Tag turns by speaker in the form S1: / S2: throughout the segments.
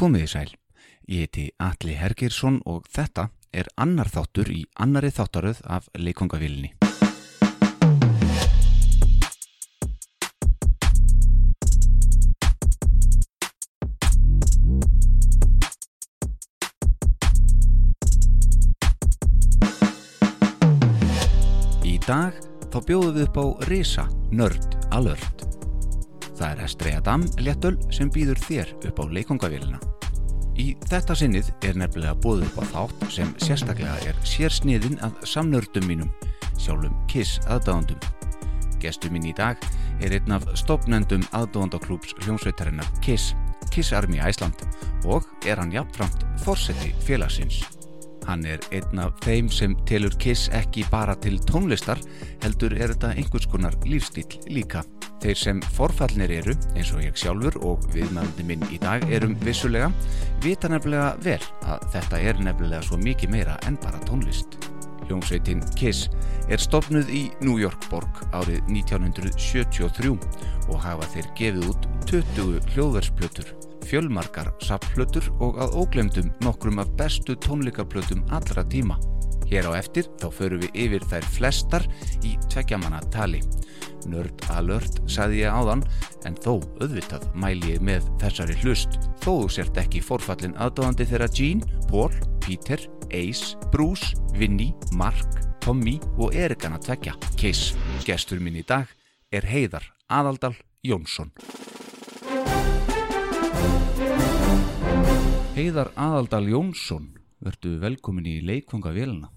S1: Komið í sæl. Ég heiti Atli Hergirsson og þetta er annar þáttur í annari þáttaröð af leikongavílinni. Í dag þá bjóðum við upp á Risa Nörd Alert. Það er Estrella Damm léttöl sem býður þér upp á leikongavélina. Í þetta sinnið er nefnilega bóðið upp á þátt sem sérstaklega er sérsniðin að samnördum mínum, sjálfum Kiss aðdáðandum. Gestur minn í dag er einn af stopnendum aðdáðandaklúps hljómsveitarinnar Kiss, Kiss Army Æsland og er hann jafnframt forseti félagsins. Hann er einn af þeim sem telur Kiss ekki bara til tónlistar, heldur er þetta einhvers konar lífstíll líka. Þeir sem forfallnir eru, eins og ég sjálfur og viðmælandi minn í dag erum vissulega, vita nefnilega vel að þetta er nefnilega svo mikið meira en bara tónlist. Hljómsveitin Kiss er stopnuð í New York borg árið 1973 og hafa þeir gefið út 20 hljóðversplötur, fjölmarkar sapplötur og að óglemdum nokkrum af bestu tónleikaplötum allra tíma. Hér á eftir þá förum við yfir þær flestar í tveggjamanna tali. Nörd alert sagði ég áðan en þó auðvitað mæli ég með þessari hlust þó þú sért ekki forfallin aðdóðandi þeirra Gene, Paul, Peter, Ace, Bruce, Vinny, Mark, Tommy og Erikana tvekja. Kiss, gestur minn í dag er Heiðar Aðaldal Jónsson. Heiðar Aðaldal Jónsson, verðu velkomin í leikvanga vélina.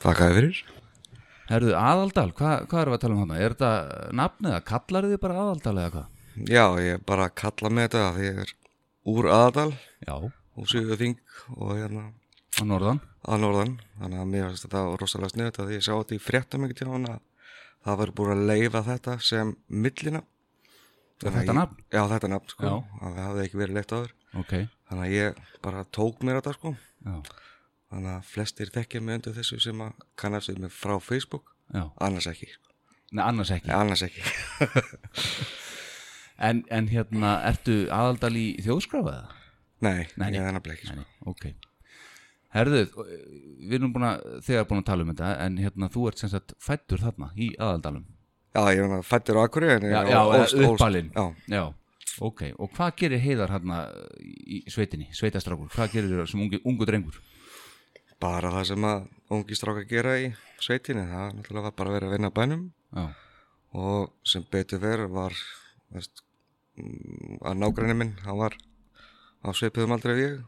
S2: Þakkaði fyrir.
S1: Herðu, aðaldal, hva, hvað erum við að tala um hana? Er þetta nafnið eða kallar þið bara aðaldal eða hvað?
S2: Já, ég bara kalla með þetta að ég er úr aðadal,
S1: Já,
S2: úr Svíðu Þing og hérna
S1: á norðan.
S2: að norðan. Þannig að mér finnst þetta rosalega sniðut að ég sá þetta í fréttum ekki til hann að það var búin að leifa þetta sem millina.
S1: Þetta nafn?
S2: Já, þetta nafn, sko.
S1: Já.
S2: Að Það hafði ekki verið leitt áður.
S1: Ok,
S2: Þannig að ég bara tók mér þetta, sko.
S1: já,
S2: Þannig að flestir þekkja mig undir þessu sem að kannast við mig frá Facebook,
S1: já.
S2: annars ekki.
S1: Nei, annars ekki.
S2: Nei, annars ekki.
S1: En, en hérna, ertu aðaldal í þjóðskrafa eða?
S2: Nei,
S1: Nei, nei.
S2: ég er nefnilega ekki, sko.
S1: Nei, ok. Herðu, við erum búin að, þegar búin að tala um þetta, en hérna, þú ert sem sagt fættur þarna í aðaldalum.
S2: Já, ég meina fættur á Akureyri en ég
S1: Já,
S2: er
S1: já,
S2: ólst-
S1: eða
S2: ólst-
S1: uppalinn.
S2: Já,
S1: Já, ok. Og hvað gerir heiðar hérna í sveitinni, sveitastrákur? Hvað gerir þér sem ungu, ungu drengur?
S2: bara það sem að ungi stráka gera í sveitinni, það náttúrulega var bara að vera að vinna á bænum
S1: Já,
S2: og sem betur verið var veist, mm, að nágræni minn, hann var á sveipiðum aldrei við ég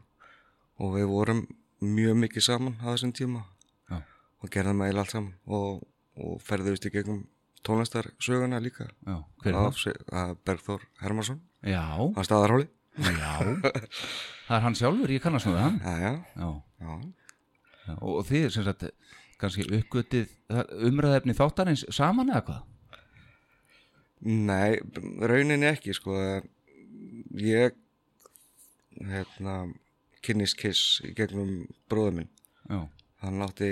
S2: og við vorum mjög mikið saman á þessum tíma
S1: Já.
S2: og gerðum eiginlega allt saman og, og ferðuðist í gegnum tónlistarsöguna líka
S1: já, hver er
S2: af
S1: það?
S2: Sve- að Bergþór Hermansson,
S1: Já,
S2: hann staðarhóli
S1: Já, það er hann sjálfur, ég kannast nú við hann
S2: Já, já,
S1: Já,
S2: já,
S1: já. Og, og þið sem sagt kannski uppgötið það- umræðefni þáttarins saman eða hvað?
S2: Nei, rauninni ekki sko ég hérna kynnist Kiss í gegnum bróður minn
S1: Já,
S2: hann átti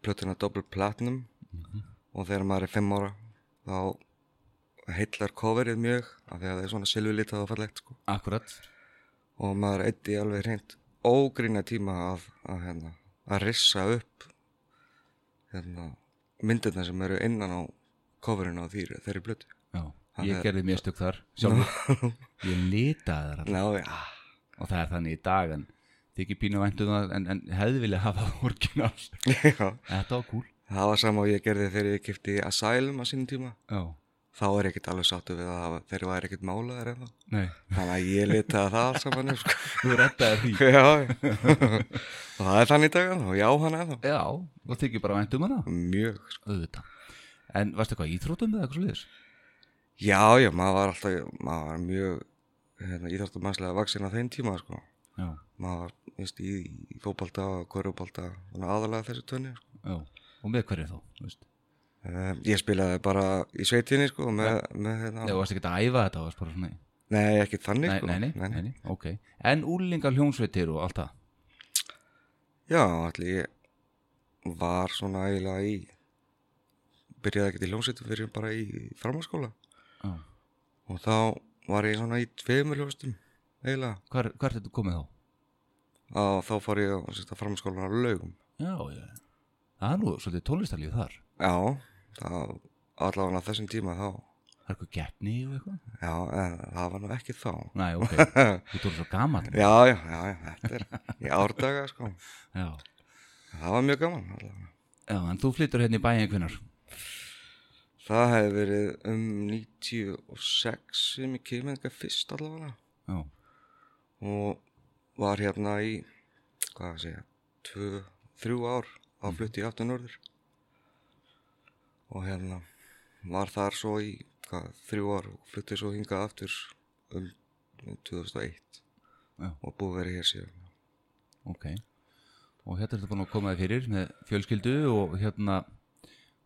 S2: plötuna Double Platinum og þegar maður er fimm ára þá heillar coverið mjög af því að það er svona silvulitað og fallegt sko
S1: akkurat
S2: og maður eitti alveg hreint ógrína tíma að, að, hérna, að rissa upp hérna, myndirna sem eru innan á coverinu á þýri, þeirri plötu
S1: Já,
S2: Hann
S1: ég
S2: er-
S1: gerði mistök þar sjálfur Ég litaði þar allar
S2: Ná, já,
S1: og það er þannig í dag en þið ekki pínu væntu það en, en hefði vilja hafa orginal
S2: Já,
S1: Þetta var kúl
S2: það var sama og ég gerði þegar ég kipti Asylum á sínum tíma.
S1: Já,
S2: Þá er ekkert alveg sáttu við að hafa- þeir væri ekkert málaðir eða.
S1: nei,
S2: Þannig að ég litaði það alls saman upp, sko.
S1: þú rettaði því
S2: Já, já. og það er þannig í dag ennþá, já hann eða.
S1: Já, og þið ekki bara væntum hana
S2: Mjög, sko.
S1: Auðvitað En varstu eitthvað í íþrótum eða eitthvað sliðis?
S2: Já, já, maður var alltaf, maður var mjög, hérna, íþáttum mannslega vaksin á þeim tíma, sko.
S1: Já,
S2: Maður var, veist, í, í fótbalta og korjúbalta, þannig aðalega þessu tönni, sko.
S1: já, og með hverju þá, þú veist?
S2: Um, ég spilaði bara í sveitinni, sko, með, með hérna.
S1: Já, varst ekki að æfa þetta, varst bara svona í-
S2: Nei, ekki þannig,
S1: Nei,
S2: sko.
S1: nei, nei, nei, nei, ok En úlingar hljómsveitir og allt það
S2: Já, allir ég var svona eiginlega í byrjaði ekkert í hljómsveitum fyrir bara í framhanskóla
S1: Já.
S2: og þá var ég svona í tveimur hljómsveitum eiginlega
S1: Hvar, Hvert er þetta komið þá?
S2: að þá fór ég á sérsta framskólan á laugum
S1: Já, já. Það er nú svolítið tónlistarlíf þar.
S2: já, það allavega á þessum tíma þá
S1: Það er eitthvað getni og eitthvað.
S2: já, en það var nú ekki þá
S1: Næ, ok. Þú tólu svo gaman.
S2: já, já, já, já þetta er í árdaga sko,
S1: Já.
S2: það var mjög gaman allavega.
S1: Já, en þú flyttur hérna í bæin einhvernar.
S2: það hefði verið um 96 sem ég kemur eitthvað fyrst allavega
S1: Já.
S2: og var hérna í hvað að segja, tvö, þrjú ár þá flutti ég aftur norður og hérna var þar svo í hvað, þrjú ár og flutti svo hingað aftur um 2001
S1: Já.
S2: og búið að vera hér síðan
S1: Ok. Og hérna ertu búin að koma þér fyrir með fjölskyldu og hérna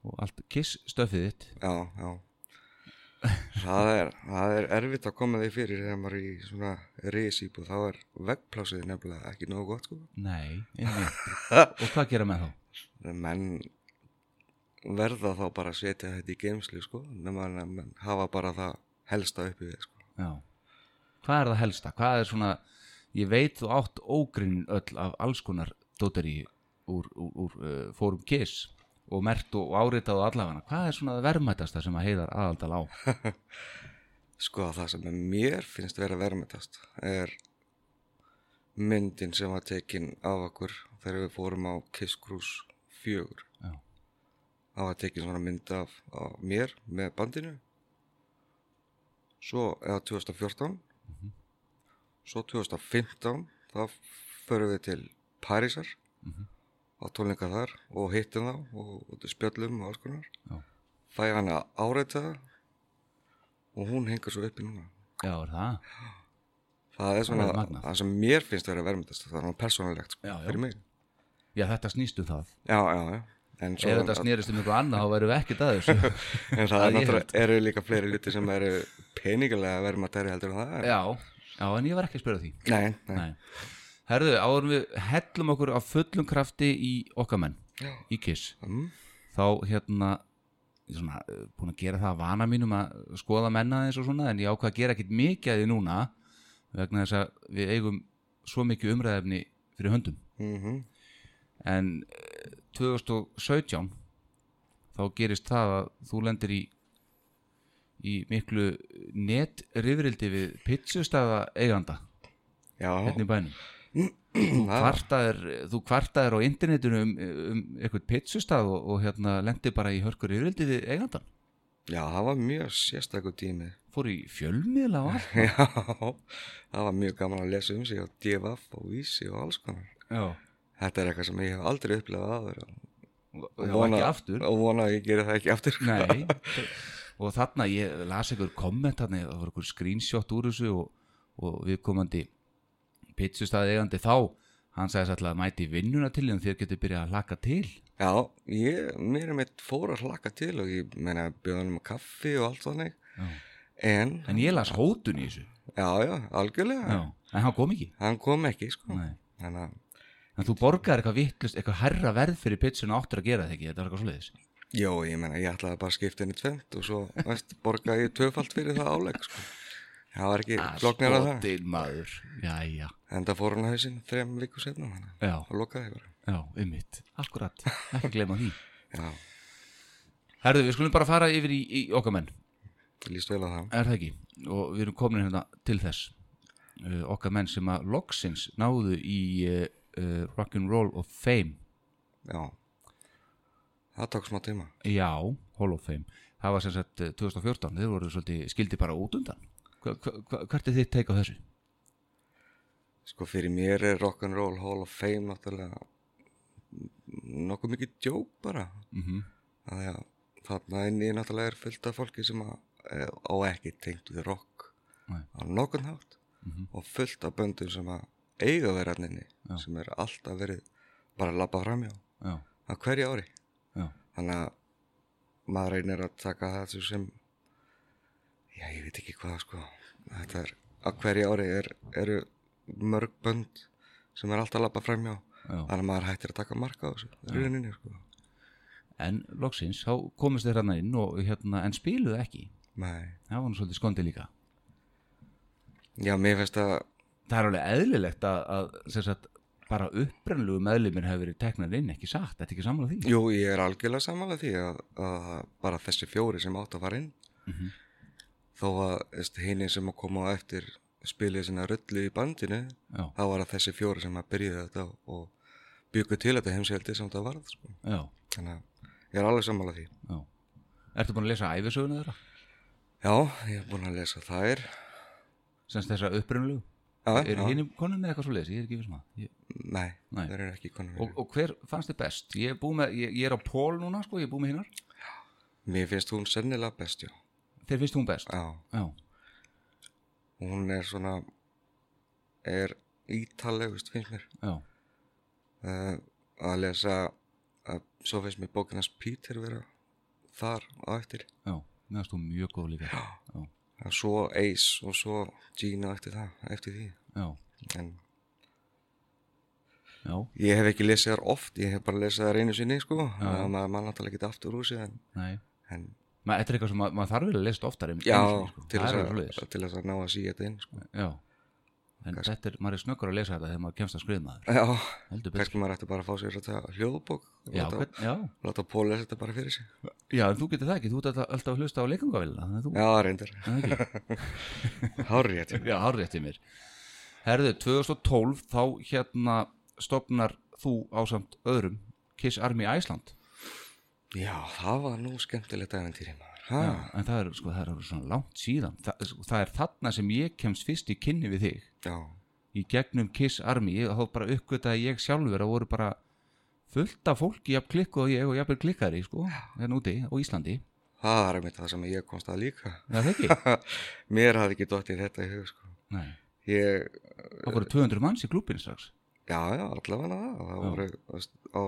S1: og allt kiss stöfið þitt.
S2: já, já það er, það er erfitt að koma því fyrir þegar maður er í svona reisýbúð þá er veggplásið nefnilega ekki nógu gott sko
S1: Nei, einmitt. og hvað gera með þá?
S2: menn verða þá bara að setja þetta í geimslu sko, nema en að menn hafa bara það helsta uppi við sko.
S1: Já. Hvað er það helsta? Hvað er svona, ég veit þú átt ógrinn öll af alls konar dótteri úr, úr, úr uh, fórum kiss og mert og áritað og allafana. Hvað er svona það verðmætasta sem að heiðar aðaldal á?
S2: sko það sem að mér finnst vera vermetast er myndin sem var tekin af okkur þegar við fórum á Kiss Cruise 4
S1: Já.
S2: það var tekin svona mynd af, af mér með bandinu svo eða 2014
S1: Mhm.
S2: svo 2015 þá förum við til Parísar
S1: Mhm.
S2: á tónleika þar og hittum þá og, og spjöllum og alls konar
S1: Já.
S2: fæ hann að áreita það og hún hengur svo uppi núna
S1: Já, er það?
S2: það er svona
S1: er magnað.
S2: það sem mér finnst vera vermyndast það er hann persónulegt sko,
S1: Já, já.
S2: fyrir mig
S1: Já, þetta snýst um það.
S2: já, já, já En, svo,
S1: Ef þetta snýrist um eitthvað annað, þá verðum við ekkert að þessu.
S2: en það
S1: að
S2: er
S1: ég
S2: náttúrulega eru líka fleiri luti sem eru peningilega verðmættari heldur en það er.
S1: já, já, en ég var ekki að spyrja því.
S2: Nei, nei.
S1: Nei. Herðu, áður en við hellum okkur af fullum krafti í okkar menn,
S2: Já.
S1: í kiss.
S2: Mm,
S1: þá hérna ég er svona, eh, búin að gera það að vana mínum að skoða menna eins og svona en ég ákvað að gera ekkit mikið að því núna vegna þess að við eigum svo mikið umræðefni fyrir höndum
S2: mm
S1: en eh, 2017 þá gerist það að þú lendir í í miklu netrifrildi við pitsustafa eiganda
S2: Já,
S1: hérna í bænum
S2: það,
S1: kvartaðir, þú kvartaðir á internetinu um, um eitthvað pizzustaf og, og hérna lendi bara í hörkur yfirvildi við eigandann,
S2: já, það var mjög sérstakur tími.
S1: fór í fjölmiðla og allt
S2: Já, það var mjög gaman að lesa um sig á DFF og Vísi og alls konar.
S1: já,
S2: Þetta er eitthvað sem ég hef aldrei upplefað aður.
S1: og, og ekki aftur
S2: Og vona að ég geri það ekki aftur.
S1: nei og þarna ég las einhver komment þarna, það var einhver screenshot úr þessu og, og við komandi pizzustaf eigandi þá hann sagði sætla að mæti vinnuna til en þér getur byrjað að hlaka til
S2: Já, ég, mér er mitt fór að hlaka til og ég meina bjóðanum kaffi og allt þannig.
S1: já.
S2: En,
S1: en ég las hótun í þessu
S2: já, já, algjörlega.
S1: já. en hann kom ekki
S2: Hann kom ekki, sko.
S1: nei
S2: Þannig að
S1: En þú borgar eitthvað vittlust, eitthvað herra verð fyrir pizzuna áttur að gera þetta ekki, þetta var eitthvað svoleiðis.
S2: Jó, ég meina, ég ætlaði bara að skipta henni tvent og svo, veist, borgaði ég töfald fyrir það áleg, sko. Það var ekki floknir að það.
S1: Skotin maður. Jæja.
S2: En það fór hann á hausinn þrem viku setna, þannig
S1: Já,
S2: að það lokaði bara.
S1: já, ummitt. Akkurat, ekki gleyma því.
S2: Já,
S1: Herðu, við skulum bara fara yfir í, í okkar menn,
S2: það líst vel á það.
S1: er það ekki? Og við erum komin hérna til þess. Uh, okkar menn sem að loksins náðu í uh, uh, Rock'n'Roll of Fame.
S2: Já. Það tók smá tíma.
S1: Já, Hall of Fame. Það var sem sagt eh, 2014, þeir voru svolítið skildi bara út undan. Hva, hva, hva, hvert er þitt teik á þessu?
S2: Sko, fyrir mér er Rock'n'Roll Hall of Fame náttúrulega nokkuð mikið djók bara.
S1: Mm
S2: Þannig að þarna inn í náttúrulega er fullt af fólki sem að, eh, á ekki tengt við rock
S1: Nei.
S2: á nokkurn hátt.
S1: Mhm.
S2: og fullt af böndum sem að eiga að vera hann inni
S1: Já.
S2: sem er alltaf verið bara að labba framjá
S1: Já,
S2: á hverju ári
S1: já.
S2: þannig að maður reynir að taka þessu sem já ég veit ekki hvað sko þetta er á hverju ári er, eru mörg bönd sem er alltaf að labba framjá
S1: Já.
S2: þannig að maður hættir að taka marka á þessu í rauninni sko
S1: En loksins, þá komist þeir hérna inn og hérna, en spiluðu ekki.
S2: Nei.
S1: Það var nú svolítið skondi líka.
S2: já mér finnst að
S1: Það er alveg eðlilegt að, að sem sagt, bara upprennlegu meðlumir hefur verið teknar inn, ekki satt, þetta er ekki sammála því
S2: Jú, ég er algjörlega samanlega því að, að bara þessi fjóri sem átt að fara inn
S1: Mhm.
S2: þó að henni sem að koma á eftir spilið sinna rullu í bandinu
S1: Já,
S2: þá var það þessi fjóri sem að byrja þetta og byggu til þetta heimsveldi sem þetta varð sko.
S1: já,
S2: þannig að ég er alveg sammála því
S1: já Ertu búin að lesa æfisöguna þeirra?
S2: já, ég er búin að lesa þær
S1: Sens þessa upprennlegu?
S2: já,
S1: Er
S2: já,
S1: hinn konum með eitthvað svo ég er ekki viss maður ég...
S2: nei,
S1: Nei.
S2: þær eru ekki konum
S1: og, og hver fannst þið best? Ég er, búið með, ég, ég er á pól núna, sko, ég er búið með hinnar
S2: mér finnst hún sennilega best já.
S1: Þeir finnst hún best?
S2: já,
S1: Já,
S2: hún er svona er ítalegust finnst mér
S1: já,
S2: uh, að lesa að, svo finnst mér bókinans Peter vera þar á eftir
S1: já Mér finnst hún mjög góð líka Já, já,
S2: að svo Ace og svo Gina eftir það, eftir því
S1: já,
S2: en
S1: já.
S2: Ég hef ekki lesið þar oft, ég hef bara lesið þar einu sinni sko, þannig að maður mann náttúrulega ekki aftur úr sig en,
S1: nei
S2: en
S1: Ma, Þetta er eitthvað sem maður maður þarf verið að lesa oftar einmitt
S2: já,
S1: einu sinni, sko.
S2: til,
S1: Það er
S2: þess
S1: svoleiðis.
S2: að, til þess að ná að síja þetta inn sko.
S1: Já, en þetta er, maður er snöggur að lesa þetta þegar maður kemst að skrifa maður
S2: Já,
S1: Heldur betur
S2: kannski maður ætti bara að fá sér þetta hljóðbók,
S1: Já,
S2: láta,
S1: hvern, já.
S2: láta Pól lesa þetta bara fyrir sig.
S1: já, en þú getur það ekki, þú ert alltaf- alltaf að hlusta á leikangavélina þannig að þú,
S2: Já, reyndar,
S1: það ekki
S2: hárið þetta.
S1: Já, hárétti mér Herðu, 2012 þá hérna stopnar þú ásamt öðrum Kiss Army Æsland
S2: Já, það var nú skemmtilegt æventýri maður. Ha,
S1: en það er, sko, það er orðið svona langt síðan Þa, það er þarna sem ég kemst fyrst í kynni við þig
S2: já,
S1: í gegnum Kiss Army ég, þá bara uppgötaði ég sjálfur að voru bara fullt af fólki jafn klikku og ég og jafnvel klikkari sko, hérna úti á Íslandi
S2: það var einmitt það sem ég komst að líka.
S1: Er það ekki?
S2: Mér hafði ekki dottið þetta í hug sko.
S1: Nei,
S2: Ég,
S1: það voru 200 manns í klúbinu strax
S2: já, já, allavega það, það voru, veist, á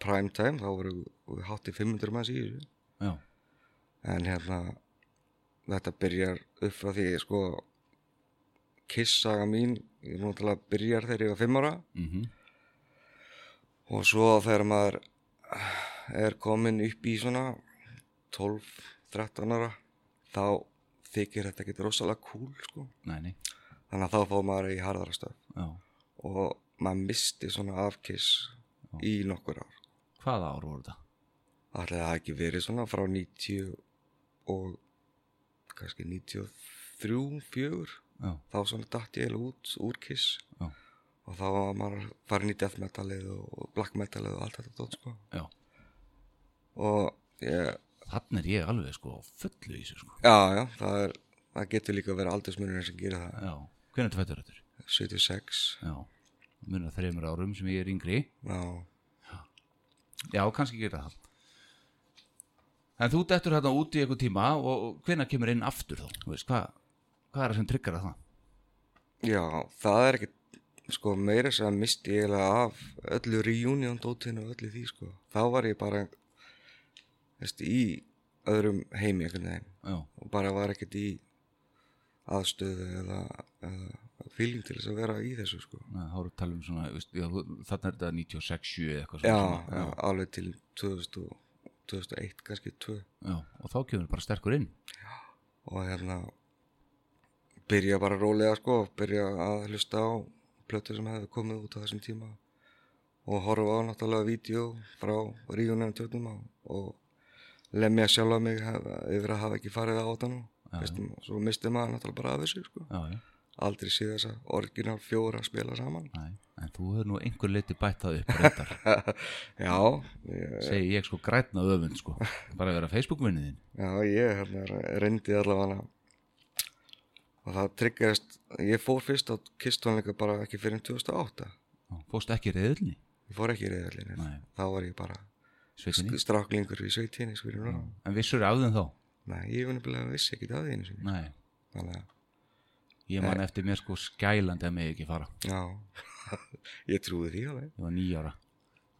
S2: prime time, þá voru hátti 500 manns í þessu.
S1: Já,
S2: en hérna þetta byrjar upp frá því sko kissaga mín ég náttúrulega byrjar þegar ég var fimm ára
S1: mm
S2: og svo þegar maður eh, er komin upp í svona 12-13 ára þá þykir þetta ekki rosalega cool sko
S1: nei, nei
S2: þannig að þá fá maður í harðarastöð
S1: Já.
S2: og maður misti svona afkiss í nokkur ár
S1: Hvaða ár voru þetta?
S2: Ætli það hafi ekki verið svona frá 90 og kannski 93, 4
S1: Já,
S2: þá svona datt ég eiginlega út úr kiss
S1: Já.
S2: og þá var maður farin í death metalið og black metalið og allt þetta dót sko
S1: já
S2: og ég,
S1: Þannig er ég alveg sko á fullu í þessu sko.
S2: já, já, það er það getur líka að vera aldursmunurinn sem gerir það
S1: Já, hvernig þetta fættur þetta?
S2: 76,
S1: Já, munar þreymur árum sem ég er yngri.
S2: já,
S1: Já, kannski gera það. En þú dettur hérna út í eitthvað tíma og og hvenær kemur inn aftur þá? Þú veist, hvað, hvað er það sem tryggar það?
S2: já, það er ekki sko meira sem að misti ég eiginlega af öllu reunion dótinu og öllu því sko, þá var ég bara veist, í öðrum heimi einhvern veginn
S1: Já,
S2: og bara var ekkert í aðstöðu eða, eða fíling til þess að vera í þessu sko.
S1: Nei, þá erum við tala um svona, þú veist, já, þú- þarna er þetta 96, 7 eða eitthvað
S2: já,
S1: svona.
S2: já, alveg til 2000, og- 2001 kannski 2
S1: Já, og þá kemur bara sterkur inn.
S2: og hérna byrja bara rólega sko byrja að hlusta á plötur sem hefði komið út á þessum tíma og horfa á náttúrulega vídeo frá ríðunum tjóttum og, og lemja sjálfa mig hef, yfir að hafa ekki farið á þetta nú Veistum, og svo misti maður náttúrulega bara af þessu sko.
S1: Já, já,
S2: aldrei sé þessa orginal fjóra spila saman
S1: nei. En þú hefur nú einhver leiti bætt það upp reyndar.
S2: já, ég,
S1: Segir ég sko grætna öfund sko. Bara að vera Facebook-vinnið þinn.
S2: já, ég hérna, reyndi allavega og það tryggjast ég fór fyrst á kistónleika bara ekki fyrir 2008
S1: Já, Fórstu ekki reyðilni?
S2: ég fór ekki í reyðalinn
S1: Nei,
S2: þá var ég bara
S1: sveitinni.
S2: stráklingur í sveitinni sko, fyrir norðan.
S1: En vissur af þeim þá?
S2: nei, ég var nefnilega vissi ekki að því einu sinni
S1: Nei,
S2: þannig að,
S1: ég man eftir mér sko skælandi að mig ekki fara.
S2: já ég trúi því alveg
S1: Ég var nýjára.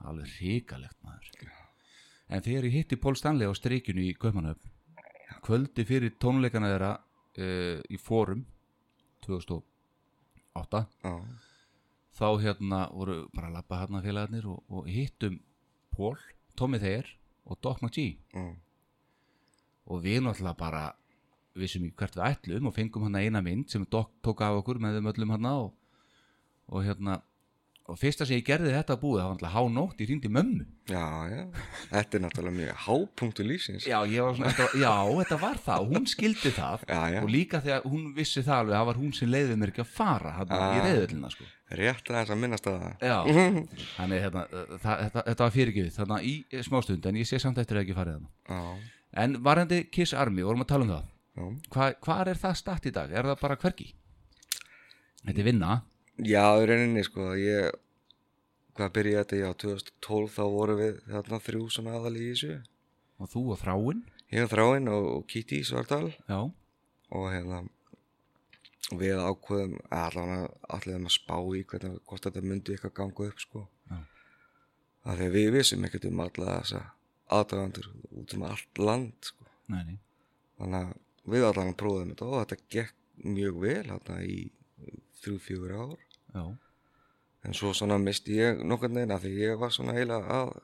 S1: Alveg hrikalegt maður. En þegar ég hitti Pól Stanley á streikinu í Kaupmannöfn, kvöldi fyrir tónleikana þeirra uh, í fórum 2008,
S2: já,
S1: þá hérna voru bara að labba hérna félagarnir og, og hittum Pól, Tommy Thayer og Doc McGee.
S2: já,
S1: og við náttúrulega bara vissum í hvert við ætlum og fengum hann eina mynd sem Doc tók af okkur með þeim öllum hann og, og hérna og fyrsta sem ég gerði þetta búið, það var náttúrulega hánótt, ég rýndi mömmu
S2: já, já, þetta er náttúrulega mjög hápunktu lífsins
S1: Já, ég var svona, þetta, já, þetta var það og hún skildi það
S2: Já, já.
S1: og líka þegar hún vissi það alveg það var hún sem leiði mér ekki að fara hann,
S2: Ah.
S1: í reyðullina sko.
S2: rétt aðeins að minnast að það
S1: Já, þannig hérna, það, þetta, þetta var fyrirgefið þannig í eh, smástund en ég sé samt eftir að ekki farið þannig
S2: já,
S1: En varandi Kiss Army, vorum að tala um það
S2: já,
S1: Hva, Hvar er það statt í dag? Er það bara hvergi? Þetta er vinna
S2: já, í rauninni sko ég, hvað byrjaði þetta, já, 2012 þá vorum við þarna þrjú svona aðal í þessu
S1: og þú og þráin
S2: ég og þráinn og, og Kitty Svartal
S1: Já,
S2: og hérna við ákveðum allavega allavega að spá í hvernig, hvort þetta myndi eitthvað ganga upp sko
S1: Já.
S2: af því að við vissum ekkert um alla þessa aðdægandur út um allt land sko
S1: nei, nei
S2: þannig að við allavega prófum þetta og þetta gekk mjög vel hérna í þrjú, fjögur ár
S1: Já,
S2: en svo svona misti ég nokkurn veginn af því ég var svona heila að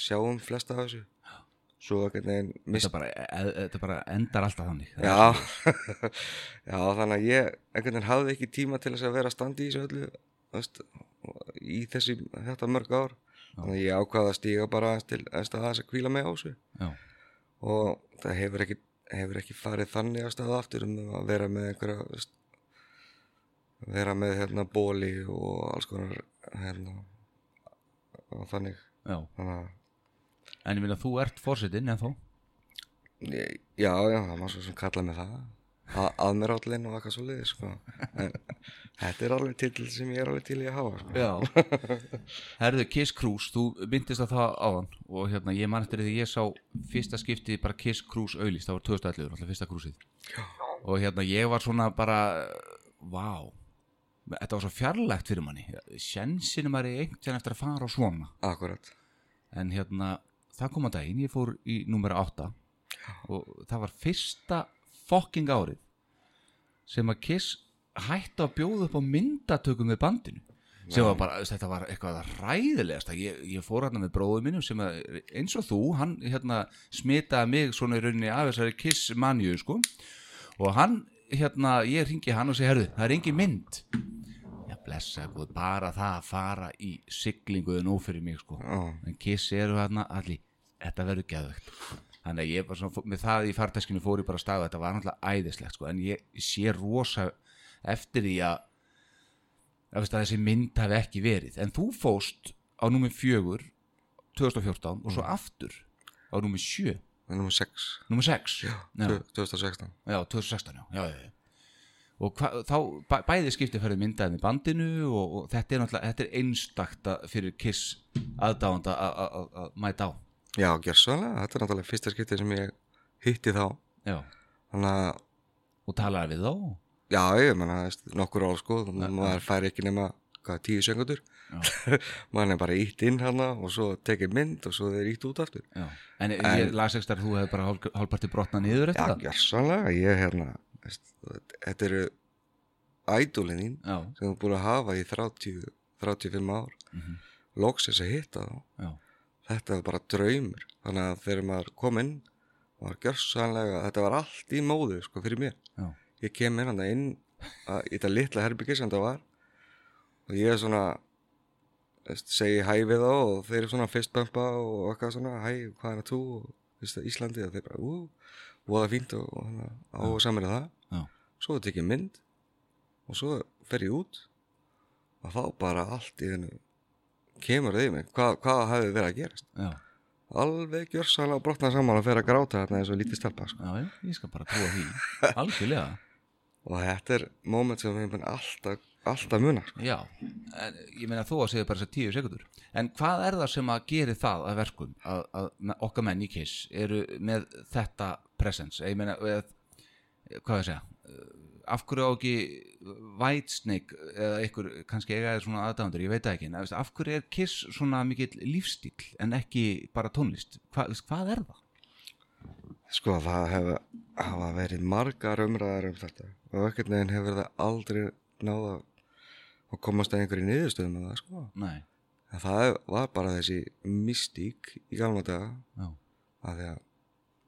S2: sjá um flesta af þessu svo einhvern veginn misti
S1: þetta bara, e, e, þetta bara endar alltaf þannig
S2: Já, já þannig að ég einhvern veginn hafði ekki tíma til þess að vera að standa í þessu öllu þú veist, í þessi þetta mörg ár þannig að ég ákvaði að stíga bara aðeins til aðeins að aðeins að kvíla mig á þessu
S1: Já,
S2: og það hefur ekki, hefur ekki farið þannig að staða aftur um að vera með einhverja þú veist, vera með hérna bóli og alls konar hérna og þannig
S1: já
S2: þannig að
S1: En ég vil að þú ert fórsetin en þó
S2: Ég- Já, já, það var svo sem kallaði mig það að, aðmerállinn og eitthvað svo liði sko. en þetta er alveg til sem ég er alveg til í að hafa sko.
S1: Já Herðu Kiss Cruise, þú myndist að það áðan og hérna ég man eftir því ég sá fyrsta skipti bara Kiss Cruise auðlist það var 2011, alltaf fyrsta krúsið og hérna ég var svona bara vá, þetta var svo fjarlægt fyrir manni, sjensin maður er einhvern eftir að fara á svona
S2: akkurat
S1: en hérna það kom að daginn, ég fór í nummer 8 og það var fyrsta fokking árið sem að Kiss hætti að bjóða upp á myndatökum með bandinu sem var bara, veist, þetta var eitthvað ræðilegast ég, ég fór hérna með bróðu mínum sem að, eins og þú, hann hérna smitaði mig svona í rauninni af þessari Kiss manju sko og hann, hérna, ég ringi hann og segi herðu, það er engin mynd já, blessa, góð, bara það að fara í siglingu er nóg fyrir mig sko
S2: Já,
S1: en Kiss eru hérna allir þetta verður geðvögt þannig að ég bara svona, með það í farteskinu fór ég bara að staða þetta var náttúrulega æðislegt sko, en ég sé rosa eftir því að að veist að þessi mynd hafi ekki verið en þú fóst á númi fjögur 2014 og svo aftur á númi sjö,
S2: það er nummer 6
S1: númi sex já, já,
S2: 2016
S1: 2016 já, já, já, já. og hva, þá bæ, bæði skipti færði myndaði með bandinu og, og þetta er náttúrulega, þetta er einstakta fyrir Kiss aðdáanda að- að að- að mæta á
S2: Já, gjörsanlega, þetta er náttúrulega fyrsta skipti sem ég hitti þá
S1: Já,
S2: þannig að,
S1: og talaði við þá
S2: já, ég menna nokkur ár sko, maður fær ekki nema hvað, tíu söngundur maður er bara ítt inn hana og svo tekið mynd og svo þeir ítt út aftur
S1: já. En, ég las ekki starf þú hefði bara hálf- hálfparti brotna niður
S2: Já,
S1: eftir það
S2: gjörsanlega, ég hérna veist, þetta eru ædólin þín
S1: Já,
S2: sem þú búið að hafa í 30, 35 ár
S1: Mhm.
S2: loksins að hitta þá
S1: já,
S2: þetta var bara draumur þannig að þegar maður kom inn var gjörsanlega, þetta var allt í móðu sko fyrir mér,
S1: já,
S2: ég kem inn hann inn að, í þetta litla herbyggi sem það var og ég er svona veist, segi hæ við þá og þeir eru svona fistbömpa og eitthvað svona hæ, hvað er það þú og veist, Íslandi og þeir bara, ú, voða fínt og, og hana, á og saman er það
S1: já,
S2: svo tek ég mynd og svo fer ég út og þá bara allt í þennu kemur þið í mig, hvað, hvað hefði verið að gerast
S1: já,
S2: alveg gjörsanlega brotna saman að fer að gráta þarna eins og lítið stelpa sko.
S1: já, já, ég skal bara trúa því Algjörlega,
S2: og þetta er moment sem ég mun alltaf, alltaf muna sko.
S1: já en, Ég meina þó að segja bara þess að tíu sekundur En hvað er það sem að geri það að verkum að, að me- okkar menn í kiss eru með þetta presence Ég meina, eð, hvað ég að segja eh, af hverju á ekki Whitesnake eða einhver, kannski eiga er svona aðdæmandur, ég veit það ekki en veist, af hverju er Kiss svona mikill lífstíl en ekki bara tónlist Hva, veist, hvað er það?
S2: sko það hefur hafa verið margar umræðar um þetta og ekkert neginn hefur það aldrei náða að komast að einhverju niðurstöðum með það sko
S1: Nei,
S2: en það var bara þessi mystík í gamla daga
S1: já,
S2: að því að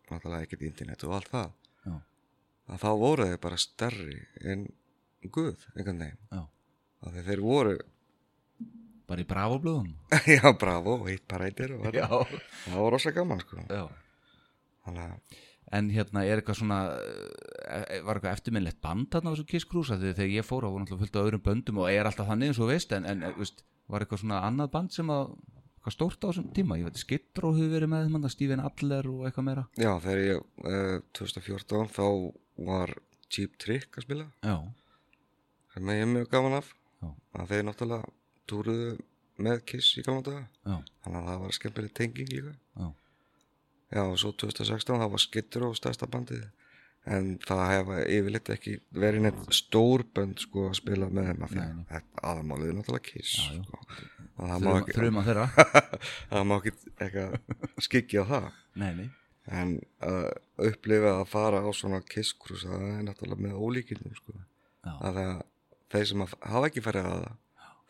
S2: náttúrulega ekkert internet og allt það
S1: Já.
S2: að þá voru þeir bara stærri en Guð einhvern veginn
S1: já,
S2: að þeir voru
S1: bara í bravoblöðum
S2: já, bravo, eitt parætir og þetta. það var rosa gaman sko
S1: já.
S2: þannig að,
S1: En hérna er eitthvað svona eh, var eitthvað eftirminnlegt band þarna á þessu Kiss Cruise af því að þegar ég fór á var náttúrulega fullt af öðrum böndum og er alltaf þannig eins og þú veist en, en eh, veist, var eitthvað svona annað band sem að eitthvað stórt á þessum tíma, ég veit Skittró hefur verið með þeim, þarna, Stephen Adler og eitthvað meira
S2: já, þegar ég uh, 2014 þá var Cheap Trick að spila
S1: Já,
S2: sem ég er mjög gaman af
S1: Já.
S2: að þeir náttúrulega túruðu með Kiss í gaman daga
S1: já,
S2: þannig að það var skemmtileg tenging líka
S1: já,
S2: já, og svo 2016 það var Skittur og stærsta bandið en það hefa yfirleitt ekki verið neitt stór bönd sko að spila með þeim af því
S1: Nei,
S2: að
S1: nei.
S2: þetta aðmálið er náttúrulega Kiss
S1: Já, já.
S2: sko. og það má
S1: Þruma-
S2: ekki
S1: þruma þeirra
S2: það má ekki eitthvað skikki á það
S1: Nei, nei,
S2: en að upplifa að fara á svona kisskrús það er náttúrulega með ólíkindum sko.
S1: já,
S2: að það, þeir sem að hafa ekki farið að það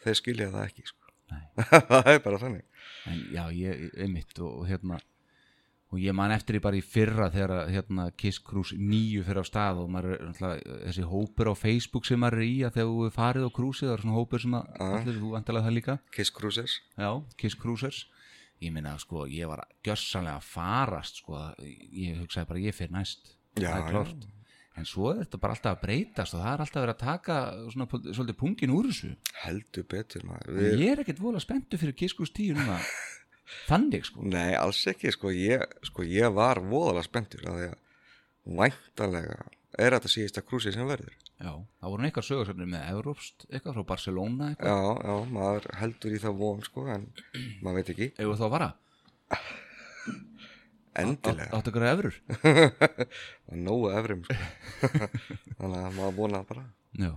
S2: þeir skilja það ekki sko.
S1: nei
S2: það er bara þannig
S1: en já, ég, einmitt og, og hérna og ég man eftir því bara í fyrra þegar að, hérna Kiss Cruise 9 fyrir á stað og maður er náttúrulega þessi hópur á Facebook sem maður er í að þegar þú er farið á krúsið það er svona hópur sem að, allir, þú vantalega það líka
S2: kisskrúsers
S1: já, Kiss Cruisers ég minna sko, ég var gjössanlega að farast sko, að ég hugsaði bara ég fyrir næst
S2: Já,
S1: það er klart en svo er þetta bara alltaf að breytast og það er alltaf að vera að taka svona, svolítið pungin úr þessu
S2: heldur betur maður
S1: Ég, ég er ekkert vola spenntu fyrir Kiskus 10 núna Þannig sko
S2: Nei, alls ekki, sko, ég, sko, ég var voðalega spenntur að því að væntalega er þetta síðasta krúsi sem verður.
S1: Já, það voru eitthvað sögursefnir með Evrópst eitthvað frá Barcelona eitthvað
S2: Já, já, maður heldur í það von, sko, en maður veit ekki,
S1: Eða þá að vara,
S2: endilega.
S1: áttu ykkur evrur
S2: og nógu efrum sko. þannig að maður vona það bara
S1: Já,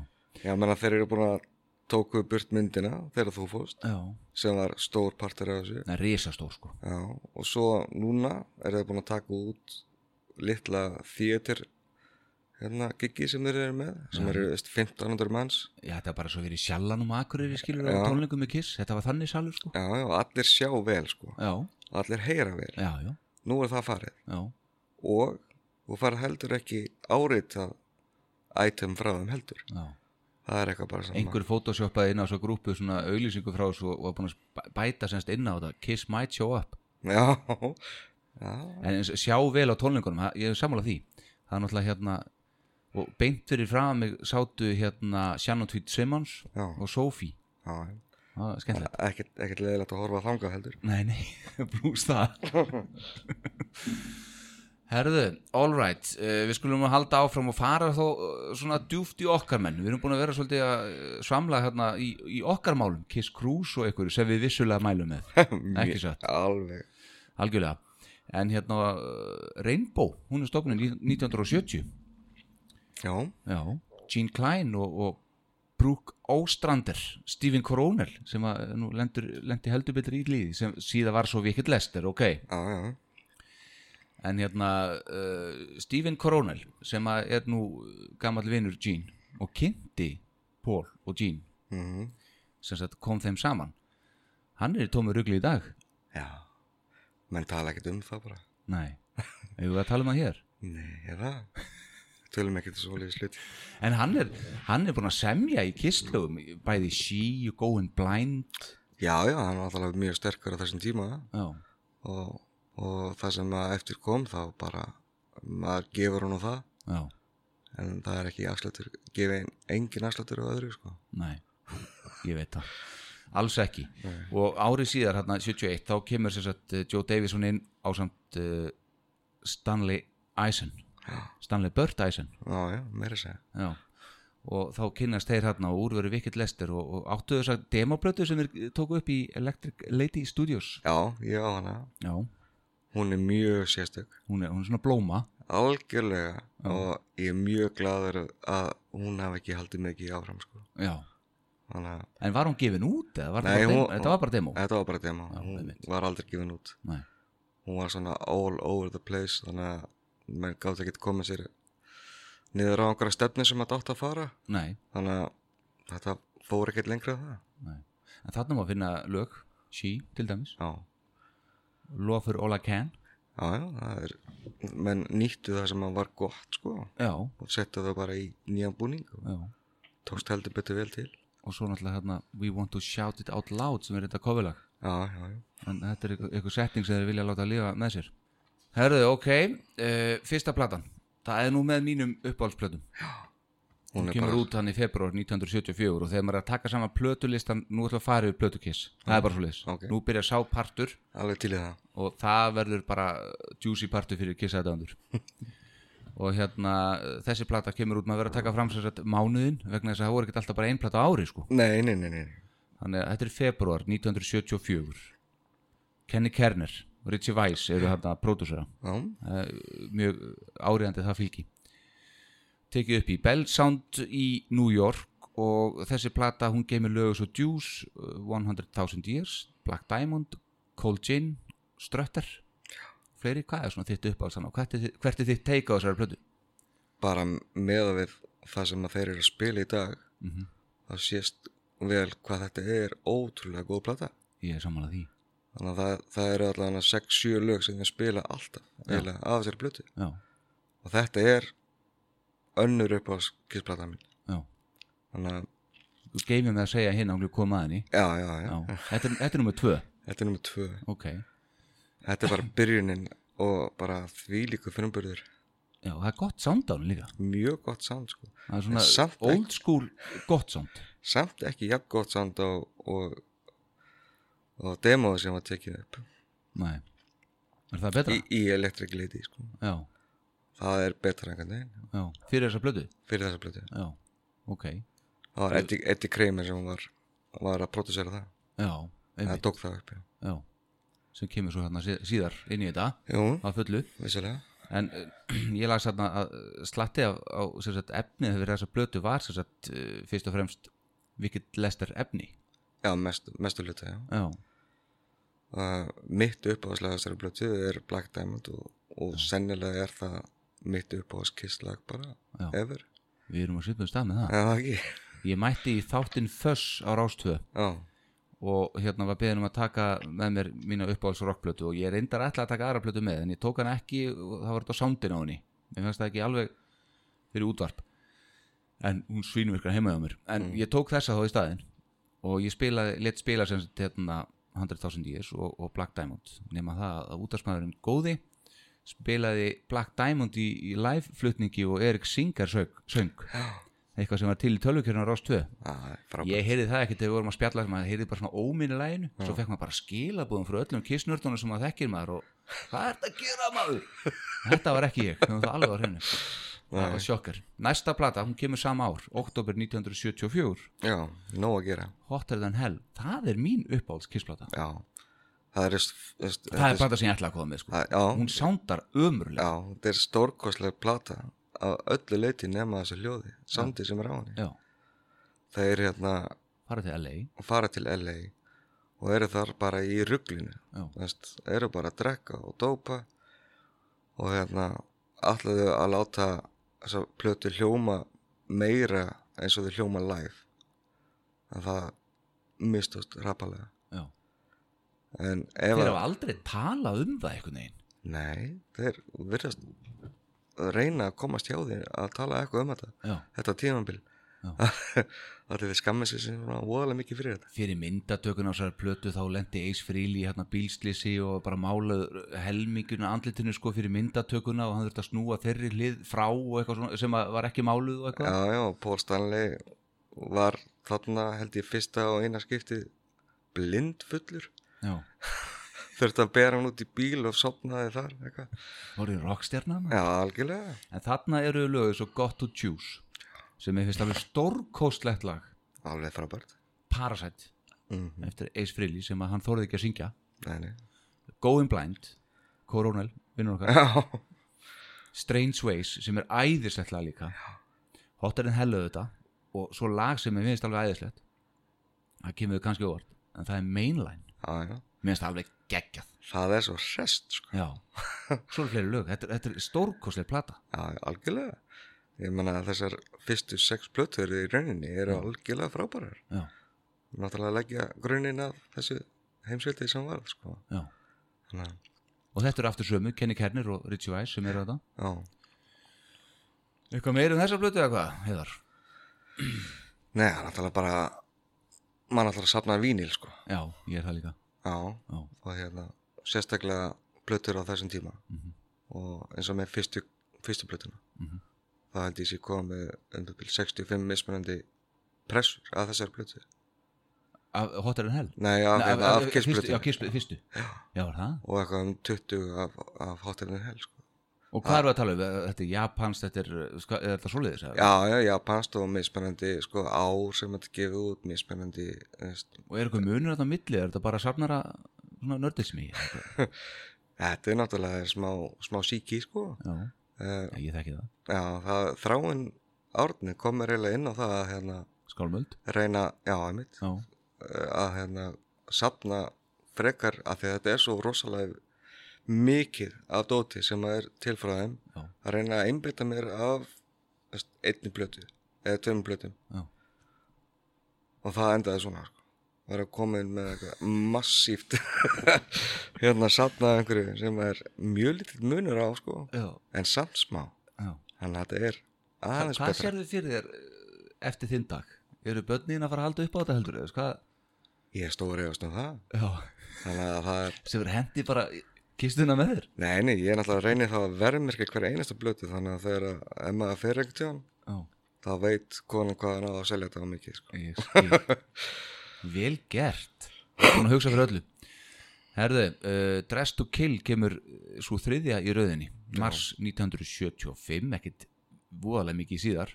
S2: já, menna þeir eru búin að tóku burt myndina þegar þú fórst
S1: já,
S2: sem var stór partur af þessu
S1: það er risastór sko
S2: já, og svo núna eru þeir búin að taka út litla þýttir hérna giggi sem þeir eru með sem eru veist, 1500 manns
S1: Já, þetta er bara svo verið í sjallanum akkurir í skilur
S2: Já.
S1: á tónleikum með Kiss, þetta var þannig salur sko
S2: já, já, allir sjá vel sko
S1: Já,
S2: allir heyra vel,
S1: já, já,
S2: nú er það farið
S1: já
S2: og þú farið heldur ekki áritað item frá þeim heldur
S1: Já.
S2: það er eitthvað bara saman
S1: Einhver fótosjópaði inn á svo grúpu svona auglýsingu frá þessu og var búin að sp- bæta semst inn á þetta Kiss might show up
S2: Já, já,
S1: en eins- sjá vel á tónleikunum það- ég er sammála því það er náttúrulega hérna og beint fyrir frá mig sátu hérna Shannon Tweet Simmons
S2: Já.
S1: og Sophie
S2: já.
S1: það er skemmtilegt
S2: Ekkert, ekkert leðilegt að horfa þangað heldur
S1: nei nei, brúst það herðu, all right uh, við skulum að halda áfram og fara þó uh, svona djúft í okkar menn við erum búin að vera svolítið að uh, svamla hérna í, í okkar málum, Kiss Cruise og einhverju sem við vissulega mælum með ekki satt
S2: Alveg
S1: algjörlega en hérna uh, Rainbow, hún er stofnun 1970
S2: Já,
S1: já, Gene Klein og, og Brooke Óstrander Stephen Coronel sem að eh, nú lendur, lendi heldur betur í líði sem síðan var svo vikið lester, ok
S2: já, já
S1: en hérna uh, Stephen Coronel sem að er nú gamall vinur Gene og kynnti Paul og Gene
S2: mm
S1: sem sagt kom þeim saman hann er í tómi rugli í dag
S2: Já Menn tala ekkert um það bara
S1: nei, hefur við að tala um það hér
S2: Nei, er það Tölum ekkert um svo leiðis hlut
S1: en hann er, hann er búin að semja í kistlöfum bæði She, You Going Blind
S2: Já, já, hann var alltaf mjög sterkur á þessum tíma
S1: já,
S2: og, og það sem að eftir kom þá bara maður gefur hann á það
S1: já,
S2: en það er ekki afslættur gefið engin afslættur á öðru sko
S1: Nei, ég veit það Alls ekki Og árið síðar, hérna 71, þá kemur sem sagt eh, Joe Davison inn á samt uh, Stanley Eisen Stanley Burt Eisen
S2: Já, já, meira að segja
S1: Já og þá kynnast þeir hérna og úrveru vikitt lestir og, og áttu þess að demoplötu sem þeir tóku upp í Electric Lady Studios
S2: Já, ég á hana
S1: já,
S2: Hún er mjög sérstök
S1: hún er, hún er svona blóma
S2: algjörlega og ég er mjög gladur að hún hafi ekki haldið mikið áfram sko.
S1: já,
S2: þannig að
S1: en var hún gefin út eða var
S2: Nei,
S1: þetta bara
S2: hún-
S1: demo? þetta var bara demo
S2: þetta var bara demo,
S1: Já,
S2: hún
S1: einmitt.
S2: var aldrei gefin út
S1: Nei.
S2: hún var svona all over the place þannig að menn gátt ekki komið sér niður á einhverja stefni sem þetta átt að fara
S1: Nei,
S2: þannig að þetta fór ekkert lengra en það
S1: nei, en þarna má finna lög, She til dæmis
S2: já,
S1: Love for all I can
S2: já, já það er, menn nýttu það sem var gott sko
S1: já,
S2: og settu það bara í nýjan búning og
S1: já
S2: tókst heldur betur vel til
S1: og svo náttúrulega hérna We Want to Shout It Out Loud sem er þetta kofilag
S2: já, já, já.
S1: en þetta er eitthvað, eitthvað setting sem þeir vilja láta lífa með sér Herðu, ok, uh, fyrsta platan það er nú með mínum uppáhaldsplötum
S2: Hún
S1: hún
S2: er
S1: kemur
S2: bara-
S1: út hann í februar 1974 og þegar maður er að taka saman plötulistan nú ætlum við að fara yfir plötukiss það er bara svo leis,
S2: Ok.
S1: nú byrja sá partur
S2: Alveg til í það
S1: og það verður bara juicy partur fyrir kissaðandur og hérna eh, þessi plata kemur út maður verður að taka fram sem sagt mánuðin vegna þess að það voru ekkert alltaf bara ein plata á ári sko.
S2: Nei, nei, nei, nei
S1: þannig að þetta er februar 1974 Kenny Kerner Richie Weiss eru hérna pródúsera
S2: Já,
S1: Eh, mjög áriðandi það fylgi tekið upp í Bell Sound í New York og þessi plata hún geymir lögu svo Juice, eh, 100.000 Years Black Diamond, Cold Gin Strötter fleiri, hvað er svona þitt uppáhalds hann og hvert er, þi- hvert er þitt teika á þessari plötu?
S2: bara með við það sem að þeir eru að spila í dag
S1: Mhm.
S2: þá sést vel hvað þetta er ótrúlega góð plata
S1: Ég er sammála því
S2: Þannig að það, það eru allavega 6-7 lög sem þeir spila alltaf eiginlega af þessari blötu
S1: Já,
S2: og þetta er önnur upp á skissplata mín
S1: já
S2: Þannig að,
S1: Þú geymir með að segja hinn ánglið koma að henni
S2: já, já, já,
S1: Já, þetta er, þetta er nummer tvö
S2: þetta er nummið tvö
S1: Ok,
S2: Þetta er bara byrjunin og bara þvílíku frumburður
S1: já, það er gott sound á henni líka
S2: Mjög gott sound sko
S1: Það er
S2: En
S1: svona
S2: samt ekki-
S1: old school gott sound
S2: Samt ekki jafn gott sound á og, og demóð sem var tekið upp
S1: Nei, er það betra?
S2: í, í Electric Lady sko
S1: Já,
S2: Það er betra einhvern veginn
S1: já, fyrir þessa blödu
S2: fyrir þessa blötu
S1: Já, ok
S2: Það var Eddie, Eddie Kramer sem var, var að produsera það
S1: Já,
S2: Það
S1: einmitt,
S2: tók það upp, já
S1: já sem kemur svo hérna sí- síðar inn í þetta
S2: Jú,
S1: að fullu,
S2: vissulega
S1: en eh, ég las hérna að eh, slatti á, á sem sagt, efnið fyrir þessa blötu var sem sagt, eh, fyrst og fremst vikið lester efni
S2: Já, mest, mestu hluta, já
S1: Já,
S2: uh, Mitt uppáðslega þessari blötu er Black Diamond og, og sennilega er það mitt uppáðs kisslag bara
S1: Já.
S2: ever
S1: við erum að svipa um stað með það
S2: Já, það ekki
S1: Ég mætti í þáttinn Föss á Rástvö
S2: Já,
S1: og hérna var beðin um að taka með mér mína uppáhalds rockplötu og ég reyndar alltaf að taka aðra plötu með en ég tók hann ekki og það var þetta á soundin á henni mér fannst það ekki alveg fyrir útvarp en hún svínvirkar heima hjá mér en ég tók þessa þá í staðinn og ég spilaði, let spila sem sagt hérna 100.000 years og, og Black Diamond nema það að útvarpsmaðurinn góði spilaði Black Diamond í, í live flutningi og Erik Singer söng, söng eitthvað sem var til í tölvukjörnum á Rás 2
S2: það er frábært
S1: Ég heyrði það ekkert þegar við vorum að spjalla maður heyrði bara svona óminni læginu svo fekk maður bara skilabúðum frá öllum kissnördunum sem maður þekkir maður og hvað er þetta að gera maður? Þetta var ekki ég, þannig að það alveg var henni Það var sjokkar. Næsta plata, hún kemur sama ár oktober 1974
S2: Já, nóg að gera
S1: Hotter than Hell, það er mín uppáhalds kissplata
S2: Já, það er Það er,
S1: Það er plata sem ég ætla að koma með sko.
S2: það, Já,
S1: Hún sándar ömurlega
S2: já, þetta er stórkostlega plata af öllu leiti nema þessu hljóði samtið sem er á henni
S1: Já,
S2: Það er hérna
S1: fara til LA
S2: og fara til LA og eru þar bara í rugglinu
S1: Já.
S2: Vest, eru bara að drekka og dópa og hérna ætlaðu að láta þessa plötu hljóma meira eins og þau hljóma live en það mistast rapalega
S1: Já.
S2: en ef
S1: Þeir
S2: að
S1: hafa aldrei talað um það einhvern veginn
S2: nei, þeir virðast reyna að komast hjá því að tala eitthvað um þetta
S1: Já,
S2: þetta tímambil
S1: Já.
S2: að þeir skammið sér sem voðalega mikið fyrir þetta
S1: fyrir myndatökun á þessari plötu þá lendi Ace Frehley hérna bílslisi og bara málaður helminginu andlitinu sko fyrir myndatökuna og hann þurfti að snúa þeirri hlið frá og eitthvað svona sem að var ekki máluð og eitthvað
S2: Já, já, Paul Stanley var þarna held ég fyrsta og eina skiptið blindfullur
S1: Já,
S2: þurfti að bera hann út í bíl og sopnaði þar eitthvað.
S1: voru rockstjarnan
S2: Já, algjörlega
S1: en þarna eru lögur svo Got to Choose sem er fyrst alveg stórkostlegt lag
S2: alveg frábært
S1: Parasite
S2: mm -hmm.
S1: eftir Ace Frehley sem að hann þorði ekki að syngja
S2: Nei, nei.
S1: Going Blind, Coronel, vinnur okkar
S2: Já,
S1: Strange Ways sem er æðislegt lag líka Hotter en hellu þetta og svo lag sem er minnst alveg æðislegt það kemur þau kannski á óvart en það er Mainline,
S2: já, já
S1: minnst alveg geggjað
S2: Það er svo hrest, sko
S1: já, svo er fleiri lög þetta, er- þetta er stórkoslega plata
S2: Já, algjörlega Ég meina að þessar fyrstu sex plötur í rauninni eru algjörlega frábærar
S1: já,
S2: Náttúrulega leggja grunin af þessu heimsveldi sem var, sko
S1: já.
S2: Þannig að,
S1: og þetta eru aftur sömu, Kenny Kerner og Richie Weiss sem eru þetta
S2: já
S1: eitthvað meira um þessa plötu eða hvað, heiðar
S2: Nei, það er náttúrulega bara mann ætlar að safna vínil sko
S1: Já, ég er það líka
S2: já,
S1: Já.
S2: og hérna sérstaklega plötur á þessum tíma
S1: Mhm.
S2: og eins og með fyrstu, fyrstu plötuna
S1: Mhm.
S2: það held ég sé komið með um það bil 65 mismunandi pressur að þessari plötu
S1: Af Hotter en Hell?
S2: nei, af,
S1: Nei,
S2: af, af, af
S1: fyrstu-
S2: kissplötu
S1: Já, kissplötu, fyrstu Já, var það
S2: og eitthvað um 20 af, af hotellin hel sko.
S1: Og hvað erum við að tala um? Þetta er Japans, þetta er, ska- er þetta svoleiðis? eða?
S2: já, já, já, past og mismunandi sko, ár sem þetta gefið út mismunandi þú veist.
S1: Og er eitthvað munur þetta á milli? Er þetta bara safnara svona nördismi?
S2: þetta er náttúrulega smá, smá síki sko.
S1: Já,
S2: uh,
S1: já, ég þekki það
S2: já, það, þráin árni kom mér eiginlega inn á það að hérna,
S1: Skálmöld
S2: reyna, já, einmitt
S1: Já,
S2: að hérna sapna frekar af því að þetta er svo rosalega mikið af dóti sem að er til frá þeim
S1: Já.
S2: að reyna að einbyrta mér af þú veist, einni blötu eða tveim blötum
S1: Já.
S2: og það endaði svona sko. var að koma inn með eitthvað massíft hérna sapnaði einhverju sem er mjög lítill munur á sko
S1: já,
S2: en samt smá
S1: já
S2: þannig að þetta er
S1: Hvað,
S2: aðeins
S1: hvað
S2: betra
S1: sérðu fyrir þér eh, eftir þinn dag? Eru börnin að fara að halda upp á þetta heldur? Eða, hvað?
S2: ég stóri efast um það
S1: Já,
S2: þannig að það er
S1: sem verður hendi bara í kistuna með þér
S2: Nei, nei, ég er náttúrulega að reyna þá að verðmerka hver einasta blötu þannig að þegar að ef maður fer ekkert hjá hann
S1: Já,
S2: þá veit konan hvað hann á að selja þetta á mikið sko.
S1: ég skil Vel gert Búin að hugsa fyrir öllu Herðu, uh, Dress to Kill kemur eh, svo þriðja í rauðinni Mars 1975, ekkit voðalega mikið síðar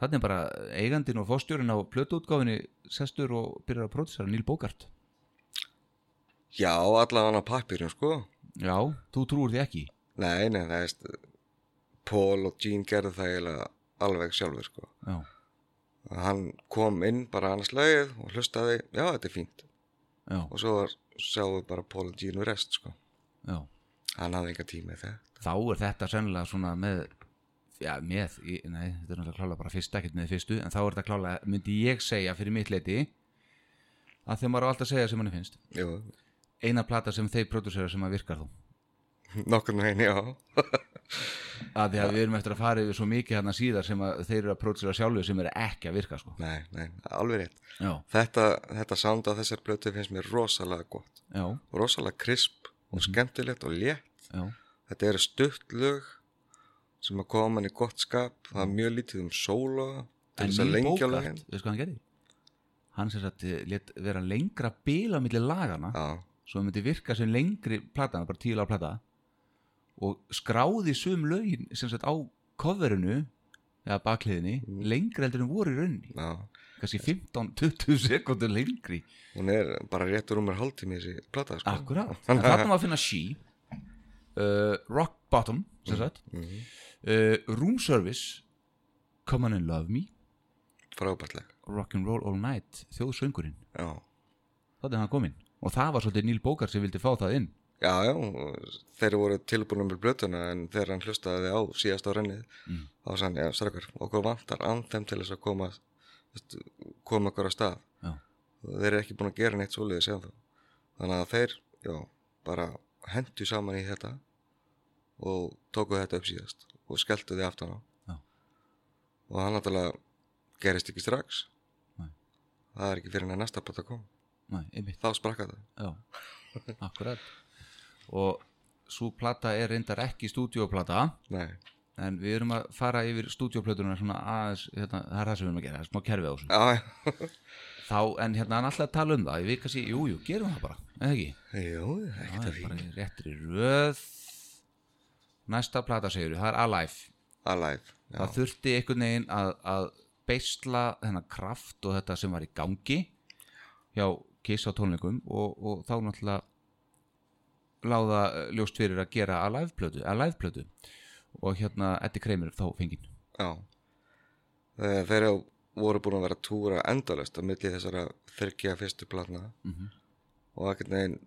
S1: Þannig er bara eigandin og fórstjórin á plötuútgáfinni sestur og byrjar að pródusera Níl Bókart
S2: Já, allavega á pappirinn sko
S1: Já, þú trúir því ekki
S2: Nei, nei, það veist Paul og Gene gerðu það eiginlega alveg sjálfur sko
S1: Já,
S2: Hann kom inn bara annars lagið og hlustaði, já, þetta er fínt
S1: já,
S2: og svo var- sáum við bara Paul og Gene og rest sko
S1: já
S2: Hann hafði enga tíma í þetta
S1: þá er þetta sennilega svona með já, með, í- nei, þetta er náttúrulega klála bara fyrst, ekkert með fyrstu, en þá er þetta klála myndi ég segja fyrir mitt leiti að þegar maður á alltaf að segja sem manni finnst
S2: Jú,
S1: eina plata sem þeir pródúsera sem að virkar þú
S2: nokkurn veginn, já
S1: að því að við erum eftir að fara yfir svo mikið hérna síðar sem að þeir eru að pródúsera sjálfu sem eru ekki að virka sko.
S2: Nei, nei, alveg rétt
S1: já,
S2: Þetta, þetta sound á þessar blötu finnst mér rosalega gott
S1: já,
S2: rosalega krisp
S1: Mhm.
S2: og skemmtilegt og létt
S1: já,
S2: þetta eru stutt lög sem að koma mann í gott skap það
S1: Mhm.
S2: er mjög lítið um sóla til
S1: en
S2: þess að
S1: Neil
S2: lengja
S1: Bogart,
S2: lögin
S1: veist hvað hann gerði hann sem sagt eh, lét vera lengra bila millir lagana
S2: já,
S1: svo það myndi virka sem lengri platan bara tíla á plata og skráði sum lögin sem sagt á coverinu eða bakliðinni, lengri heldur en voru í rauninni
S2: já
S1: kannski 15-20 sekundur lengri
S2: hún er bara réttur um mér hálftími þessi plata sko.
S1: akkurat, en þarna var að finna She uh, Rock Bottom sem sagt
S2: Mhm.
S1: uh, Room Service Come on and Love Me
S2: frábærtleg
S1: Rock'n'Roll All Night, þjóðsöngurinn
S2: já.
S1: þannig er hann kominn og það var svolítið Neil Bogart sem vildi fá það inn
S2: já, já, þeir voru tilbúinu með blötuna en þegar hann hlustaði á síðast á rennið
S1: Mm.
S2: þá var hann, já, strákar, okkur vantar anthem til þess að koma veist, koma okkur á stað
S1: já,
S2: og þeir eru ekki búin að gera neitt svoleiðis sem þá þannig að þeir, já, bara hendu saman í þetta og tóku þetta upp síðast og skelltu þið aftan á
S1: Já.
S2: og það náttúrulega gerist ekki strax
S1: Nei.
S2: það er ekki fyrir en að næsta bata kom
S1: næ, einmitt
S2: þá sprakka það
S1: Já, akkurat Og svo plata er reyndar ekki stúdíóplata
S2: Nei.
S1: En við erum að fara yfir stúdíóplötuna svona aðeins, hérna, það er það sem við erum að gera, það er smá kerfi á þessu
S2: Já, já.
S1: Þá, en hérna hann alltaf að tala um það, ég veit kannski, jú, jú, gerum það bara, eða ekki
S2: Jú,
S1: Það
S2: ekkert að
S1: er
S2: fín
S1: bara í réttri röð Næsta plata segir við, það er Alive
S2: Alive, já,
S1: það þurfti einhvern veginn að, að beisla þennan kraft og þetta sem var í gangi hjá Kiss á tónleikum og, og þá náttúrulega láða eh, ljóst fyrir að gera alive plötu, alive plötu. og hérna Eddie Kramer þá fengið
S2: já. Eh, Þeir eru- voru búin að vera að túra endalest á milli þessara þyrkja fyrstu platna
S1: mm -hmm.
S2: og ekkert neginn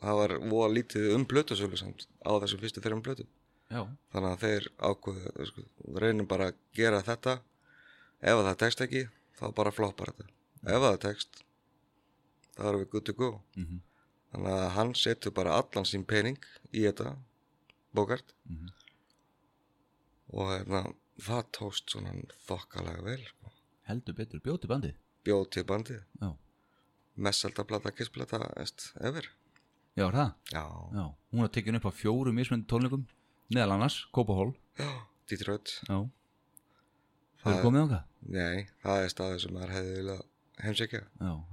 S2: það var voða lítið um blötusölu samt á þessum fyrstu þeirrum blötu
S1: Já,
S2: þannig að þeir ákveðu sko, reynum bara að gera þetta ef að það tekst ekki þá bara floppar þetta ef að það tekst þá erum við good to go
S1: mm -hmm.
S2: þannig að hann setur bara allan sín pening í þetta bókart
S1: Mhm.
S2: og hérna, það tókst svona þokkalega vel sko.
S1: heldur betur bjóti bandið
S2: bjóð til bandið
S1: Já,
S2: messelda plata, kissplata, veist, ever
S1: Já, er það?
S2: já,
S1: Já, hún er tekin upp á fjórum mismöndu tónleikum Neðal annars, Kópahól
S2: já, Dítröð
S1: Já Það
S2: Það
S1: er
S2: er-
S1: komið okkar
S2: nei, það er staður sem maður hefði viljað heimsækja
S1: Já,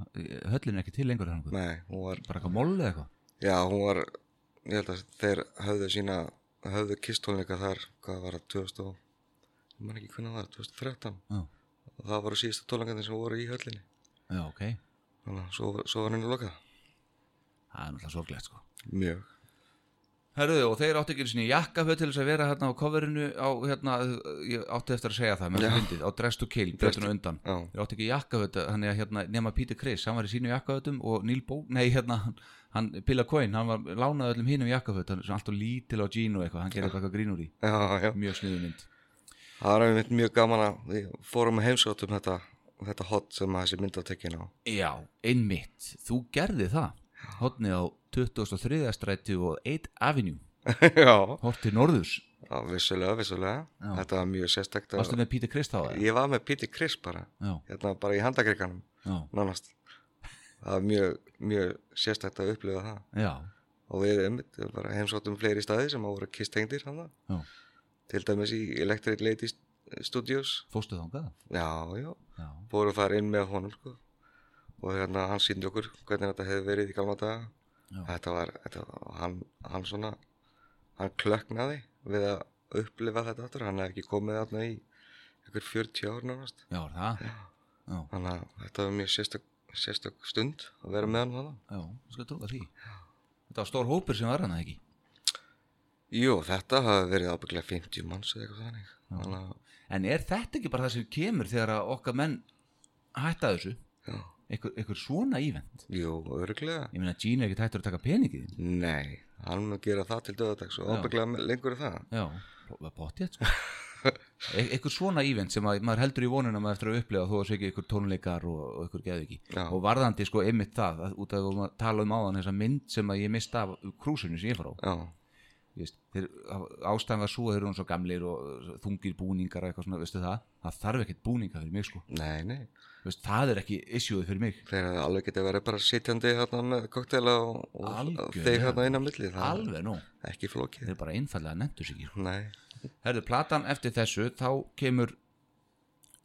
S1: höllin er ekki til lengur hann
S2: nei, hún var,
S1: Bara eitthvað moll eða eitthvað
S2: já, hún var ég held að þeir höfðu sína höfðu kisstónleika þar, hvað var það 2000 og, ég man ekki hvernig það var 2013,
S1: Já,
S2: og það voru síðustu tónleikandi sem voru í höllinni
S1: já ok
S2: þannig að svo, svo var henni lokað
S1: Það er náttúrulega sorglegt sko
S2: mjög
S1: Herruðu, og þeir áttu ekki einu sinni jakkaföt til þess að vera hérna á coverinu á, hérna, ég átti eftir að segja það, með
S2: Já.
S1: fyndið, á Dress to Kill, breytinu undan.
S2: já,
S1: Þeir áttu ekki jakkaföt, hann er hérna, nema Peter Chris, hann var í sínu jakkafötum og Neil Bó, nei, hérna, hann, hann Pilla Coyne, hann var lánaði öllum hinum jakkaföt, hann er alltaf lítil á Gino eitthvað, hann gerði eitthvað eitthvað grín úr í,
S2: já, já
S1: mjög sniðu mynd.
S2: Það var einmitt mjög gaman að við fórum að heimsóttum þetta, þetta hot sem að þessi mynd var tekin á.
S1: Já, einmitt, þú gerði það, hodni á 23. stræti og 1 Avenue,
S2: já.
S1: hort til norðurs,
S2: já, vissulega, vissulega.
S1: Já.
S2: Þetta var mjög sérstakt.
S1: varstu með Peter Chris þá? eða?
S2: Ég var með Píti Kris bara,
S1: Já,
S2: hérna bara í handakrikanum,
S1: já,
S2: nánast. Það var mjög, mjög sérstakt að upplifa það.
S1: já,
S2: Og við einmitt bara heimsóttum fleiri staði sem að voru kistengdir hann það.
S1: já,
S2: Til dæmis í Electric Lady Studios.
S1: fórstu þangað?
S2: Já, já.
S1: Já.
S2: Fóru þar inn með honum, sko. Og hérna hann síndi okkur hvernig þetta hefði verið í gamla daga.
S1: Já.
S2: þetta var, þetta, var- hann, hann svona hann klöknaði við að upplifa þetta aftur, hann hefði ekki komið þarna í ykkur 40 ár nánast
S1: Já, er það? Já,
S2: þannig að þetta var mjög sérstök, sérstök stund að vera með hann þarna
S1: já, þú skal trúka því. Þetta var stór hópur sem var hana ekki.
S2: Jú, þetta hafi verið ábygglega 50 manns eða eitthvað þannig þannig að,
S1: En er þetta ekki bara það sem kemur þegar að okkar menn hætta þessu?
S2: já,
S1: Einhver, einhver svona ívend?
S2: jú, örglega
S1: Ég meina, Gene er ekki hættur að taka peningið.
S2: Nei, hann mun gera það til döðadags og
S1: Já.
S2: ábygglega lengur er það
S1: Já, það bótti þetta sko. E einhver svona ívend sem að, maður heldur í vonuna maður eftir að upplega þó að segja ykkur tónleikar og, og ykkur geðviki.
S2: Já.
S1: Og varðandi sko einmitt það, að, út af að maður tala um áðan þessa mynd sem að ég mista af krúsinu sem ég fór á.
S2: Já,
S1: Þú veist, þeir, ástæðan var svo að þeir eru svo gamlir og þungir búningar og eitthvað svona, veistu það það þarf ekkert búninga fyrir mig sko
S2: nei, nei
S1: Þú veist, það er ekki issueð fyrir mig
S2: Þeir hefði alveg getið verið bara sitjandi hérna með koktela og, og
S1: Algjörlega.
S2: þeir hérna inn á milli það er
S1: alveg nú,
S2: Ekki flókið
S1: þeir bara einfallega nefndu sig ekki sko.
S2: Nei,
S1: herðu, platan eftir þessu, þá kemur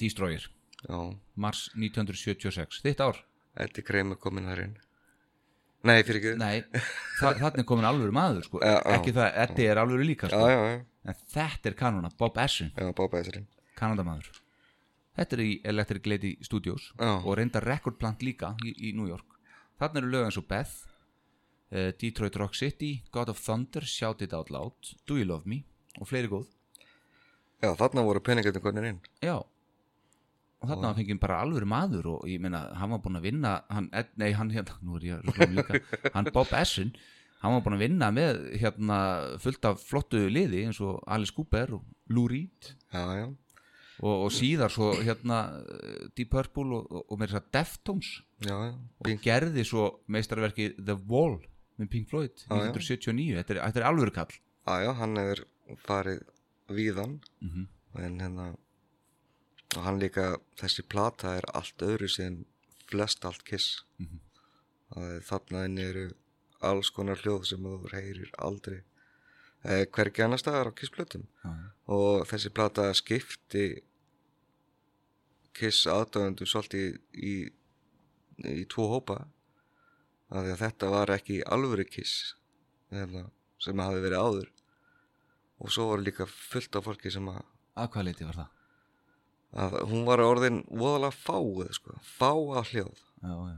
S1: Destroyer,
S2: já
S1: mars 1976 þitt ár,
S2: Eddi Kreim er komin þar inn Nei, fyrir ekki
S1: nei þa þannig er komin alveg maður sko
S2: Já, já.
S1: ekki það, Eddi er alveg líka
S2: Já,
S1: sko.
S2: já, já,
S1: en þetta er kanona, Bob Essin
S2: já, Bob Ezrin
S1: Kanadamaður Þetta er í Electric Lady Studios
S2: Já.
S1: og reyndar rekordplant líka í, í New York Þarna eru lög eins og Beth uh, Detroit Rock City God of Thunder, Shout It Out Loud Do You Love Me og fleiri góð
S2: Já, þarna voru peningarnir konir inn
S1: Já og þarna var fengið bara alvöru maður og ég meina, hann var búinn að vinna hann, Ed- nei, hann hérna, nú er ég að rugla um líka hann Bob Essin, hann var búinn að vinna með hérna fullt af flottu liði eins og Alice Cooper og Lou Reed
S2: Já, já,
S1: og, og síðar svo hérna eh, Deep Purple og, og, og meira þess að Deftones
S2: já, já
S1: og gerði svo meistarverkið The Wall með Pink Floyd
S2: Já, já.
S1: 1979, þetta er, þetta er alvöru kall
S2: Já, já, hann hefur farið víðan
S1: mm -hmm.
S2: En hérna Og hann líka, þessi plata er allt öðru sem flest allt kiss
S1: Mhm.
S2: Það er Þarna inn eru alls konar hljóð sem þú heyrir aldrei eh, Hvergi annar staðar á kissblötum og þessi plata skipti Kiss aðdöðundum svolítið í, í tvo hópa af því að þetta var ekki alvöru Kiss hérna, sem hafi verið áður og svo var líka fullt af fólki sem að,
S1: að hvað leiti var það?
S2: að hún var orðin voðalega fáið sko, fáa hljóð
S1: Já, já,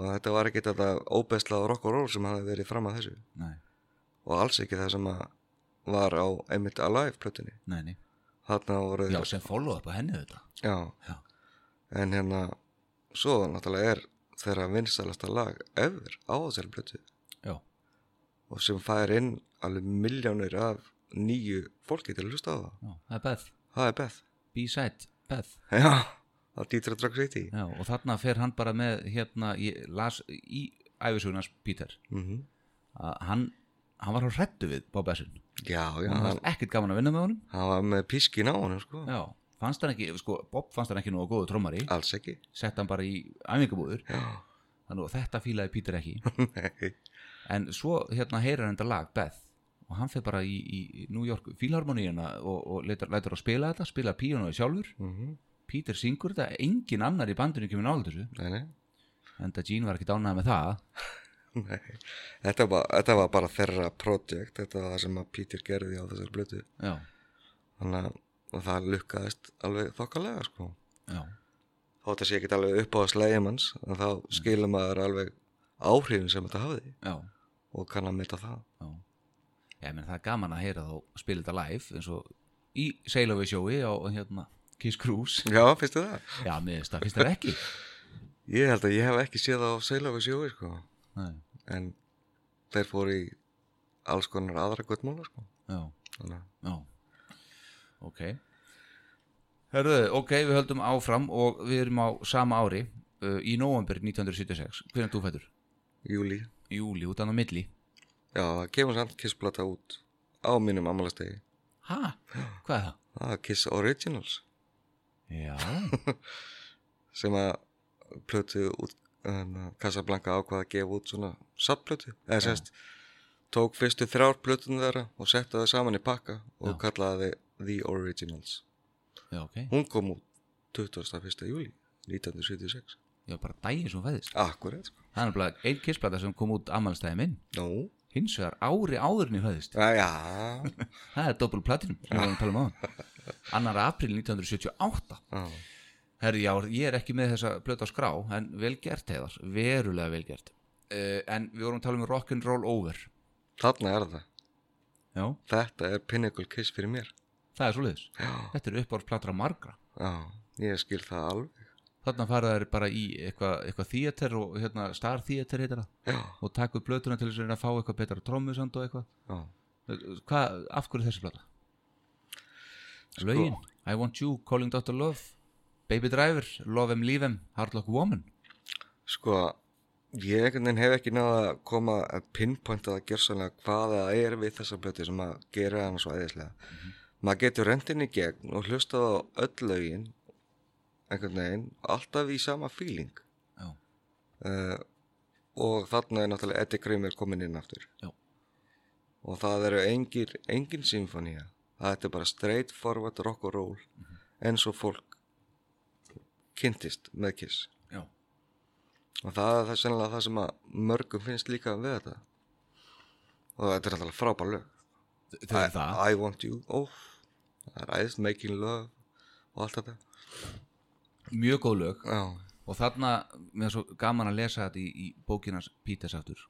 S2: og þetta var ekki þetta óbestlað rock og roll sem hafi verið fram að þessu
S1: nei,
S2: og alls ekki það sem að var á Emmett Alive plötunni
S1: nei, nei.
S2: þarna voru
S1: já, sem follow up á henni þetta
S2: Já.
S1: Já.
S2: En hérna, svo náttúrulega er þeirra vinstalasta lag ever á þessari plötu
S1: já,
S2: og sem fær inn alveg miljónir af nýju fólki til að hlusta á það.
S1: já, það er Beth
S2: Það er Beth.
S1: B-side, Beth
S2: Já, það dýtra drakk sveit í.
S1: já, og þarna fer hann bara með hérna, ég las í æfisugunars Peter
S2: Mhm.
S1: að hann, hann var á hrættu við Bob Essin
S2: Já, já,
S1: hann
S2: hann,
S1: var ekkert gaman að vinna með honum
S2: hann var með pískin á honum, sko.
S1: Já, fannst hann ekki, sko, Bob fannst hann ekki nú að góðu trommari,
S2: Alls ekki.
S1: sett hann bara í æfingabúður,
S2: Já,
S1: þannig að þetta fílaði Pítur ekki
S2: Nei,
S1: en svo hérna heyrir hann þetta lag Beth og hann fyrir bara í, í í New York fílharmoníuna og, og letur, letur að spila þetta spila píónuði sjálfur
S2: mm
S1: Pítur syngur þetta, engin annar í bandinu kemur nála þessu,
S2: nei, nei,
S1: en þetta Gene var ekki dánað með það
S2: nei. Þetta, var, þetta var bara þeirra projekt, þetta var það sem að Peter gerði á þessar blötu
S1: já,
S2: þannig að og það lukkaðist alveg þokkalega sko.
S1: já,
S2: þótt að sé ekki alveg upp á að slæja manns en þá skilur maður alveg áhrifin sem þetta hafði
S1: já,
S2: og kann að mynda það
S1: já ég menn það er gaman að heyra þá spila þetta live eins og í Sailaway sjói á hérna Kiss Cruise
S2: Já, finnst þið það?
S1: já, mér finnst það, finnst það ekki
S2: Ég held að ég hef ekki séð það á Seilafi sjói sko.
S1: Nei,
S2: en þeir fóru í alls konar aðra guttmála sko.
S1: já
S2: þannig að
S1: Já, ok Herðu, ok, við höldum áfram og við erum á sama ári uh, í november 1976 Hvernig er þú fættur?
S2: júli,
S1: Í Júli, út annað milli
S2: já, það kemur samt kissplata út á mínum ammálastegi
S1: Ha? Hvað er það?
S2: það er Kiss Originals
S1: Já,
S2: sem að plötu út um, Casablanca ákvað að gefa út svona sapplötu, eða sérst tók fyrstu þrjár plötun þeirra og settu það saman í pakka og
S1: Já.
S2: kallaði þið The Originals
S1: já, ok
S2: hún kom út 21. júli 1976
S1: Já, bara daginn sem hún fæðist
S2: akkurat sko
S1: Það er bara ein kissplata sem kom út ammælstæði minn
S2: Nú?
S1: Hins vegar ári áðurinn í fæðist
S2: Já,
S1: Það er doppel platinum sem við vorum að tala um áðan. Annar april 1978
S2: já.
S1: Herri, já, ég er ekki með þessa blöta á skrá, en vel gert heiðar, verulega vel gert. Uh, en við vorum að tala um rock'n'roll over.
S2: Þarna er það
S1: Já,
S2: Þetta er Pinnacle Kiss fyrir mér
S1: það er svoleiðis.
S2: Já,
S1: Þetta er uppáðsplatra margra.
S2: já Ég skil það alveg
S1: Þarna fara þær bara í eitthvað eitthva þíater og hérna, star þíater heitir það
S2: Já,
S1: og taka upp blötuna til þess að reyna að fá eitthvað betra trómusand og eitthvað.
S2: já
S1: Eh, Hvað, af hverju þessi blöta? Lögin, I want you, calling Dr. Love, Baby Driver, Love 'em, leave 'em, Hardlock Woman.
S2: Sko, ég einhvern veginn hef ekki náða að koma að pinpointa það gjörsanlega hvað það er við þessa blötu sem að gera hann svo æðislega Maður getur rendin í gegn og hlustað á öll lögin einhvern veginn, alltaf í sama feeling
S1: Já,
S2: uh, og þarna er náttúrulega Eddie Grimmer komin inn aftur
S1: Já.
S2: og það eru engir, engin symfónía það er bara straight forward rock and roll eins og fólk kynntist með Kiss
S1: já,
S2: og það er það sennilega það sem að mörgum finnst líka við þetta og þetta er náttúrulega frábær lög
S1: þau
S2: I,
S1: er það.
S2: I want you, oh það er æðist making love og allt þetta
S1: Mjög góð lög.
S2: já,
S1: og þarna, mér er svo gaman að lesa þetta í, í bókinas Píters aftur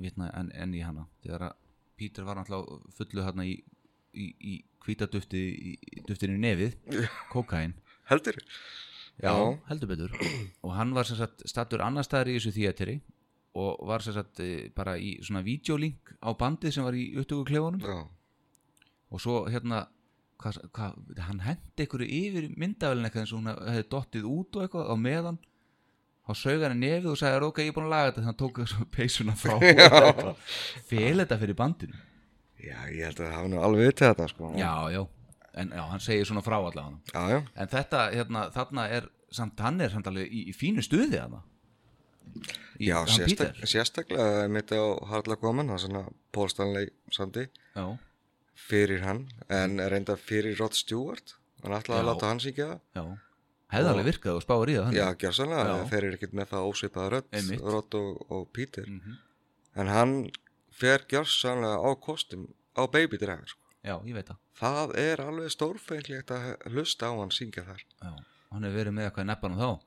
S1: vitna enn en í hana þegar að Píter var náttúrulega fullu hérna í, í, í hvítadufti í, í duftinu í nefið kokain,
S2: heldur
S1: já, heldur betur og hann var sem sagt stattur annar staðar í þessu þýjateri og var sem sagt eh, bara í svona videolink á bandið sem var í upptöku
S2: já,
S1: og svo hérna hva, hva, hann hendi einhverju yfir myndavælin eitthvað eins og hún hefði dottið út og eitthvað á meðan þá sög hann í nefið og sagði ok, ég er búin að laga þetta þannig að hann tók þessu peysuna frá og þetta. fel þetta fyrir bandinu
S2: já, ég held að það hafa nú alveg vitið þetta sko
S1: já, já, en já, hann segir svona frá allavega
S2: já, já.
S1: en þetta, hérna, þarna er samt hann er samt alveg í, í fínu stuði þarna Í-
S2: Já,
S1: hann
S2: sérstak,
S1: Peter.
S2: sérstaklega mitt á Harla Koman, það er svona Paul Stanley samdi
S1: já,
S2: fyrir hann, en reynda fyrir Rod Stewart, hann ætlaði að
S1: Mm. Já.
S2: láta hann syngja
S1: já
S2: það.
S1: hefði alveg virkað og spáður í það þannig.
S2: Já, gjörsanlega,
S1: Já.
S2: þeir eru ekkert með það ósvipaða rödd,
S1: Einmitt.
S2: Rod og, og Peter.
S1: Mhm.
S2: En hann fer gjörsanlega á kostum, á Baby Driver, sko.
S1: já, ég veit það
S2: Það er alveg stórfenglegt að hlusta á hann syngja þar.
S1: já. hann hefur verið með eitthvað í neppanum þá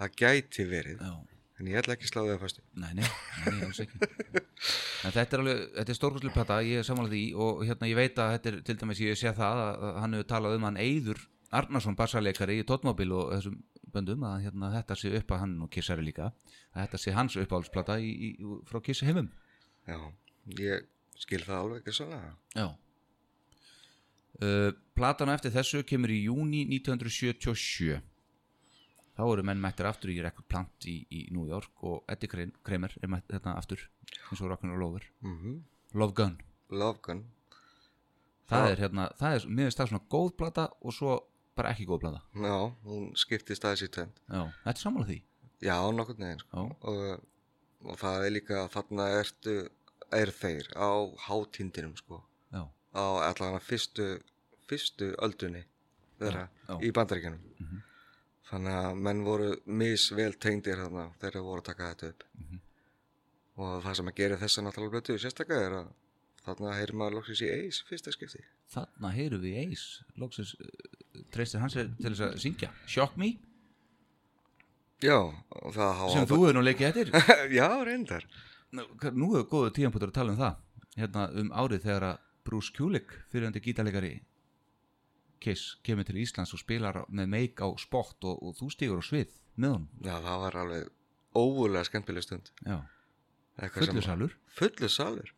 S2: Það gæti verið,
S1: já
S2: en ég ætla ekki að slá það fyrstu.
S1: Nei, nei, nei, alls ekki En þetta er alveg, þetta er stórkostlega plata ég er samanlega því og hérna ég veit að þetta er til dæmis ég sé það að að hann hefur talað um hann Eyður Arnarsson bassarleikari í Tóttmóbil og þessum böndum að hérna, þetta sé upp að hann og kissari líka að þetta sé hans uppáhaldsplata í, í, frá kissi heimum
S2: Já, ég skil það alveg gjörsanlega.
S1: Já uh, Platan á eftir þessu kemur í júni 1977 Þá eru menn mættir aftur í rekord plant í, í New York og Eddie Kre- Kramer er mættir þetta aftur eins og Rockin' All Over
S2: Mm
S1: Love Gun
S2: Love Gun.
S1: það
S2: Já.
S1: er hérna, það er, mér finnst það svona góð blata og svo bara ekki góð blata
S2: Já, hún skiptist aðeins í tvend.
S1: já, þetta er sammála því
S2: Já, nokkurn veginn. sko.
S1: já,
S2: Og og það er líka þarna ertu er þeir á hátindinum sko
S1: já,
S2: á allavega fyrstu fyrstu öldunni þeirra
S1: Já, já.
S2: í bandaríkjunum
S1: Mhm.
S2: þannig að menn voru misvel tengdir þarna þegar þeir voru að taka þetta upp
S1: Mhm.
S2: og það sem að gera þessa náttúrulega blötu sérstaklega er að þarna heyrir maður loksins í eis fyrsta skipti
S1: þarna heyrum við eis loksins uh, treystir hans til þess að syngja Shock Me,
S2: já, og það hafa
S1: sem þú hefur nú leikið eftir
S2: já, reyndar
S1: Nú nú hefur góðu tíðanbútur að tala um það hérna um árið þegar að Bruce Kulick fyrirandi gítarleikari Kiss kemur til Íslands og spilar með meik á spott og, og þú stígur á svið með honum
S2: já, það var alveg óvúlega skemmtileg stund
S1: já,
S2: Eitthvað sem-
S1: fullu salur
S2: fullu salur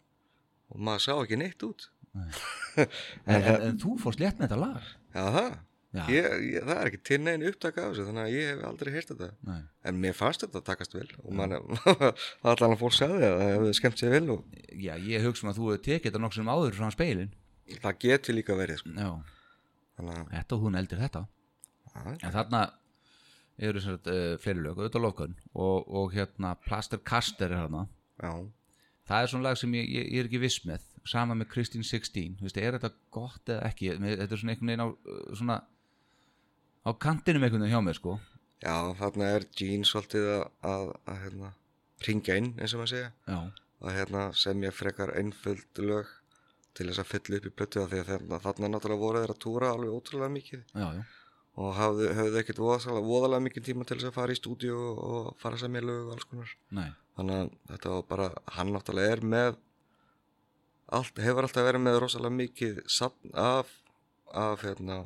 S2: og maður sá ekki neitt út Eh,
S1: en, en, en þú fórst létt með þetta lag
S2: já, það
S1: já,
S2: Ég, ég, það er ekki til neginn upptaka af þessu þannig að ég hef aldrei heyrt þetta
S1: nei,
S2: en mér fannst þetta takast vel og mann allan að fólk sagði að það hefði skemmt sér vel og
S1: já, ég hugsa um að þú hefur tekið þetta nokkuð sem áður frá speilin
S2: það getur líka verið sko.
S1: já,
S2: þannig
S1: þetta og hún eldir þetta
S2: að já,
S1: en þarna eru sem sagt uh, fleiri lög, auðvitað lofkun og, og hérna Plaster Caster er hérna
S2: já,
S1: það er svona lag sem ég, ég, ég er ekki viss með sama með Kristín 16 Vistu, er þetta gott eða ekki Mér- þetta er svona einhvern veginn á uh, svona á kantinum einhvern veginn hjá mér sko
S2: já þarna er Gene svolítið að, að, að hérna, ringja inn eins og maður segja
S1: já,
S2: og hérna sem ég frekar einföld lög til þess að fylla upp í plötu af því að þarna, þarna náttúrulega voru þeir að túra alveg ótrúlega mikið
S1: já, já,
S2: og hafðu, hafðu ekkert voðalega, voðalega mikið tíma til þess að fara í stúdíu og fara sem ég lög og alls konar
S1: nei
S2: þannig að þetta var bara hann náttúrulega er með allt, hefur alltaf verið með rosalega mikið safn af, af hérna,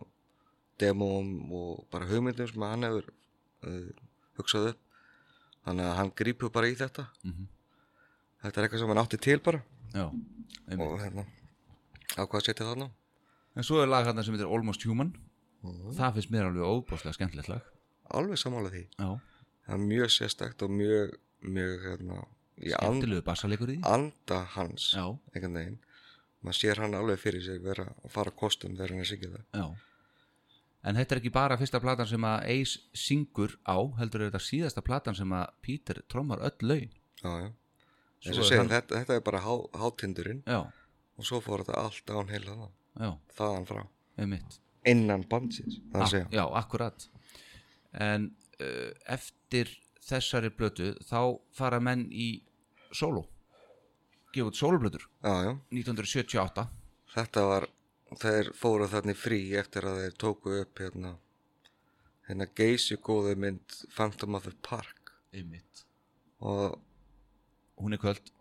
S2: demóm og bara hugmyndum sem hann hefur uh, hugsað upp þannig að hann grípur bara í þetta
S1: mm
S2: þetta er eitthvað sem hann átti til bara
S1: já, einmitt
S2: og hérna á hvað setja þarna
S1: en svo er lag hérna sem heitir Almost Human það finnst mér alveg óbúslega skemmtilegt lag
S2: alveg sammála því
S1: já,
S2: það er mjög sérstakt og mjög, mjög hérna, í and,
S1: skemmtilegu bassalegur í því
S2: anda hans
S1: já,
S2: einhvern veginn maður sér hann alveg fyrir sér vera að fara á kostum þegar hann er syngið það
S1: já en þetta er ekki bara fyrsta platan sem að Ace syngur á, heldur er þetta síðasta platan sem að Peter trommar öll laun
S2: já, já.
S1: Svo
S2: Eins og
S1: er
S2: segja,
S1: hann-
S2: þetta, þetta er bara há, hátindurinn
S1: já,
S2: og svo fór þetta allt án heila það
S1: já,
S2: þaðan frá,
S1: einmitt
S2: innan bandsins það
S1: Ak-
S2: að segja,
S1: Já, akkurat En uh, eftir þessari blötu þá fara menn í solo gefa út soloblötur
S2: já, já,
S1: 1978
S2: þetta var þeir fóru þarna í frí eftir að þeir tóku upp hérna hérna geysi góðu mynd Phantom of the Park
S1: Einmitt
S2: og
S1: Hún er kvöld,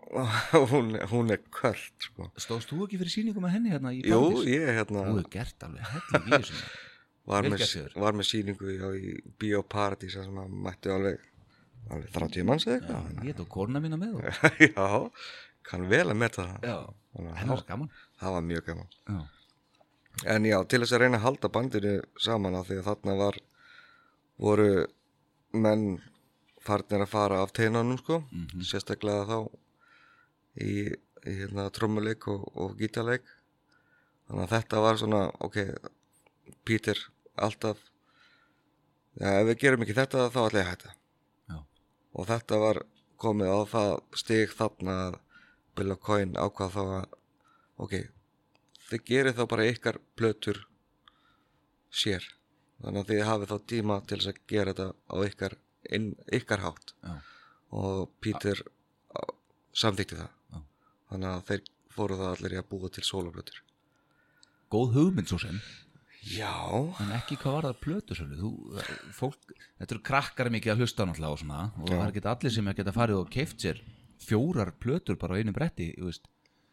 S2: hún, hún er kvöld sko.
S1: stóðst þú ekki fyrir sýningu með henni hérna í
S2: jú,
S1: Paradís?
S2: ég hérna
S1: Þú hefur gert alveg helling í þessum
S2: var
S1: Vel
S2: með,
S1: gert hjá þér.
S2: var með síningu já, í Bioparadís þar sem að mættu alveg, alveg 30 manns eða
S1: Já,
S2: eitthvað
S1: Ég tók korna mína með og
S2: já, kann vel að metta það
S1: Já,
S2: Þannig að
S1: hennar
S2: það-
S1: skaman
S2: það var mjög gaman
S1: Já,
S2: en já, til þess að reyna að halda bandinu saman af því að þarna var voru menn farnir að fara af teinanum sko sérstaklega þá í, í hérna, trommuleik og, og gítarleik þannig að þetta var svona ok, Peter alltaf ja, ef við gerum ekki þetta þá ætla ég að hætta
S1: Já.
S2: og þetta var komið á það stig þarna að Bill og Coyne ákvað þá að ok, þið gerir þá bara ykkar plötur sér þannig að þið hafið þá tíma til þess að gera þetta á ykkar, inn, ykkar hátt
S1: já,
S2: og Peter ah. samþykti það
S1: Já.
S2: þannig að þeir fóru það allir í að búa til sólablötur
S1: góð hugmynd svo sem
S2: Já,
S1: en ekki hvað var það plötusölu þú, eh, fólk, þetta eru krakkar mikið að hlusta náttúrulega og svona og það er ekki allir sem geta farið og keift sér fjórar plötur bara á einu bretti þú veist.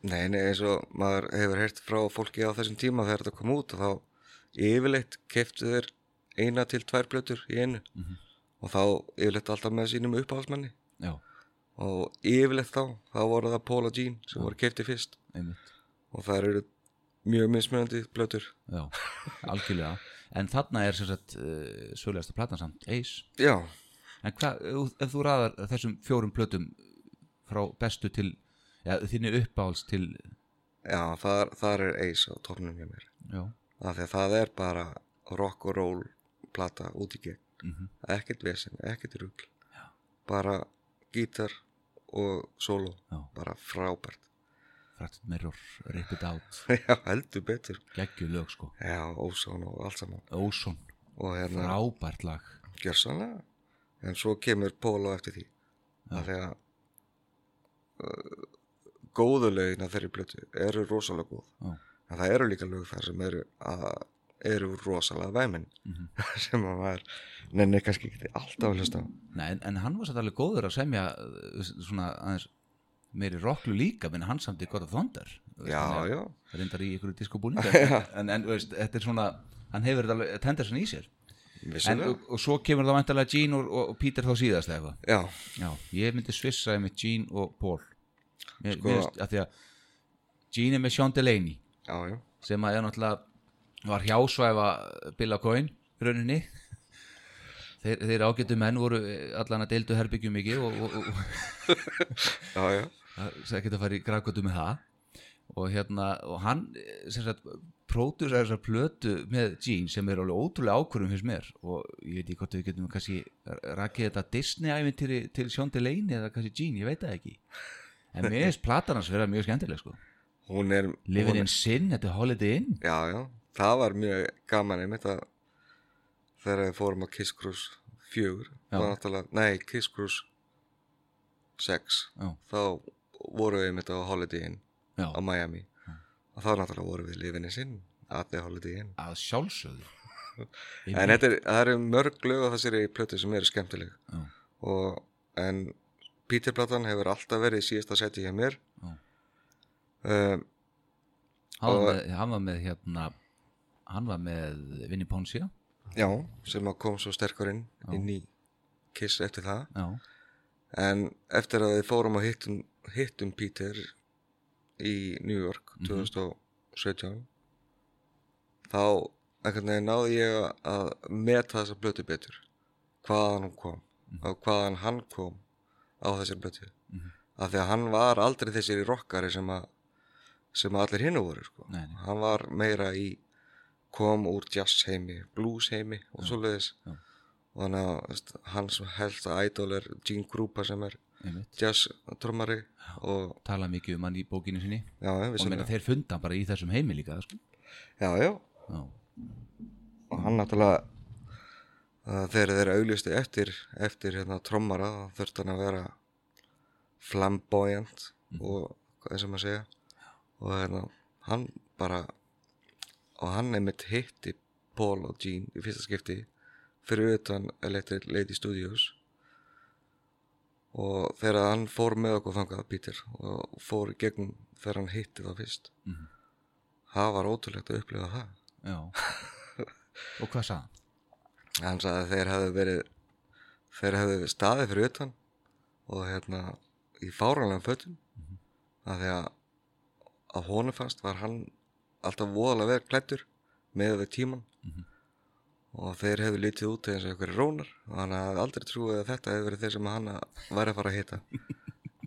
S2: nei, nei, eins og maður hefur heyrt frá fólki á þessum tíma þegar þetta kom út og þá yfirleitt keftu þeir eina til tvær blötur í einu og þá yfirleitt alltaf með sínum uppáhalsmanni
S1: já,
S2: og yfirleitt þá, þá voru það Paul og Jean sem voru keftið fyrst
S1: einmitt
S2: og það eru mjög mismunandi blötur
S1: já, algjörlega en þarna er sem sagt uh, sögulegasta platan samt, Ace
S2: Já,
S1: en hvað, ef- ef þú raðar þessum fjórum plötum frá bestu til já, þinni uppáhalds til
S2: já, þar, þar er Ace á topnum hjá mér
S1: já,
S2: af því að það er bara rock og roll plata út í gegn
S1: mhm,
S2: ekkert vesen, ekkert rugl bara gítar og solo
S1: Já.
S2: bara frábært
S1: Fractured Mirror, Rip It Out
S2: já, heldur betur
S1: geggju lög sko,
S2: já, ósán og allt saman
S1: Ósson
S2: og hérna
S1: frábært lag
S2: gjörsanna en svo kemur Póla eftir því
S1: Já.
S2: af því að uh, góðu lögin að þeirri blötu eru rosalega góð
S1: Já.
S2: en það eru líka lög þar sem eru, að, eru rosalega væmin
S1: Mhm.
S2: sem að maður nenni kannski ekki alltaf að hlusta á
S1: Nei, en, en hann var satt alveg góður að semja uh, svona aðeins meiri rocklu líka, menn hann samt í God of Thunder þú veist,
S2: já,
S1: hann er
S2: já,
S1: reyndar í ykkur diskobúning en, en þú veist, þetta er svona hann hefur þetta alveg tenderson í sér en,
S2: vissulega
S1: og, og svo kemur það vantarlega Gene og, og Peter þá síðast eða eitthvað
S2: já,
S1: Já, ég myndi svissa með Gene og Paul mér,
S2: Sko-
S1: mér veist, að því að Gene er með Sean Delaney
S2: já, já,
S1: sem að er náttúrulega var hjásvæfa Bill O'Coin rauninni þeir, þeir ágætu menn voru eh, allan að deildu herbygjum mikið og, og, og
S2: já, já
S1: það geta að fara í grækvöldu með það og hérna, og hann eh, sem sagt, pródusar þessar plötu með Gene sem er alveg ótrúlega ákvörðum fyrst mér og ég veit ekki hvort við getum kannski rakið þetta Disney-ævintýri til Sean Delaney eða kannski Gene, ég veit það ekki en mér finnst platan hans vera mjög skemmtileg sko
S2: hún er
S1: Living
S2: hún-
S1: in Sin, þetta er Holiday Inn
S2: Já, já, það var mjög gaman einmitt að þegar við fórum á Kiss Cruise
S1: Já.
S2: 4 það var náttúrulega, nei, Kiss Cruise 6
S1: já,
S2: þá vorum við einmitt á Holiday Inn
S1: já,
S2: á Miami og þá náttúrulega vorum við lifinni sinn að þið Holiday Inn
S1: að sjálfsögðu Ég
S2: en
S1: veit-
S2: þetta er, það eru mörg lög á þessari plötu sem eru skemmtileg
S1: já,
S2: og, en Peter Platan hefur alltaf verið í síðasta seti hjá mér
S1: já.
S2: um,
S1: Hann, var
S2: Og-
S1: með, hann var með hérna hann var með Vinnie Poncia
S2: já, sem að kom svo sterkur inn inn í Kiss eftir það
S1: já,
S2: En eftir að við fórum og hittum, hittum Peter í New York 2017 þá einhvern veginn náði ég að- að meta þessa blötu betur hvaðan hún kom og hvaðan hann kom á þessar blötu
S1: Mhm.
S2: af því að hann var aldrei þessir rockari sem að sem að allir hinnu voru sko.
S1: Nei, nei.
S2: hann var meira í kom úr jazz heimi, blues heimi og svoleiðis
S1: já.
S2: og þannig að veist, hans helsta idol er Gene Krupa sem er
S1: einmitt
S2: jazz trommari og
S1: tala mikið um hann í bókinu sinni
S2: já, já,
S1: og meina
S2: vissulega.
S1: þeir funda hann bara í þessum heimi líka sko.
S2: já, já,
S1: já,
S2: og hann náttúrulega uh, þegar þeir auglistu eftir eftir hérna trommara þá þurft hann að vera flamboyant og hvað er sem að segja og hérna hann bara og hann einmitt hitti Paul og Gene í fyrsta skipti fyrir utan Electric Lady Studios og þegar hann fór með okkur þangað Peter og fór í gegnum þegar hann hitti það fyrst
S1: Mhm.
S2: það var ótrúlegt að upplifa það
S1: já og hvað sagði hann?
S2: hann sagði að þeir hefðu verið þeir hefðu staðið fyrir utan og hérna í fáranlega fötum
S1: Mhm.
S2: af því að að honum fannst var hann alltaf voðalega verið klættur með við tíman
S1: Mhm.
S2: og þeir hefðu litið út eins og einhverju rónar og hann hefði aldrei trúið að þetta hefði verið þeir sem hann væri að fara að hitta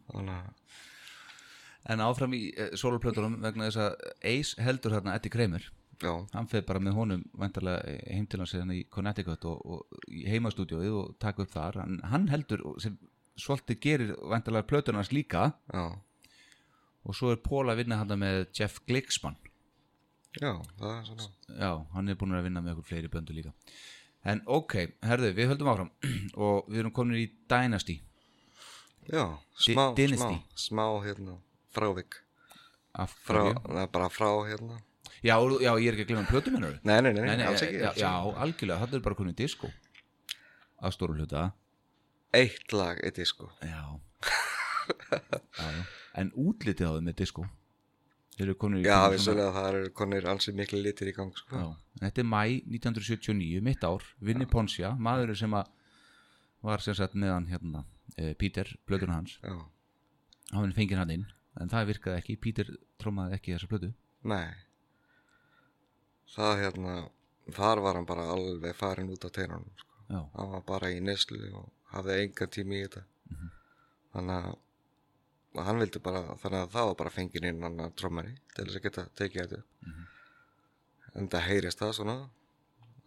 S2: þannig að
S1: en áfram í eh, soloplötunum vegna þess að Ace heldur þarna Eddie Kramer
S2: já,
S1: hann fer bara með honum væntarlega heim til hans hérna í Connecticut og, og í heimastúdíóið og taka upp þar en hann heldur og sem svolítið gerir væntarlega plötunum hans líka
S2: já,
S1: og svo er Paul að vinna hann með Jeff Glicksmann
S2: já það er svona
S1: Já, hann er búin að vinna með okkur fleiri böndu líka En ok, herðu, við höldum áfram og við erum komin í Dynasty
S2: já, smá, smá,
S1: Dynasty.
S2: smá hérna, frávik
S1: af
S2: frá,
S1: hverju?
S2: okay. bara frá hérna
S1: já, og- já, ég er ekki að glemma plötum hennar
S2: Nei, nei, nei, alls ekki
S1: eh, já,
S2: alls
S1: já,
S2: ekki.
S1: algjörlega, þetta er bara komin í disco að stóru hluta
S2: Eitt sko. lag er disco
S1: Já, já, já. En útlitið á þeim með disco Þeir eru komin í
S2: Já,
S1: svona-
S2: vissulega það eru konir alls miklu litir í gang sko.
S1: Já, þetta er mæ 1979, mitt ár, Vinni Poncia, maðurinn sem að var sem sagt með hann hérna, eh, Peter, blöðun hans
S2: Já,
S1: hann var fengið hann inn en það virkaði ekki, Peter trómaði ekki þessa plötu
S2: nei Það hérna Þar var hann bara alveg farin út á teinunum sko.
S1: já,
S2: Hann var bara í neslu og hafði engan tími í þetta
S1: Mhm.
S2: Þannig að og hann vildi bara, þannig að það var bara fengin inn hann að trommari til þess að geta tekið þetta mm
S1: Mhm.
S2: en það heyrist það svona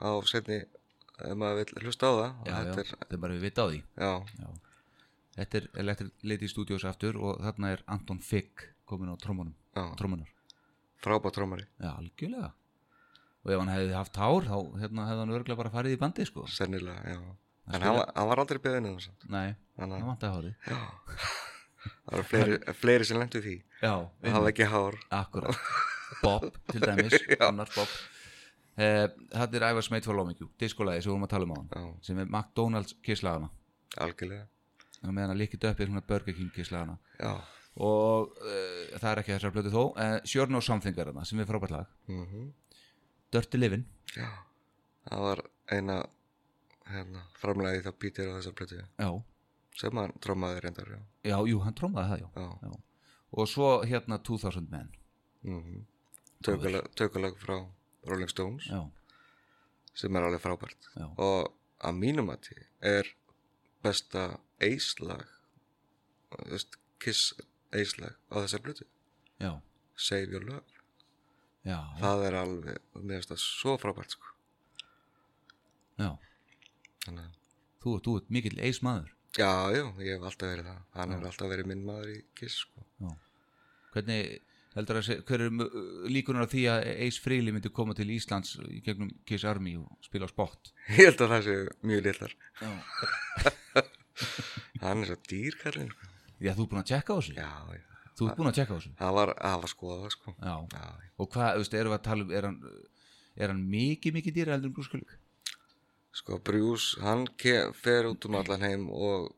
S2: á setni, ef maður vill hlusta á það
S1: já,
S2: þetta
S1: já,
S2: er,
S1: þetta er bara við vita á því
S2: já,
S1: já. Þetta er Electric Lady Studios aftur og þarna er Anton Figg komin á trómunum,
S2: já,
S1: trómunar
S2: frábært trómari
S1: Já, algjörlega Og ef hann hefði haft hár, þá hérna, hefði hann örglega bara farið í bandi, sko
S2: sennilega, já
S1: Hann
S2: en hann, var- hann var aldrei beðin eða samt
S1: Nei,
S2: þannig
S1: hann
S2: að
S1: vantaði hárið
S2: já. það eru fleiri, fleiri sem lentu því
S1: Já,
S2: það var ekki hár
S1: Akkurat, Bob til dæmis annars Bob eh, Þetta er Ævar Smeit for Lómingjú, diskolaði sem við vorum að tala um á hann
S2: já,
S1: sem er McDonalds kisslagana
S2: algjörlega
S1: og meðan að líkið upp er svona Burger King kisslagana
S2: já,
S1: og eh, það er ekki þessar blötu þó eh, Sjörn og samþingarana sem er frábært lag
S2: mhm
S1: Dirty Livin,
S2: já, það var eina hérna, framlegið þá Peter á þessar plötu
S1: já,
S2: sem hann trómaði reyndar, já,
S1: já, jú, hann trómaði það, já
S2: já.
S1: og svo hérna 2000 menn
S2: Mm -hmm. Tökulag frá Rolling Stones
S1: já,
S2: sem er alveg frábært
S1: já,
S2: og að mínum að því er besta eislag kiss eislag á þessar blötu
S1: já,
S2: Save Your Love
S1: já,
S2: það er alveg, mér finnst það svo frábært sko.
S1: já.
S2: þannig að
S1: Þú, ert- þú ert mikill eis maður
S2: já, já, ég hef alltaf verið það hann hefur alltaf verið minn maður í kiss sko.
S1: já. Hvernig heldur að segja, hver er uh, líkunar á því að eis Freely myndi koma til Íslands í gegnum Kiss Army og spila á spott
S2: ég held að það sé mjög litlar
S1: já.
S2: hann er svo dýrkallin sko.
S1: já, þú ert búin að tjekka á þessu
S2: já, já,
S1: þú ert búin að tjekka á þessu
S2: það var, það var skoða sko.
S1: já.
S2: já, já.
S1: og hvað, þú veist, erum við að tala um er hann, er hann mikið, mikið dýra heldur en brúskulik
S2: sko Brjús, hann ke- fer út um allan heim og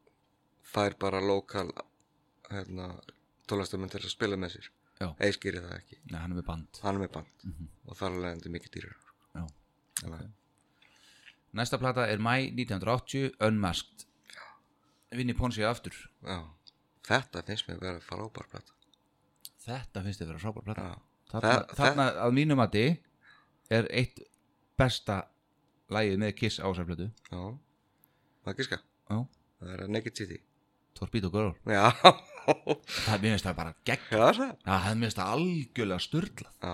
S2: fær bara lokal hérna, tólestamun til að spila með sér
S1: Já.
S2: eiskýri það ekki,
S1: Nei, hann er með band
S2: hann er með band og þar alveg endur mikið dýrar
S1: já.
S2: okay.
S1: Næsta plata er mæ 1980 Unmasked Vinni Ponsi aftur
S2: já, þetta finnst mér að vera frábær plata
S1: Þetta finnst þið að vera frábær plata
S2: já,
S1: Þarna,
S2: Það-
S1: þarna að mínum mati er eitt besta lagið með Kiss á þessar plötu
S2: já maður gíska,
S1: Já,
S2: það er að nekið títi
S1: Torpedo Girl
S2: já,
S1: Það er mér finnst það bara gegn
S2: já er það
S1: Það er mér finnst það algjörlega sturlað
S2: já,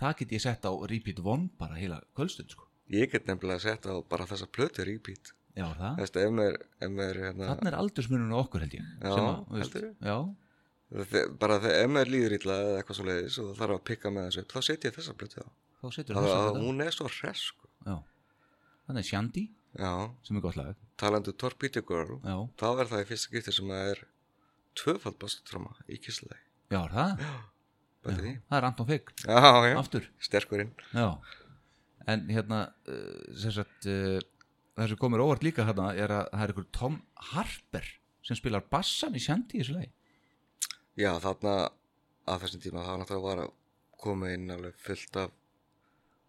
S1: Það get ég sett á repeat one bara heila kvöldstund sko
S2: ég get nefnilega að setja á bara þessa plötu repeat
S1: Já, er það
S2: Þessi, ef mér, ef mér hérna,
S1: Þannig er aldursmunun á okkur held ég
S2: Já,
S1: sem að, þú veist,
S2: heldurðu?
S1: Já,
S2: Þe- bara þegar ef maður líður illa eða eitthvað svo leiðis og það þarf að pikka með þessu upp, þá setja ég þessa plötu á
S1: þá setur
S2: það
S1: þess
S2: að
S1: að þetta
S2: hún er svo hress sko.
S1: Já Þannig er Shandy
S2: já,
S1: sem er gott lag
S2: talandi um Torpedo Girl
S1: Já,
S2: þá er það í fyrsta gifti sem það er tvöfald bassatróma í kisslegi
S1: já er það
S2: bæti því
S1: Það er Anton Figg,
S2: já, já,
S1: aftur
S2: sterkurinn
S1: Já, en hérna uh, sem sagt uh, það sem komur óvart líka hérna er að það er ykkur Tom Harper sem spilar bassan í Shandy í þessu lagi
S2: já, þarna að þessum tíma þá náttúrulega var að koma inn alveg fullt af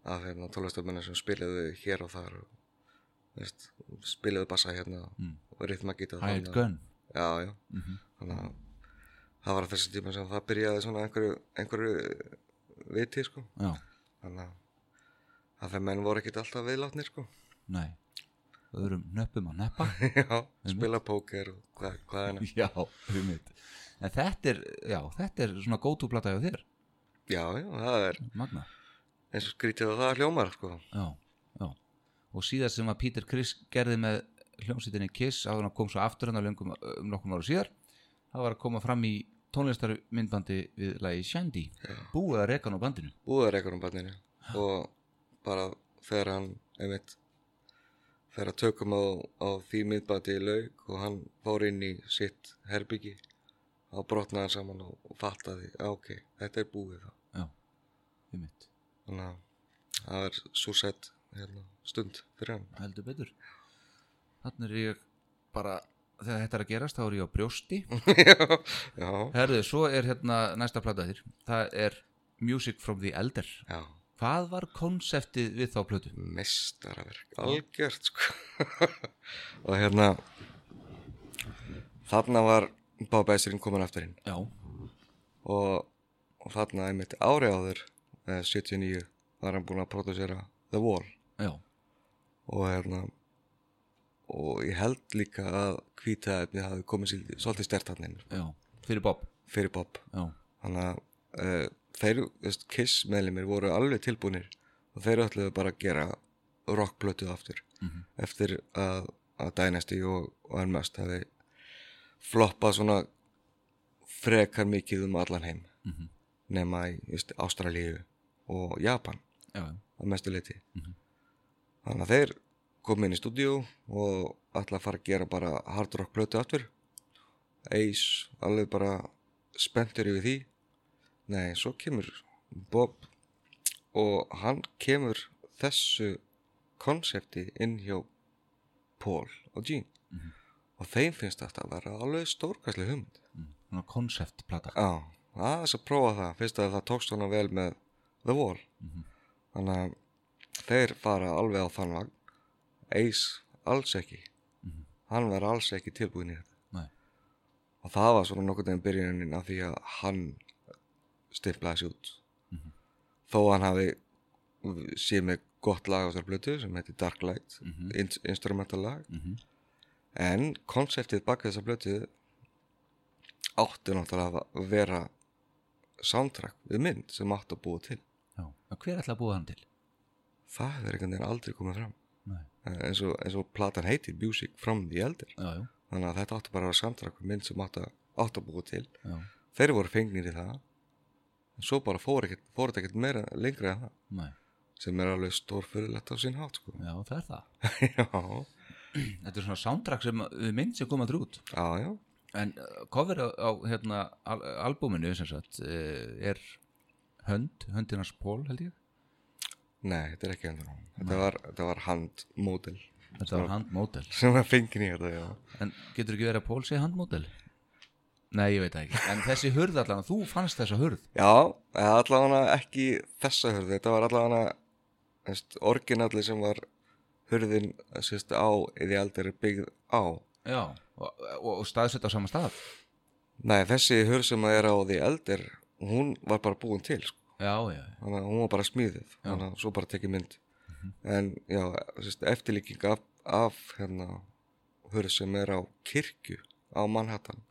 S2: af hérna tólestamennir sem spilaðu hér og þar og, veist, spilaðu bassa hérna
S1: Mm.
S2: og rithma geta
S1: Hired Gun
S2: já, já,
S1: mm
S2: þannig að það var á þessum tíma sem það byrjaði svona einhverju, einhverju viti sko
S1: Já,
S2: þannig að- að þeir menn voru ekkert alltaf viðlátnir sko
S1: nei öðrum nöppum að neppa
S2: já, spila póker og hvað, hvað er
S1: Já, um mitt En þetta er, já, þetta er svona góttúplata hjá þér,
S2: já, já, það er
S1: Magna
S2: eins og skrítið að það hljómar sko
S1: Já, já Og síðast sem að Peter Criss gerði með hljómsveitinni Kiss áður en hann kom svo aftur hann að löngum um nokkrum ára síðar það var að koma fram í tónlistarmyndbandi við lagi Shandy búið að reka hann á bandinu
S2: búðar eitthvað um barninu og bara þegar hann einmitt þegar að tökum á, á því myndbati í laug og hann fór inn í sitt herbyggi þá brotnaði hann saman og, og fattaði "Ah, ok, þetta er búið þá
S1: Já, við mitt
S2: þannig að það er súsett hérna, stund fyrir hann
S1: heldur betur þannig er ég bara þegar þetta er að gerast þá er ég á brjósti
S2: já,
S1: Herðu, svo er hérna næsta plata þér það er Music from the Elder
S2: já,
S1: Hvað var konseptið við þá plötu?
S2: mestaraverk algjört sko og hérna þarna var Bob Esrin komin aftur inn
S1: Já,
S2: og, og þarna einmitt ári áður eh, 79 var hann búin að producera The Wall
S1: já,
S2: og hérna og ég held líka að hvíta efni hafi komið sér svolítið stert hann inn
S1: já, fyrir Bob
S2: fyrir Bob
S1: Já,
S2: þannig að uh, þeir, þú veist, Kiss meðlumir voru alveg tilbúinir og þeir ætluðu bara að gera rockblötu aftur
S1: Mhm.
S2: eftir að, að Dynasty og, og Unmasked hafi floppað svona frekar mikið um allan heim nema í just, Ástralíu og Japan
S1: já,
S2: að mestu leiti
S1: Mhm.
S2: þannig að þeir komu inn í stúdíu og ætla að fara að gera bara hard rock plötu aftur Ace alveg bara spenntur yfir því nei, svo kemur Bob og hann kemur þessu konsepti inn hjá Paul og Gene
S1: Mhm.
S2: og þeim finnst þetta að vera alveg stórkastlega hugmynd
S1: mm. svona konceptplata
S2: Já, aðeins að prófa það fyrst að það tókst hana vel með The Wall
S1: Mhm.
S2: þannig að þeir fara alveg á þann vagn Ace alls ekki
S1: Mhm.
S2: hann var alls ekki tilbúin í þetta
S1: Nei.
S2: og það var svona nokkuð veginn byrjunin af því að hann stiflaði sér út
S1: Mhm.
S2: þó að hann hafi séð með gott lag á þessar blötu sem heitir Dark Light mm
S1: Mhm.
S2: instrumental lag
S1: Mhm.
S2: en konseptið baka þessa blötu átti náttúrulega að vera soundtrack við mynd sem átti að búa til
S1: já, og hver ætla að búa hann til?
S2: það hefur einhvern veginn aldrei komið fram
S1: Nei.
S2: Eh, eins og, eins og platan heitir Music from the Elder
S1: já, já,
S2: þannig að þetta átti bara að vera soundtrack við mynd sem átti, að- átti að búa til
S1: já,
S2: þeir voru fengnir í það en svo bara fór ekkert, fór þetta ekkert meira lengra en það
S1: Nei.
S2: sem er alveg stórfyrirlegt á sín hátt sko.
S1: já, það er það
S2: já,
S1: þetta er svona soundtrack sem við mynd sem koma þrjú út
S2: já, já
S1: en uh, cover á, á hérna, al albúminu sem sagt eh, er hönd, höndinars pól held ég
S2: nei, þetta er ekki endur þetta var, þetta var handmódel
S1: þetta var handmódel
S2: sem var fengin í þetta, já
S1: en getur ekki verið að pól sé handmódel? nei, ég veit það ekki en þessi hurð allan, þú fannst þessa hurð
S2: Já, eða allavega ekki þessa hurð, þetta var allavega orginalli sem var hurðin sérst á eða aldrei byggð á.
S1: já, og, og, og staðsett á sama stað
S2: Nei, þessi hurð sem er á því eldir, hún var bara búin til, sko.
S1: já, já, já,
S2: þannig að hún var bara smíðið, þannig að svo bara tekið mynd.
S1: Mhm.
S2: En já, sérst, eftirlíking af, af hérna, hurð sem er á kirkju á Manhattan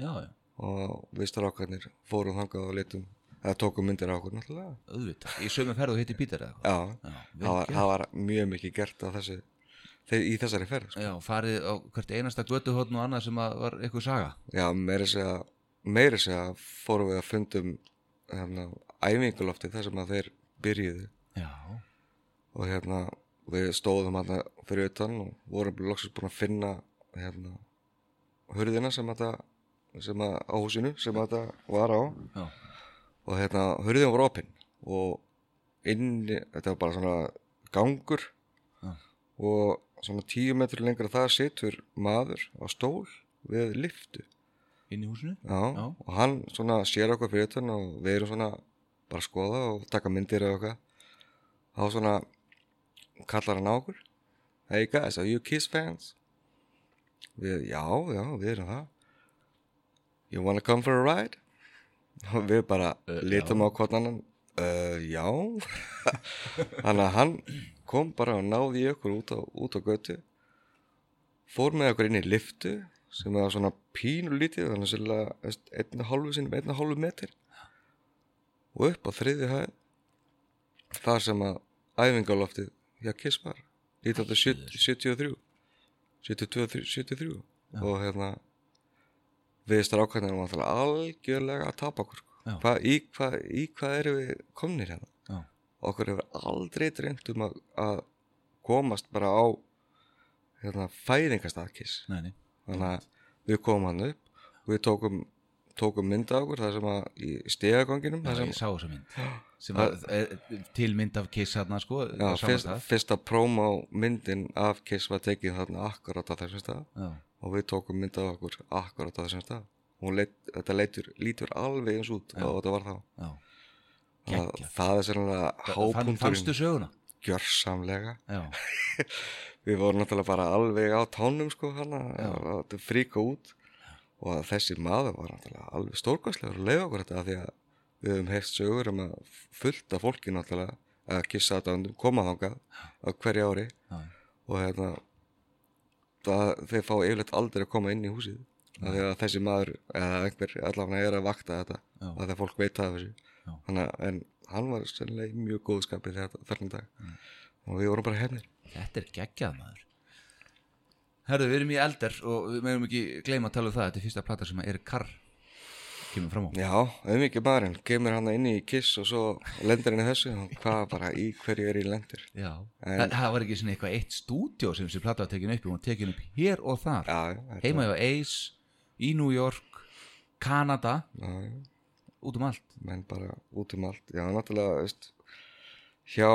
S1: já, já
S2: og við strákarnir fórum þangað og litum, eða tókum myndir á okkur náttúrulega.
S1: auðvitað, í sömu ferð og hitti Pítur eða eitthvað
S2: Já,
S1: já,
S2: það
S1: vel
S2: var,
S1: gert.
S2: það var mjög mikið gert á þessu, þe- í þessari ferð sko.
S1: já, farið á hvert einasta götuhotn og annað sem að var eitthvað saga
S2: já, meiri segja meiri segja fórum við að fundum hérna, æfingulofti þar sem að þeir byrjuðu
S1: já,
S2: og hérna við stóðum hérna fyrir utan og vorum loksins búin að finna hérna hurðina sem að sem að á húsinu sem að þetta var á
S1: já,
S2: og hérna hurðin var opinn og inn, þetta var bara svona gangur
S1: Já.
S2: og svona tíu metri lengra það situr maður á stól við liftu
S1: inn í húsinu
S2: já,
S1: Já.
S2: og hann svona sér okkur fyrir utan og við erum svona bara að skoða og taka myndir eða okkar þá svona kallar hann á okkur hey guys, are you Kiss fans? við, já, já, við erum það you wanna come for a ride? og við bara
S1: Eh,
S2: litum á hvort annan uh, já þannig að hann kom bara og náði í okkur út á, út á götu fór með okkur inn í liftu sem var svona pínulítið þannig sérlega veist, einn og hálfu sinni einn og hálfu metri og upp á þriði hæð þar sem að æfingaloftið hjá Kiss var 1973 73, 73 og hérna við strákarnir erum alltaf algjörlega að tapa okkur
S1: Já.
S2: hva, í, hva, í hvað erum við komnir hérna
S1: já,
S2: okkur hefur aldrei dreymt um að, að komast bara á hérna, fæðingastakis
S1: neini,
S2: þannig að við komum hann upp og við tókum, tókum mynda okkur þar sem að í stegaganginum
S1: já,
S2: þar sem
S1: ég sá þessa mynd sem var eh, til mynd af Kiss hérna sko,
S2: já,
S1: á sama
S2: fyrst,
S1: stað.
S2: fyrsta prómá myndin af Kiss var tekið þarna akkurat á þessum stað
S1: já,
S2: og við tókum mynd af okkur akkurat á þessum stað Hún leit, þetta leitur, lítur alveg eins út og þetta var þá
S1: já,
S2: það,
S1: Geggjað.
S2: það er sérlega
S1: Fann, fannstu
S2: hápunkturinn
S1: söguna
S2: gjörsamlega
S1: já,
S2: við vorum náttúrulega bara alveg á tánum sko hana, að fríka út og að þessi maður var náttúrulega alveg stórkvæslegur að leiða okkur þetta af því að við höfum heyrst sögur um að fullta fólki náttúrulega að kissa þetta undir koma þangað á hverju ári
S1: já,
S2: og hérna það, þeir fá yfirleitt aldrei að koma inn í húsið af því að þessi maður eða einhver allavega er að vakta þetta
S1: Já.
S2: af því að fólk veit það af
S1: Já.
S2: þessu Þannig, að- en hann var sennilega í mjög góðu skapi
S1: Mm.
S2: þegar þarna dag og við vorum bara hefnir
S1: þetta er geggjað maður Herðu, við erum í eldar og við meðum ekki gleyma að tala um það Þetta er fyrsta plata sem að Erik Carr kemur fram á
S2: Já, auðvikið barinn, kemur hann inn í kiss og svo lendir hann í þessu og hvað bara í hverju er í lendir
S1: Já, það, það var ekki svona eitthvað eitt stúdjó sem þessi plata var tekin upp í, hún var tekin upp hér og þar
S2: Já, hérna, þetta-
S1: Heima hjá Ace, í New York, Kanada,
S2: já, já,
S1: út um allt
S2: menn bara út um allt Já, náttúrulega, veist hjá,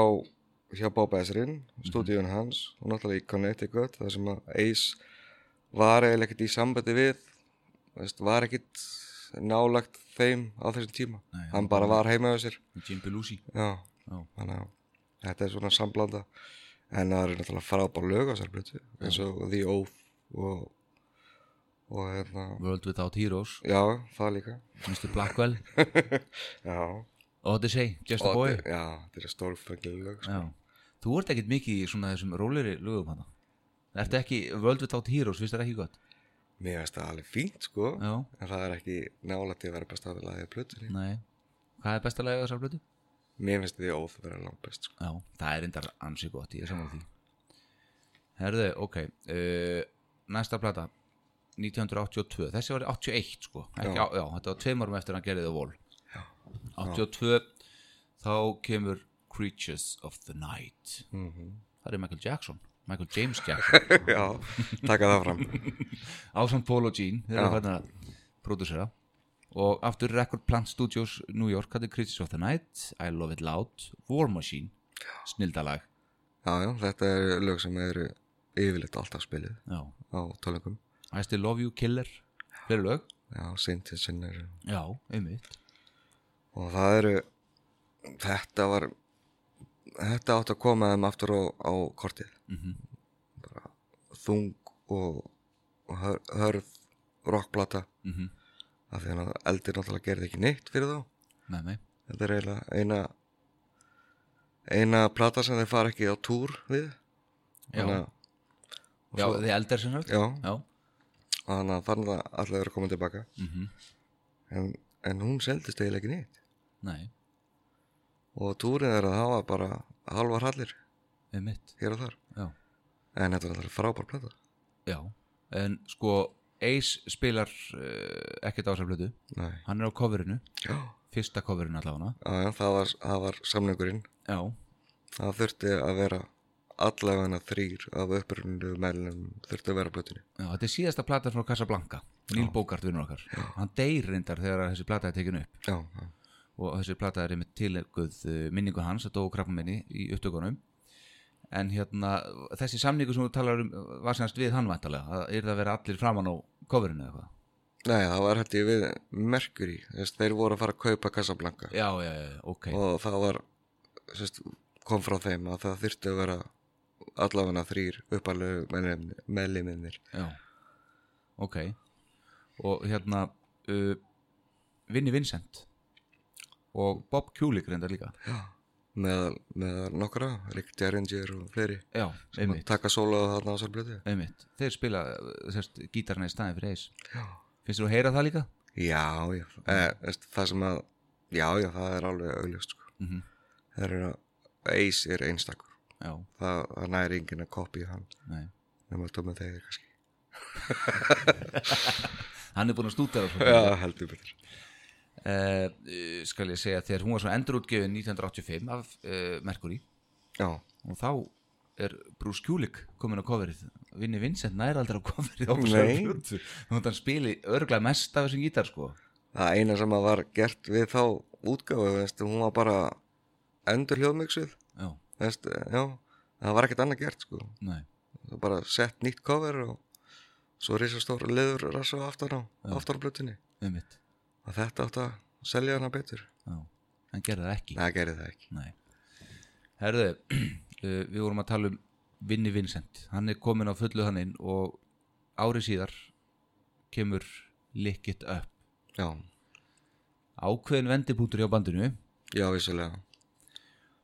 S2: hjá Bob Ezrin stúdíun hans og náttúrulega í Connecticut þar sem að Ace var eiginlega ekkert í sambandi við veist, var ekkert nálagt þeim á þessum tíma
S1: Nei,
S2: hann bara var heima hjá sér
S1: Jim Belushi
S2: Já,
S1: Já.
S2: þannig að þetta er svona samblanda en það eru náttúrulega frábár lög á þessar blötu eins og The Oath og, og hérna
S1: World Without Heroes,
S2: já, það líka
S1: Mr. Blackwell
S2: já,
S1: Odyssey, Just a
S2: og
S1: Boy
S2: þetta- já, þetta er stórfengið lög sko.
S1: Já, þú ert ekkert mikið í svona þessum róleri lögum hana Ertu ekki World Without Heroes, finnst þér ekki gott?
S2: mér finnst það alveg fínt sko
S1: Já, Mm.
S2: en það er ekki nálægt til að vera besta að laga blötu
S1: nei Hvað er besta lagið á þessar blötu?
S2: mér finnst The Oath vera langt best sko.
S1: Já, það er endar ansi gott, ég er saman því Herðu, ok uh, Næsta plata 1982, þessi var í 81 sko Ekki, já.
S2: Já.
S1: já, þetta var tveimarum eftir að hann gerði það vol
S2: Já.
S1: 82 þá kemur Creatures of the Night
S2: mm
S1: Það er Michael Jackson, Michael James Jackson
S2: já, taka það fram
S1: Ásamt Paul og Gene, þeir eru
S2: Já.
S1: hvernig að prodúsera og aftur Record Plant Studios New York, þetta er Creatures of the Night I Love It Loud, War Machine snildalag,
S2: já, já, þetta er lög sem eru yfirleitt alltaf spilið
S1: já
S2: á tölungum
S1: I still love you, killer fleiri lög,
S2: já, Sintinsin er
S1: já, einmitt
S2: og það eru þetta var þetta átt að koma þeim aftur á, á kortið -hmm. bara þung og, og hör- hörð rockplata
S1: mm -hmm.
S2: af því að eldir náttúrulega gerði ekki neitt fyrir þá
S1: með mig,
S2: þetta er eiginlega eina eina plata sem þeir fara ekki á túr við
S1: já,
S2: Þannig að- og
S1: já
S2: svo-
S1: þið eldar sem sagt
S2: já,
S1: já,
S2: þannig að þannig að allir eru komin tilbaka
S1: mm
S2: en, en hún seldist eiginlega ekki neitt
S1: nei,
S2: og túrin er að hafa bara halvar hallir
S1: einmitt
S2: hér og þar
S1: já,
S2: en þetta er náttúrulega frábær plata
S1: já, en sko Ace spilar uh, ekkert á þessar blödu,
S2: Nei.
S1: hann er á coverinu
S2: Já,
S1: fyrsta coverinu allavega
S2: já, það var, það var samningurinn.
S1: já,
S2: Það þurfti að vera allavega þrýr af upprunnu meðlum þurfti að vera á plötunni.
S1: já, þetta er síðasta plata frá Casablanca, Neil Bogart vinnur okkar hann deyr reyndar þegar þessi plata er tekin upp
S2: Já, já,
S1: og þessi plata er með tilökuð minningu hans að dóu krafminni í upptökunum en hérna þessi samningu sem þú talar um var semast við hann væntalega, það er það að vera allir framann á coverinu eða eitthvað
S2: Nei, það var held ég við Mercury, þess þeir voru að fara að kaupa Casablanca
S1: já, já, já, já, ok,
S2: og það var, þess, kom frá þeim að það þurfti að vera allavega þrýr upprunnu meðluminnir.
S1: já ok og hérna uh, Vinni Vincent og Bob Kulik reyndar líka
S2: Já, meðal, meðal nokkra, Rick Derringer og fleiri.
S1: já,
S2: sem að
S1: einmitt,
S2: Taka sóla þarna á sér blötu.
S1: einmitt þeir spila uh, sérst, gítarna í staðin fyrir eis
S2: Já.
S1: finnst þú að heyra það líka?
S2: Já, já, e, veist, það sem að, já, já, það er alveg augljóst, sko.
S1: Mm
S2: Það er að, Ace er einstakur,
S1: já,
S2: það, það næri enginn að kopja hann,
S1: nei
S2: nema að döma þegar kannski.
S1: hann er búin að stúta það
S2: Já, heldur betur.
S1: uh, skal ég segja þegar hún var svona endurútgefin 1985 af uh, Mercury
S2: Já,
S1: og þá er Bruce Kulik komin á coverið Vinni Vincent nær aldrei á coverið á
S2: Nei.
S1: þessari plötu. þannig að hann spili örglega mest af þessum gítar sko
S2: það eina sem að var gert við þá útgáfu, veist, hún var bara endur hljóðmixuð,
S1: já,
S2: veist, já, það var ekkert annað gert, sko.
S1: nei,
S2: Það var bara sett nýtt cover og svo risastór leður rassu aftan á, aftan á blötunni.
S1: um mitt
S2: Og þetta átt að selja hana betur.
S1: já. hann gerði það ekki
S2: Nei, það gerði það ekki.
S1: nei. herðu uh, við vorum að tala um Vinni Vincent hann er komin á fullu hann inn og árið síðar kemur Lick It Up
S2: Já,
S1: ákveðin vendipunktur hjá bandinu
S2: já, vissulega.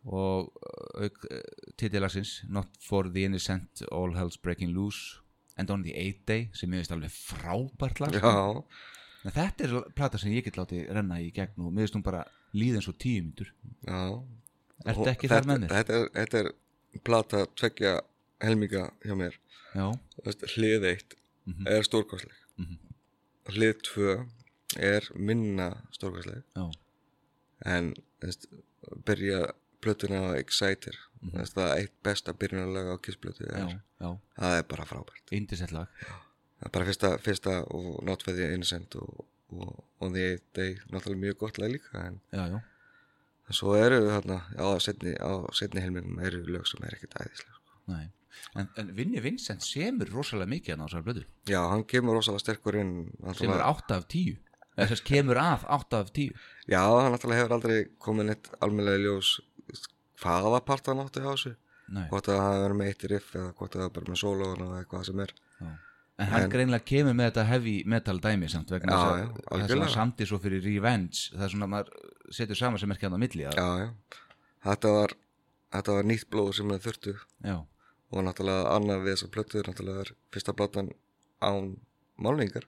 S1: og uh, auk uh, titilagsins Not for the Innocent, All Hell's Breaking Loose and on the Eight Day sem ég veist alveg frábært lag sko.
S2: Já,
S1: en þetta er plata sem ég get látið renna í gegn og mér veist hún bara líða eins og tíu myndur
S2: já
S1: Ertu
S2: Og
S1: ekki þar
S2: þetta-
S1: með mér?
S2: Þetta, er- þetta er plata tvekja helminga hjá mér
S1: já,
S2: Þú veist, hlið eitt
S1: Mhm.
S2: er stórkostleg
S1: Mhm.
S2: hlið tvö er minna stórkostleg
S1: já,
S2: en þú veist, byrja plötuna á Exciter mm -hmm. það er eitt besta byrjunarlega á kissplötu
S1: Mhm. já,
S2: er,
S1: já,
S2: það er bara frábært
S1: indislegt lag,
S2: það er bara fyrsta, fyrsta og notfæði Innocent og, og On the Eighth Day náttúrulega mjög gott lag líka en
S1: já, já,
S2: svo eru þarna á setni, á setni helminum eru lög sem er ekkert sko. æðislega
S1: næ, en, en Vinni Vincent semur rosalega mikið hann á þessari blödu,
S2: já, hann kemur rosalega sterkur inn
S1: semur
S2: náttúrulega-
S1: 8 af 10, eða þess kemur að 8 af 10,
S2: já, hann náttúrulega hefur aldrei komið neitt almennlega ljós hvaða part hann átti á þessu
S1: næ,
S2: hvort að það er með eitt riff eða hvort að það er bara með solo eða eitthvað sem er
S1: já. En hann greinlega kemur með þetta heavy metal dæmi samt vegna
S2: Já,
S1: þess
S2: já,
S1: að það sem
S2: algjörlega.
S1: hann samti svo fyrir Revenge, það er svona að maður setur saman sem er ekki hann á milli, að,
S2: Já, já. Þetta var, þetta var nýtt blóð sem þau þurftu
S1: já,
S2: og náttúrulega annað við þessar plötu náttúrulega er fyrsta platan án málningar.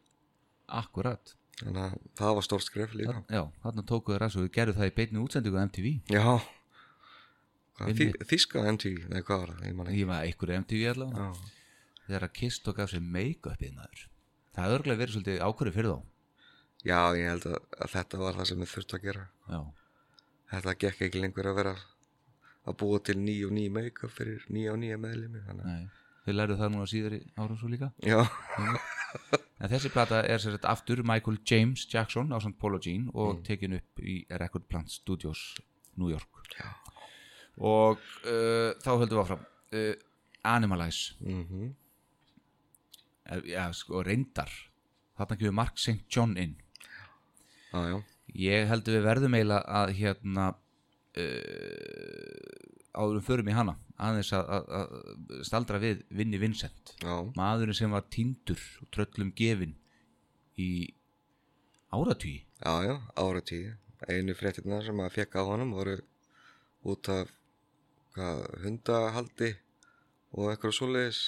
S1: akkurat,
S2: Þannig að það var stórt skref líka.
S1: já, þarna tókuðu ræs og við gerðu það í beinni útsendingu á MTV.
S2: Já. Hvað, þý,
S1: Einmitt.
S2: þýska MTV, nei hvað var það, ég man ekki.
S1: ég var einhverju MTV allavega
S2: Já.
S1: þegar að Kiss tók af sér make-upið maður það er örglega verið svolítið ákvörðu fyrir þá
S2: já, ég held að, að þetta var það sem þau þurftu að gera.
S1: já,
S2: Þetta gekk ekki lengur að vera að búa til nýja og nýja make-up fyrir nýja og nýja meðlimi. Þannig.
S1: nei, þau lærðu það núna síðar í árum svo líka
S2: að- Já,
S1: en þessi plata er sér þetta aftur Michael James Jackson á St. Paul og Jean og tekin upp í Record Plant Studios New York
S2: Já.
S1: og uh, þá höldum við áfram uh, Animalize
S2: mm
S1: eh, ja, sko, reyndar þarna kemur Mark St. John inn
S2: já, já.
S1: Ég heldur við verðum eiginlega að hérna uh, áðurum förum í hana aðeins að, að, að staldra við Vinni Vincent
S2: Já,
S1: maðurinn sem var tindur og tröllum gefin í áratví
S2: já, já, ára tíu. Einu fréttina sem að fekk á honum voru út af hvað, hundahaldi og eitthvað svoleiðis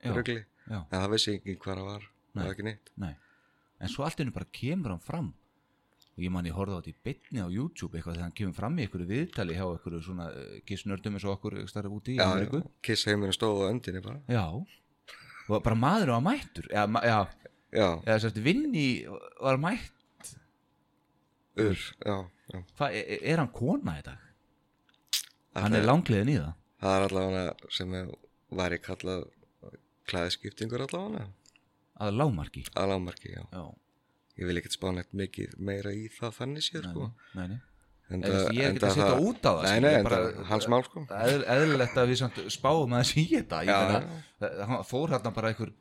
S1: Já.
S2: rögli.
S1: Já,
S2: En það vissi ekki hvað það var, það var ekki neitt.
S1: nei En svo allt henni bara kemur hann fram og ég man ég horfði á þetta í bytni á YouTube eitthvað þegar hann kemur fram í einhverju viðtali hjá einhverju svona eh, gissnördum eins og okkur starf úti í
S2: Já, já,
S1: Ameríku
S2: kiss heimurinn stóð á öndinni bara.
S1: Já, og bara maður á mættur Já, ma- já,
S2: Já,
S1: eða sérst Vinni var mætt
S2: ur, já, já.
S1: Hva, er, er hann kona í dag?
S2: Það,
S1: Hann er langliðin í það
S2: það er allavega sem var ég kallað klæðskiptingur allavega.
S1: að lágmarki
S2: Að lámarki, já.
S1: Já,
S2: Ég vil ekkert spá neitt mikið meira í það þannig séð, sko.
S1: nei, nei.
S2: Enda,
S1: Eða, ég er ekki að
S2: enda
S1: setja
S2: það-
S1: út á það
S2: Nei,
S1: skilur,
S2: nei,
S1: ég
S2: enda
S1: bara-
S2: hans mál, sko.
S1: Það er eðlilegt að við samt spáum að þessi í þetta
S2: Já,
S1: Ég meina, hann fór hérna bara einhver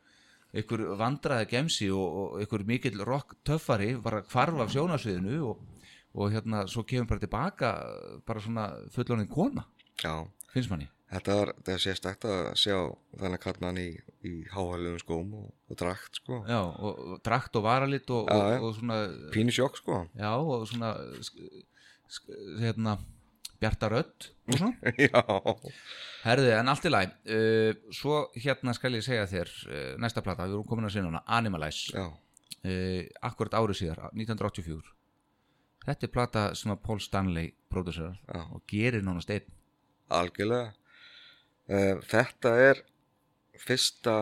S1: einhver vandraði gemsi og, og einhver mikill rock töffari bara hvarf af sjónasviðinu og, og hérna svo kemur bara tilbaka bara svona fullónin kona
S2: Já,
S1: finnst manni
S2: þetta var, þetta var sérstakt að sjá þannig að mann í, í háhælum skóm og, og drakt sko.
S1: Já, og, og drakt og varalit og,
S2: Já,
S1: og,
S2: já.
S1: og svona
S2: Pínu sjokk sko.
S1: já og svona sk- sk- hérna Bjarta Rödd og svona
S2: Já.
S1: Herði, en allt í læg uh, Svo hérna skal ég segja þér uh, Næsta plata, við erum komin að sinna hana Animalize uh,
S2: Já,
S1: Akkurat árið síðar, 1984 Þetta er plata sem að Paul Stanley Pródusserar
S2: Já.
S1: og gerir nánast einn
S2: algjörlega. Uh, þetta er fyrsta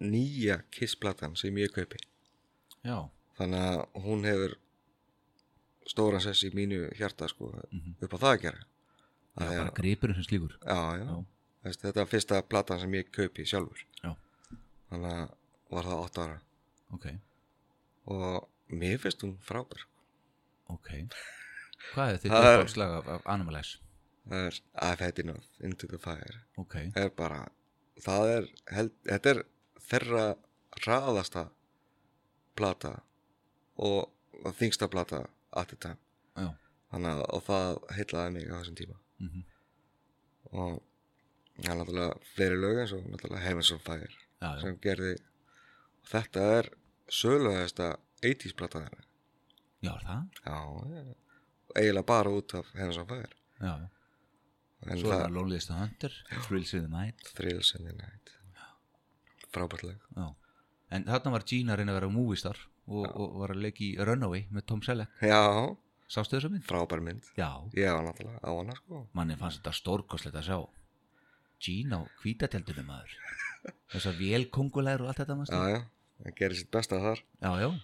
S2: nýja kissplatan sem ég kaupi.
S1: Já,
S2: Þannig að hún hefur stóran sess í mínu hjarta sko,
S1: Mhm.
S2: upp á það að gera.
S1: já
S2: Það
S1: bara
S2: er-
S1: gripurinn sem slíkur
S2: Já, já.
S1: Já.
S2: Veist, þetta er fyrsta platan sem ég kaupi sjálfur.
S1: Já,
S2: Þannig að var það 8 ára.
S1: ok,
S2: Og mér finnst hún frábær.
S1: ok Hvað er þitt
S2: Það er-
S1: uppáðslag af, af Animalize?
S2: það er I've had enough, into the fire
S1: Ok,
S2: er bara, það er held, þetta er þeirra raðasta plata og, og þingsta plata at the time
S1: já,
S2: þannig að og það heillaði mig á þessum tíma
S1: mhm
S2: og það er náttúrulega fleiri lög eins og náttúrulega Heavens on Fire
S1: já, já.
S2: sem gerði og þetta er söluðasta 80s plata þeirra
S1: já, er það
S2: já, já. eiginlega bara út af Heavens on Fire
S1: já, já.
S2: en
S1: Svo er það
S2: það
S1: Loneliest of Hunter, Thrills in the Night
S2: Thrills in the Night frábært lag
S1: já. En þarna var Gina að reyna að vera movistar og, og var að leika í Runaway með Tom Selleck
S2: Já,
S1: Sástu þessa mynd?
S2: frábær mynd.
S1: Já,
S2: Ég var náttúrulega á hana sko.
S1: manni fannst þetta stórkostlegt að sjá Jean á hvítatjaldinu maður þessar vélkongulegur og allt þetta maður
S2: já, já, hann gerir sitt besta þar
S1: já, já,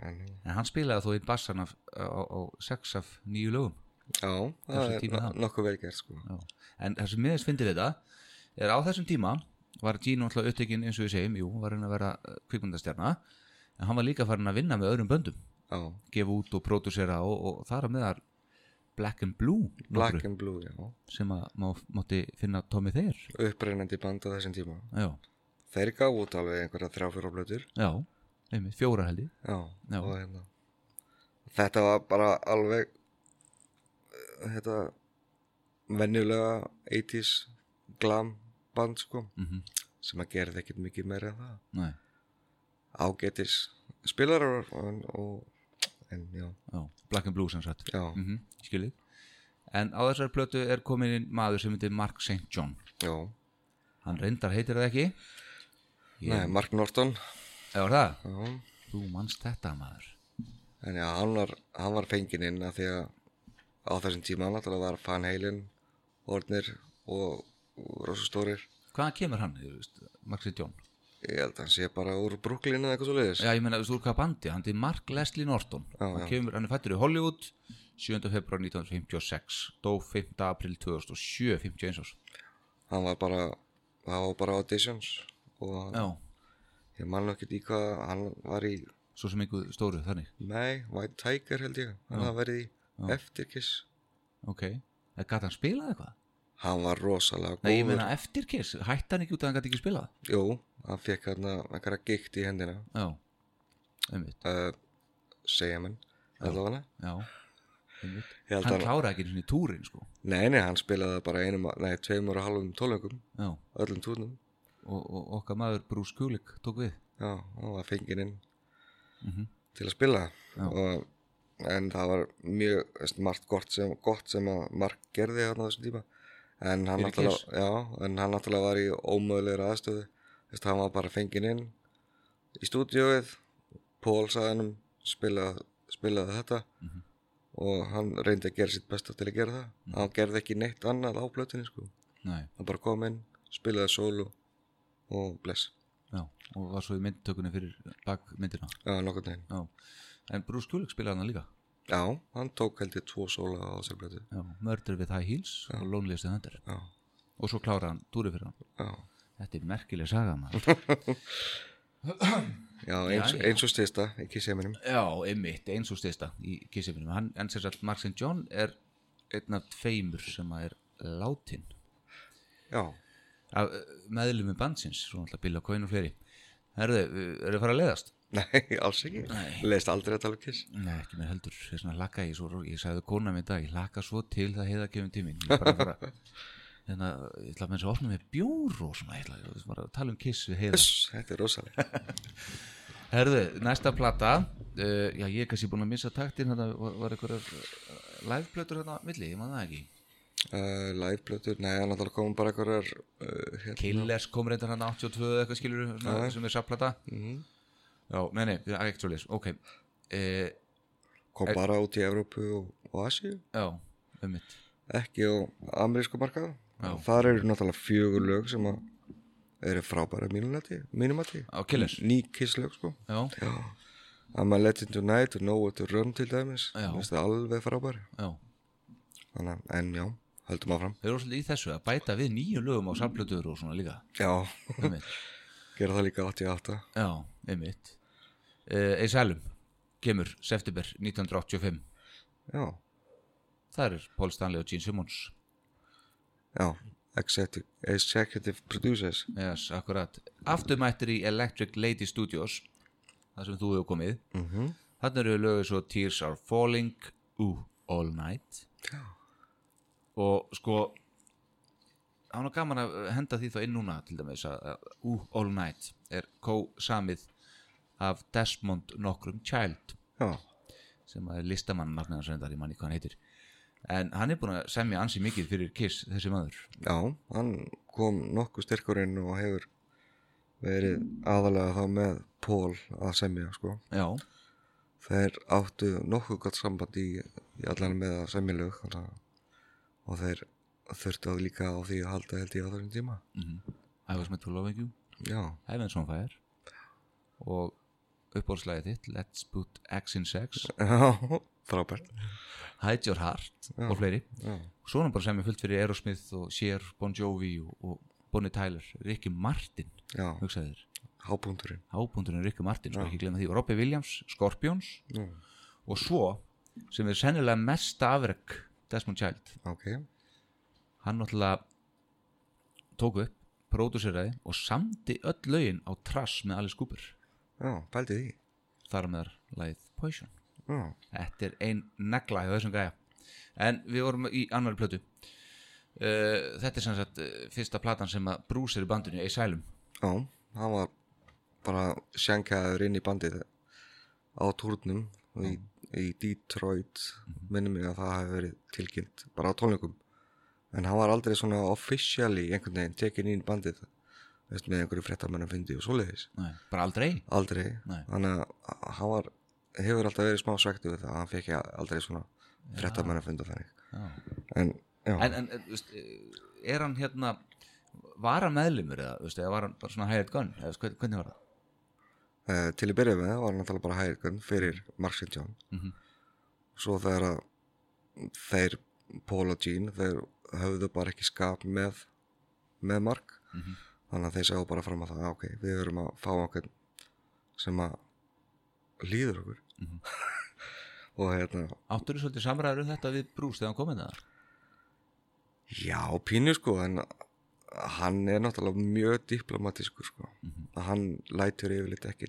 S2: en,
S1: en hann spilaði þó einn bassan af, á, á, á sex af nýju lögum
S2: já, það
S1: Þessu
S2: er
S1: tíma
S2: no-
S1: þá.
S2: nokkuð vel gert sko
S1: já. en það sem miðast fyndið þetta er á þessum tíma var Jean náttúrulega upptekinn eins og við segjum, jú, var hann að vera eh, kvikmyndastjarna en hann var líka farin að vinna með öðrum böndum
S2: já,
S1: gefa út og pródúsera og, og þar að meðar Black and Blue
S2: Black
S1: nokkru,
S2: and Blue, já
S1: sem að má, mátti finna Tommy Thayer
S2: upprennandi band á þessum tíma
S1: já,
S2: þeir gáðu út alveg einhverja þrjá fjóra blöður
S1: já, einmitt, fjórar held ég
S2: já,
S1: Já.
S2: og hérna þetta var bara alveg eh, þetta venjulega 80s glam band sko
S1: mm
S2: sem að gerði ekkert mikið meira en það
S1: Nei,
S2: ágætis spilarar en, og, en já,
S1: já, Black and Blue sem sagt
S2: já,
S1: mm skilið en á þessari plötu er komin inn maður sem heitir Mark St. John
S2: já
S1: hann reyndar heitir það ekki
S2: Nei, Mark Norton
S1: eða var það,
S2: já.
S1: þú manst þetta maður
S2: en já, hann var, hann var fenginn inn af því að á þessum tíma náttúrulega var Van Halen orðnir og, og rosa stórir
S1: hvaðan kemur hann, þú veist, Mark St. John
S2: ég held að hann sé bara úr Brooklyn eða eitthvað svo leiðis
S1: já, ég meina, þú veist, úr hvað bandi, hann heitir Mark Leslie Norton
S2: Já,
S1: hann,
S2: já.
S1: kemur, hann er fættur í Hollywood 7. februar 1956 dó 5. april 2007 51 árs,
S2: hann var bara, það var bara auditions og
S1: já,
S2: ég man nú ekkert í hvað hann var í,
S1: svo sem einhver stóru þannig,
S2: nei, White Tiger held ég hann hafði verið í eftirkiss
S1: ok eða gæti Eh, hann spilað eitthvað?
S2: hann var rosalega góður
S1: Nei, ég meina eftir kiss, hætti hann ekki út að hann gæti ekki spilað
S2: Jú, hann fekk hann einhverja gikt í hendina
S1: já, einmitt
S2: uh, segja menn allavega
S1: Já, einmitt.
S2: Ég held
S1: Hann
S2: að-
S1: kláraði ekki svona í túrin sko
S2: Nei, nei, hann spilaði það bara einum, nei, tveimur og halvum tólöngum
S1: Já,
S2: öllum túnum
S1: og, og okkar maður Bruce Kulik tók við
S2: Já, hann var fenginn inn
S1: Mhm.
S2: til að spila
S1: Já.
S2: og, En það var mjög veist, margt gott sem, gott sem að Mark gerði þarna á þessum tíma En hann
S1: Fyrir Kiss?
S2: náttúrulega, já, en hann náttúrulega var í ómöðulegra aðstöðu Þess að hann var bara fenginn inn í stúdíóið Pól sagði hann spilaði, spilaði þetta
S1: Mhm.
S2: og hann reyndi að gera sitt besta til að gera það Hann gerði ekki neitt annað á blötunni sko
S1: Nei,
S2: hann bara kom inn, spilaði solo og bless
S1: já, og var svo í myndtökunni fyrir bakmyndina
S2: já, nokkurn veginn
S1: Já, en Bruce Kulik spilaði hann líka
S2: já, hann tók held ég tvo solo á þessari blötu
S1: Já, Murder with High Heels og Lonely Stay Hunter
S2: já,
S1: Og svo kláraði hann túrin fyrir hann
S2: já,
S1: Þetta er merkileg saga maður
S2: já, eins,
S1: Já, já.
S2: eins og stista í kissheiminum
S1: Já, einmitt, eins og stista í kissefinum Hann, en sem sagt, Mark St. John er einn af tveimur sem að er látin
S2: já,
S1: af meðlum með bandsins, svo náttúrulega Bill og Coyne og fleiri Herðu, eh, eru fara að leiðast?
S2: nei, alls ekki
S1: Nei.
S2: leist aldrei að tala um kiss
S1: Nei, ekki mér heldur, þess vegna laka ég svo ég sagði kona mér í dag, ég laka svo til það heiða kemur tíminn, ég er bara að fara þannig að, ég ætla að menn svo opna með bjór og svona, ég ætla ég var að tala um kiss við heiða
S2: Uss, þetta er rosalega
S1: Herðu, næsta plata uh, já, ég er kannski búin að missa taktin þetta var, var eitthvað liveplötur þetta á milli, ég man það ekki
S2: uh, live blötu, nei, hann náttúrulega kom bara einhverjar uh, hérna.
S1: Killers kom reyndar hérna hann 82 eða eitthvað skilur svona, sem er sapplata já, nei, nei, það er ekkert svo leis, ok uh,
S2: kom bara út í Evrópu og, og Asíu
S1: já, um mitt
S2: ekki á amerísku markað þar eru náttúrulega fjögur lög sem að eru frábæra mínumati mínumati,
S1: á Killers,
S2: ný kiss lög sko
S1: já,
S2: I'm a legend tonight og know what to run til dæmis
S1: Já.
S2: Mér finnst það alveg frábær
S1: já
S2: Þannig, að- en já, höldum áfram
S1: Þeir eru svolítið í þessu að bæta við nýju lögum á samplötuður og svona líka
S2: já,
S1: einmitt.
S2: gera það líka 88
S1: Já, einmitt uh, Eis Elum kemur september 1985
S2: já,
S1: Það er Paul Stanley og Gene Simmons
S2: já executive, executive producers
S1: yes, akkurat. Afturmættir í Electric Lady Studios Það sem þú hefur komið mm -hmm. Þannig eru lögur svo Tears Are Falling Ooh, All Night
S2: já,
S1: og sko það var nú gaman að henda því þá inn núna til dæmis að að Ooh, All Night er co-samið af Desmond nokkrum Child
S2: já,
S1: sem að er listamann nafnið hans reyndar, ég manni hvað hann heitir en hann er búin að semja ansi mikið fyrir Kiss þessi maður
S2: já hann kom nokkuð styrkurinn og hefur verið aðalega þá með Pól að semja sko
S1: já,
S2: þeir áttu nokkuð gott samband í, í allan með að semja lög þannig að- og þeir þurfti að líka á því að halda held ég á þessum tíma
S1: I was meant to love you
S2: já,
S1: Heaven's on Fire og uppbóðslæðið þitt Let's Put X in Sex
S2: já, frábært
S1: Hide Your Heart og fleiri
S2: já,
S1: svona bara sem er fullt fyrir Aerosmith og Cher, Bon Jovi og, og Bonnie Tyler Ricky Martin,
S2: já,
S1: hugsaðir
S2: hábúndurinn
S1: hábúndurinn Ricky Martin, sko ekki glemma því og Robbie Williams, Scorpions
S2: Já.
S1: og svo, sem er sennilega mesta afrek Desmond Child
S2: ok,
S1: hann náttúrulega tók upp, pródúseraði og samdi öll lögin á trass með Alice Cooper,
S2: já, pældi því
S1: þar með lagið Poison.
S2: já,
S1: Þetta er ein negla hjá þessum gæja en við vorum í annari plötu uh, þetta er sem sagt uh, fyrsta platan sem að brúsir í bandinu Asylum
S2: já, hann var bara sjankaður inn í bandið á turnum í, í Detroit
S1: Mhm.
S2: minnum mig að það hafi verið tilkynnt bara á tónleikum en hann var aldrei svona officially einhvern veginn tekin inn í bandið veist, með einhverju fréttamönnum fyndi og svoleiðis
S1: Nei. bara aldrei
S2: aldrei
S1: Nei.
S2: þannig að hann var, hefur alltaf verið smá svektu við það hann fekk aldrei svona fréttamönnum funda þannig
S1: Já.
S2: en já,
S1: en, en eh, þú veist, eh, er hann hérna var hann meðlumur eða, þú veist, eða var hann bara svona hired gun eða, þú veist, hvern- hvernig var það?
S2: uh, til að byrja með var hann náttúrulega bara hægirkan fyrir Mark St. John
S1: Mhm.
S2: svo þegar að þeir Paul og Gene þeir höfðu bara ekki skap með með Mark
S1: Mhm.
S2: þannig að þeir sáu bara fram að það "Ah, ok, við verum að fá okkur sem að líður okkur
S1: Mhm.
S2: og hérna
S1: áttur þú svolítið samræður um þetta við brús þegar hann hérna? komið það?
S2: Já, pínu sko, en hann er náttúrulega mjög diplomatískur sko.
S1: Mhm.
S2: Hann lætur yfirleitt ekki,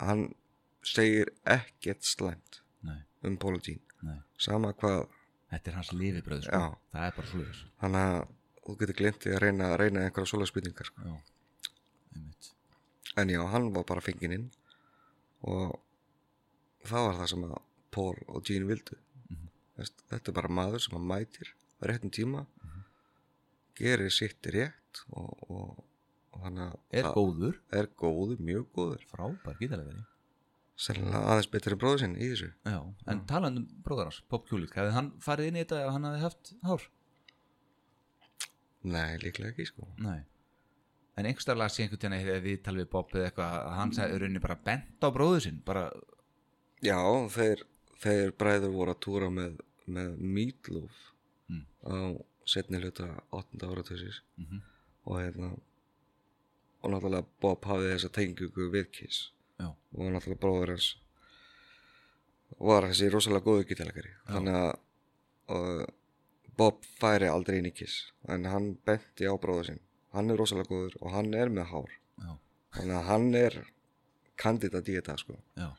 S2: hann segir ekkert slæmt
S1: Nei,
S2: um Pólitín.
S1: nei. Sko.
S2: Sama hvað,
S1: þetta er hans lifibröð sko.
S2: Já.
S1: það er bara slúðis
S2: hann að þú getur glimt í að reyna, reyna einhverja svoleiðspýtingar sko.
S1: já, einmitt
S2: En já, hann var bara fenginn inn og það var það sem að Pól og Gene vildu. Veist, Þetta er bara maður sem að mætir á réttum tíma, gerir sitt rétt og, og, og hann að...
S1: er
S2: að-
S1: góður,
S2: er góður, mjög góður
S1: frábær gítalegari
S2: sennilega aðeins betur en bróður sinn í þessu
S1: Já, en talandi um bróðar hans, Bob Kulik, hefði hann farið inn í þetta ef hann hefði haft hár?
S2: nei, líklega ekki sko
S1: Nei. En einhverstað las ég einhvern tíðan eða viðtal við Bob eða eitthvað að hann sagði rauninni bara bent á bróðu sinn, bara,
S2: já, þeir, þeir bræður voru að túra með, með Meatloaf
S1: Mm.
S2: á setni hluta 8. áratössis
S1: Mhm.
S2: og hérna og náttúrulega Bob hafði þessa tengingu við Kiss
S1: já,
S2: og náttúrulega bróður hans var þessi rosalega góðu gítalakari þannig að uh, Bob færi aldrei inn í Kiss en hann benti á bróður sinn hann er rosalega góður og hann er með hár
S1: já,
S2: þannig að hann er kandidat í þetta sko
S1: já,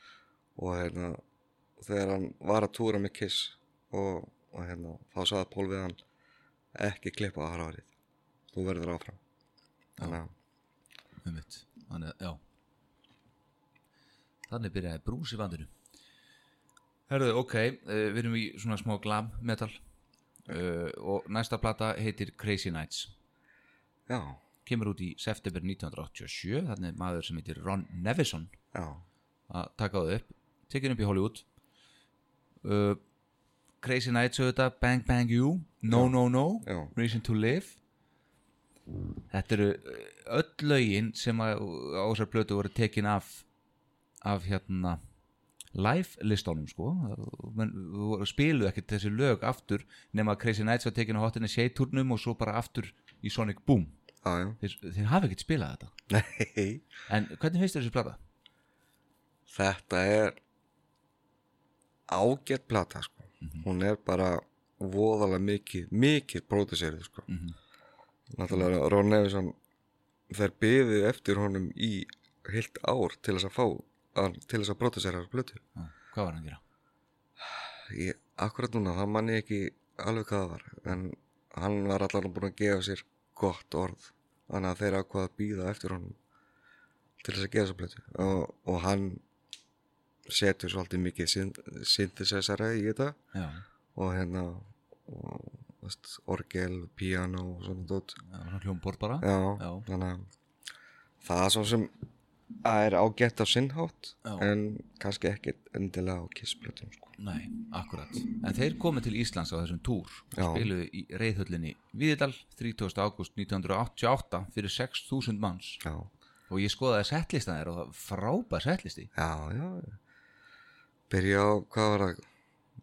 S2: og hérna þegar hann var að túra með Kiss og, og hérna þá sagði Pól við hann ekki klippa á harfarið þú verður áfram þannig að
S1: um mitt, þannig, já. Þannig byrjaði brús í vandinu. Herðu, ok, uh, við erum í svona smá glam metal uh, og næsta plata heitir Crazy Nights.
S2: já,
S1: Kemur út í september 1987, þannig maður sem heitir Ron Nevison
S2: já,
S1: að taka það upp tekin upp í Hollywood uh, Crazy Nights auðvitað Bang Bang You, No No No
S2: Já.
S1: Reason to Live þetta eru uh, öll lögin sem að á þessar plötu voru tekin af af hérna live listónum sko Men, voru, spiluðu ekkert þessi lög aftur nema að Crazy Nights var tekin á hotinni Shade-turnum og svo bara aftur í Sonic Boom
S2: já, já
S1: þeir, þeir hafa ekkert spilað þetta
S2: nei
S1: en hvernig finnst þér þessi plata?
S2: þetta er ágætt plata sko. hún er bara voðalega mikið, mikið pródusserið sko. náttúrulega Ron Nevison þær byðu eftir honum í heilt ár til þess að fá að, til þess að pródusserið blötu
S1: Já, Ah, hvað var hann að gera?
S2: ég, akkurat núna, það manni ekki alveg hvað það var en hann var allan búin að gefa sér gott orð þannig að þeir ákvaða að býða eftir honum til þess að gefa sér blötu og, og hann setur svolítið mikið syn- synthesisera í þetta
S1: Já,
S2: og hérna og, veist, orgel, piano og svona dót
S1: það var hann hljómborð bara
S2: já,
S1: Já.
S2: þannig að það er svo sem það er ágætt á sinnhátt
S1: Já.
S2: en kannski ekkit endilega á kissblötum sko.
S1: Nei, akkurat. En þeir komið til Íslands á þessum túr og
S2: Já.
S1: spiluðu í reyðhöllinni Viðdal 30. ágúst 1988 fyrir 6.000 manns
S2: já,
S1: og ég skoðaði setlistan þér og það var frábær setlisti.
S2: já, já byrja á, hvað var það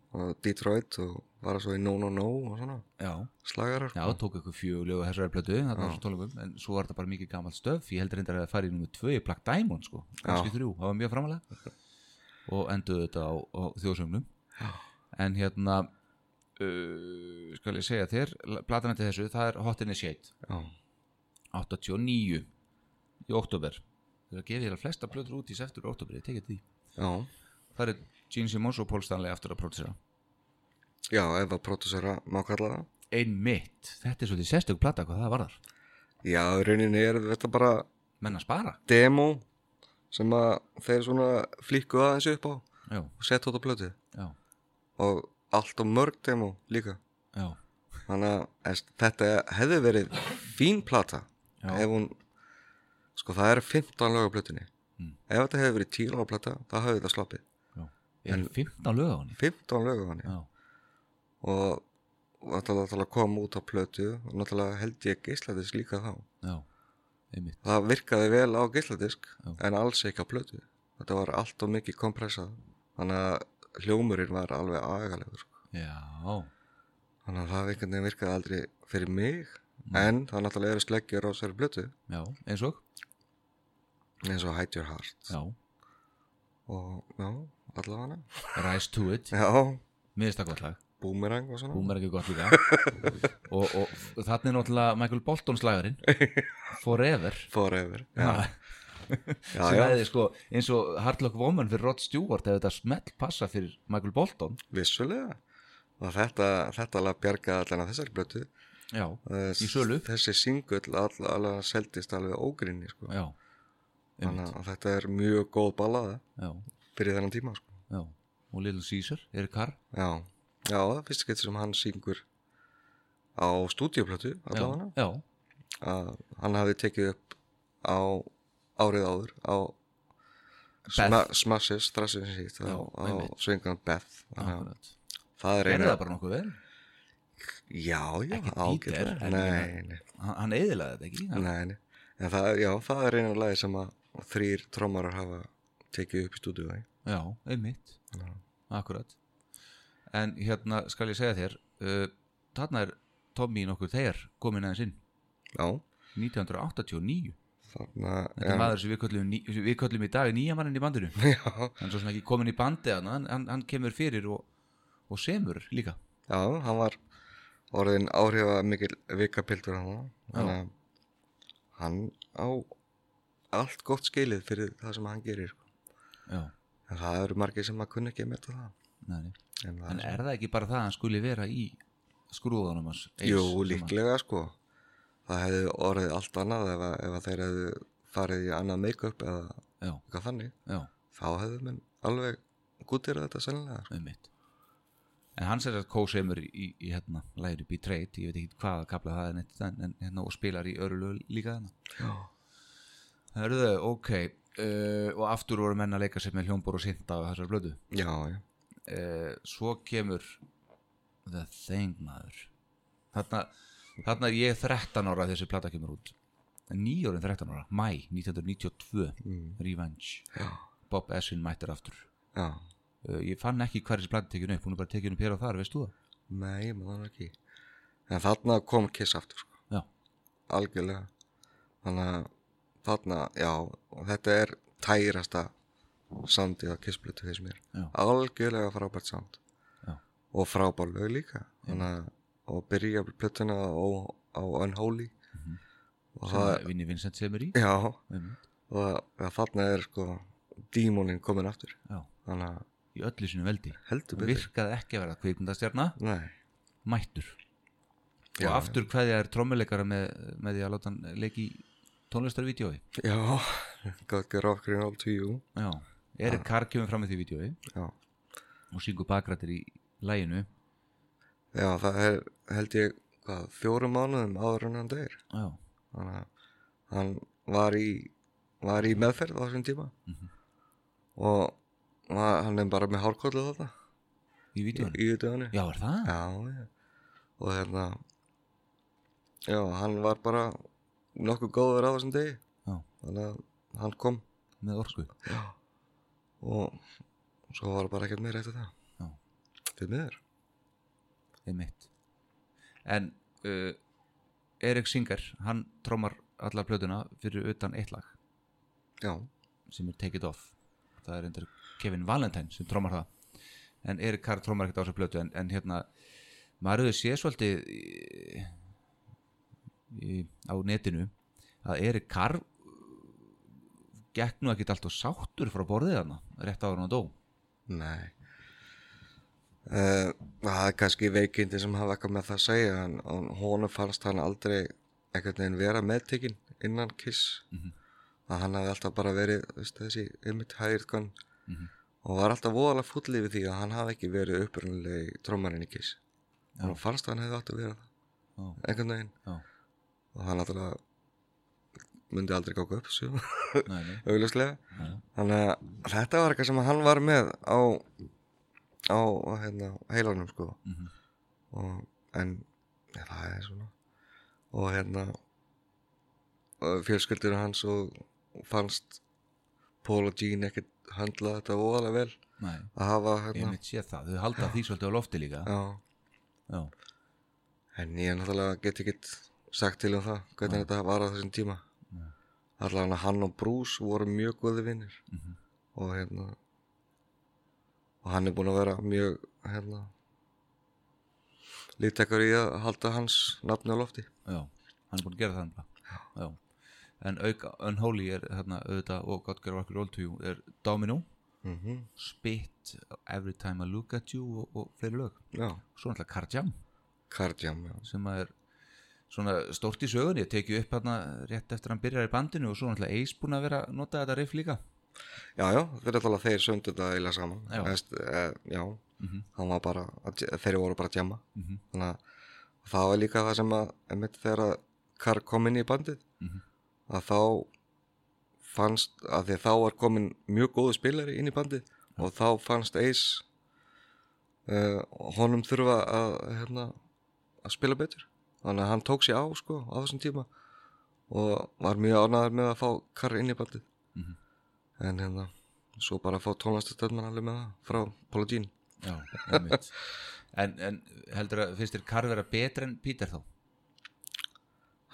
S2: á Detroit og var það svo í No No No og svona,
S1: Já.
S2: slagarar
S1: Já,
S2: sko.
S1: tók eitthvað fjögulegu og þessari plötu, þarna á
S2: Já.
S1: þessum tólingum, en svo var þetta bara mikið gamalt stöf, ég heldur reyndar að það fari í nummið tvö í Black Diamond, sko, kannski þrjú, það var mjög framalega og enduðu þetta á, á þjóðsögnum.
S2: Já.
S1: En hérna, uh, skal ég segja þér, platan eftir þessu, það er Hot in the Shade.
S2: já,
S1: 89 í oktober þegar gefið þér að flesta plötur út í septur og oktober, ég tekið því
S2: já,
S1: það er Gene Simmons og Paul Stanley aftur að prótisera
S2: já, ef að pródúsera má kalla það
S1: einmitt, þetta er svo því sérstök plata hvað það varðar,
S2: já, í rauninni er þetta bara
S1: menn að spara
S2: demo sem að þeir svona flíku aðeins upp á og
S1: já,
S2: sett út á blötu
S1: já,
S2: og allt og mörg demo líka
S1: já,
S2: þannig að veist, þetta hefði verið fín plata
S1: Já.
S2: ef hún sko það er 15 lög á blötunni
S1: Mm.
S2: ef þetta hefði verið 10 lög á plata þá hefði þetta sloppið
S1: já. er 15 lög á henni
S2: 15 lög á hann
S1: já,
S2: og og náttúrulega náttúrulega kom út á plötu og náttúrulega held ég geisladisk líka þá
S1: já, einmitt
S2: það virkaði vel á geisladisk
S1: Já.
S2: en alls ekki á plötu þetta var allt og mikið kompressað þannig að hljómurinn var alveg agalegur sko.
S1: já,
S2: þannig að það einhvern veginn virkaði aldrei fyrir mig en það náttúrulega eru sleggjur á sér plötu
S1: já, eins og
S2: eins og Hide Your Heart
S1: já,
S2: og já, allavega
S1: Rise to it
S2: já,
S1: miðurst að gott lag,
S2: Boomerang og svona
S1: hún er ekki gott líka og, og þannig er náttúrulega Michael Bolton slagurinn Forever
S2: Forever já, já,
S1: sem
S2: já,
S1: hefði sko eins og Hardlock Woman fyrir Rod Stewart hefði þetta smelt passa fyrir Michael Bolton
S2: vissulega og þetta, þetta alveg bjargaði allan að þessari blötu
S1: já,
S2: Eh,
S1: Í sölu?
S2: þessi singull alveg, alveg seldist alveg ógrinni sko.
S1: já,
S2: þannig að þetta er mjög góð ballaða
S1: já,
S2: fyrir þennan tíma sko.
S1: já og Little Caesar, Eric Carr
S2: já, já, það er fyrst getur sem hann syngur á stúdíuplötu
S1: já,
S2: allavega
S1: já,
S2: að hann hafi tekið upp á árið áður á sma, Smashes, Thrashes hitt
S1: Já,
S2: á, á
S1: einmitt.
S2: svingan Beth
S1: akkurat
S2: þannig að það er
S1: er
S2: eina
S1: það bara nokkuð vel,
S2: já, já,
S1: Ekki
S2: ágætlega.
S1: Peter, en
S2: nei, nei,
S1: hann, hann eðilaði þetta ekki hann,
S2: nei, nei. En það, já, það er eina lagi sem að þrýr trommarar hafa tekið upp í stúdíu
S1: já, einmitt,
S2: Já.
S1: akkurat en hérna skal ég segja þér uh, þarna er Tommy nokkur þegar komin aðeins inn
S2: já,
S1: 1989
S2: þannig að
S1: þetta er maður sem við köllum, ný, sem við köllum í dag nýja manninn í bandinu
S2: já,
S1: hann er svo sem ekki komin í bandi hann, hann, hann, hann kemur fyrir og, og semur líka
S2: já, hann var orðin áhrifa mikil vikapildur hann þannig að hann á allt gott skilið fyrir það sem hann gerir sko.
S1: já,
S2: en það eru margir sem að kunna ekki að metta það
S1: nei, nei.
S2: en það
S1: en er það ekki bara það að hann skuli vera í skrúðunum hans eins,
S2: Jú,
S1: sem
S2: líklega sko það hefði orðið allt annað ef, að, ef að þeir hefðu farið í annað make-up eða
S1: að- já,
S2: eitthvað þannig
S1: já,
S2: þá hefðu menn alveg gútir þetta sennilega sko.
S1: um mitt en hann sér að kósemur í, í hérna læri Betrayed, ég veit ekki hvaða kapla það er neitt, en, en hérna og spilar í örulög líka þarna Hörðu, ok uh, og aftur voru menn að leika sér með hljómbor og synda á þessar blödu
S2: Já, já,
S1: uh, svo kemur The Thing maður þarna, þarna er ég 13 ára þegar þessi plata kemur út nýjórinn 13 ára, mæ 1992
S2: Mm.
S1: Revenge,
S2: já,
S1: Bob Essin mættir aftur
S2: já
S1: uh, ég fann ekki hvað þessi plata tekinu upp hún er bara tekinu upp hér og þar, veist þú það?
S2: Nei, ég maður það ekki En þarna kom Kiss aftur sko.
S1: Já,
S2: algjörlega Þannig að þarna, já og þetta er tærasta soundið á Kiss-blötu fyrst mér
S1: Já.
S2: algjörlega frábært sound
S1: Já.
S2: og frábær lög líka þannig að og byrja plötuna á, á Unholy og
S1: Mhm. sem
S2: það,
S1: að Vinnie Vincent semur í
S2: já
S1: Einmitt.
S2: og ja, þarna er sko dímonin komin aftur
S1: Já,
S2: þannig að
S1: í öllu sinu veldi
S2: heldur
S1: Hún
S2: betur
S1: virkaði ekki að vera kvikmyndastjarna
S2: Nei,
S1: mættur og
S2: Já.
S1: aftur hvað er trommuleikara með, með því að láta hann leiki í tónlistarvídeói
S2: já God get off green all to you
S1: Já, Erik Carr kemur fram með því vídeói
S2: já,
S1: og syngur bakrættir í læginu
S2: já það er held ég hvað, fjórum mánuðum áður en hann deyr
S1: já,
S2: þannig að hann var í var í meðferð á þessum tíma
S1: Mhm.
S2: og var, hann er bara með hárkollu þarna
S1: í vídjónu?
S2: í viðdöðunni
S1: Já, er það?
S2: Já, já. og hérna já, hann var bara nokkuð góður á þessum degi
S1: Já.
S2: þannig að hann kom
S1: Með orku?
S2: já. og svo var bara ekkert meira eftir það
S1: Já.
S2: fyrir miður
S1: einmitt en uh, Erik Singer, hann trómar allar plötuna fyrir utan eitt lag
S2: já,
S1: sem er Take It Off það er endur Kevin Valentine sem trómar það en Erik Carr trómar ekkert á þessa plötu en, en hérna, maður hefur séð svolítið í, í, á netinu að Erik Carr uh, gekk nú ekkert allt og sáttur frá borðið hana, rétt áður en hann dó
S2: nei Eh, það er kannski veikindi sem hafa eitthvað með það að segja en, en honum fannst hann aldrei einhvern veginn vera meðtekinn innan kiss
S1: Mhm.
S2: að hann hafði alltaf bara verið þú veist, þessi einmitt hægirkan
S1: mm
S2: og var alltaf voðalega fúll yfir því að hann hafði ekki verið upprunalegi trómarinn í kiss
S1: Já.
S2: og fannst að hann hefði átt að vera það
S1: -hmm.
S2: einhvern veginn
S1: Já.
S2: og hann náttúrulega myndi aldrei gáka upp svo
S1: Nei, nei,
S2: augljóslega
S1: nei, nei.
S2: þannig að þetta var eitthvað sem hann var með á á hérna, heilanum sko
S1: Mhm.
S2: og, en ja, það er svona og hérna og fjölskyldur hans og fannst Paul og Gene ekkert höndla þetta voðalega vel
S1: nei.
S2: að hafa hérna
S1: einmitt séð það, þau halda því svolítið á lofti líka
S2: já,
S1: Já.
S2: En ég náttúrulega get ekki sagt til um það, hvernig þetta var á þessum tíma.
S1: Nei.
S2: Allan að hann og Bruce voru mjög góði vinnir
S1: Mhm.
S2: og hérna og hann er búin að vera mjög hérna lítekur í að halda hans nafni á lofti.
S1: Já, hann er búin að gera það nefnilega. Já. En auk Unholy er þarna auðvitað og God Gave Roll to You er Domino,
S2: Mm
S1: Mhm. Spit, Every Time I Look at You og, og fleiri lög.
S2: Já,
S1: Svo náttúrulega Karjam
S2: Kardjam, já.
S1: sem að er svona stórt í sögunni, tekið upp hérna rétt eftir að hann byrjar í bandinu og svo náttúrulega Ace búin að vera að nota þetta riff líka.
S2: Já, já, þetta er náttúrulega þeir söndu þetta eila saman.
S1: Já.
S2: Veist, eh, já,
S1: Mm
S2: hann var bara, að, þeir voru bara að djama.
S1: Mhm.
S2: þannig að það var líka það sem að einmitt þegar að Karl kom inn í bandið
S1: Mhm.
S2: að þá fannst að því að þá var komin mjög góðu spilari inn í bandið og þá fannst Ace uh, honum þurfa að hérna, að spila betur þannig að hann tók sér á sko á þessum tíma og var mjög ánæður með að fá Karl inn í bandið
S1: Mhm.
S2: en hérna svo bara að fá tónlastastöðman alveg með það frá Paula Jean
S1: Já, einmitt. en, en heldur að finnst þér Karl vera betra en Peter þá?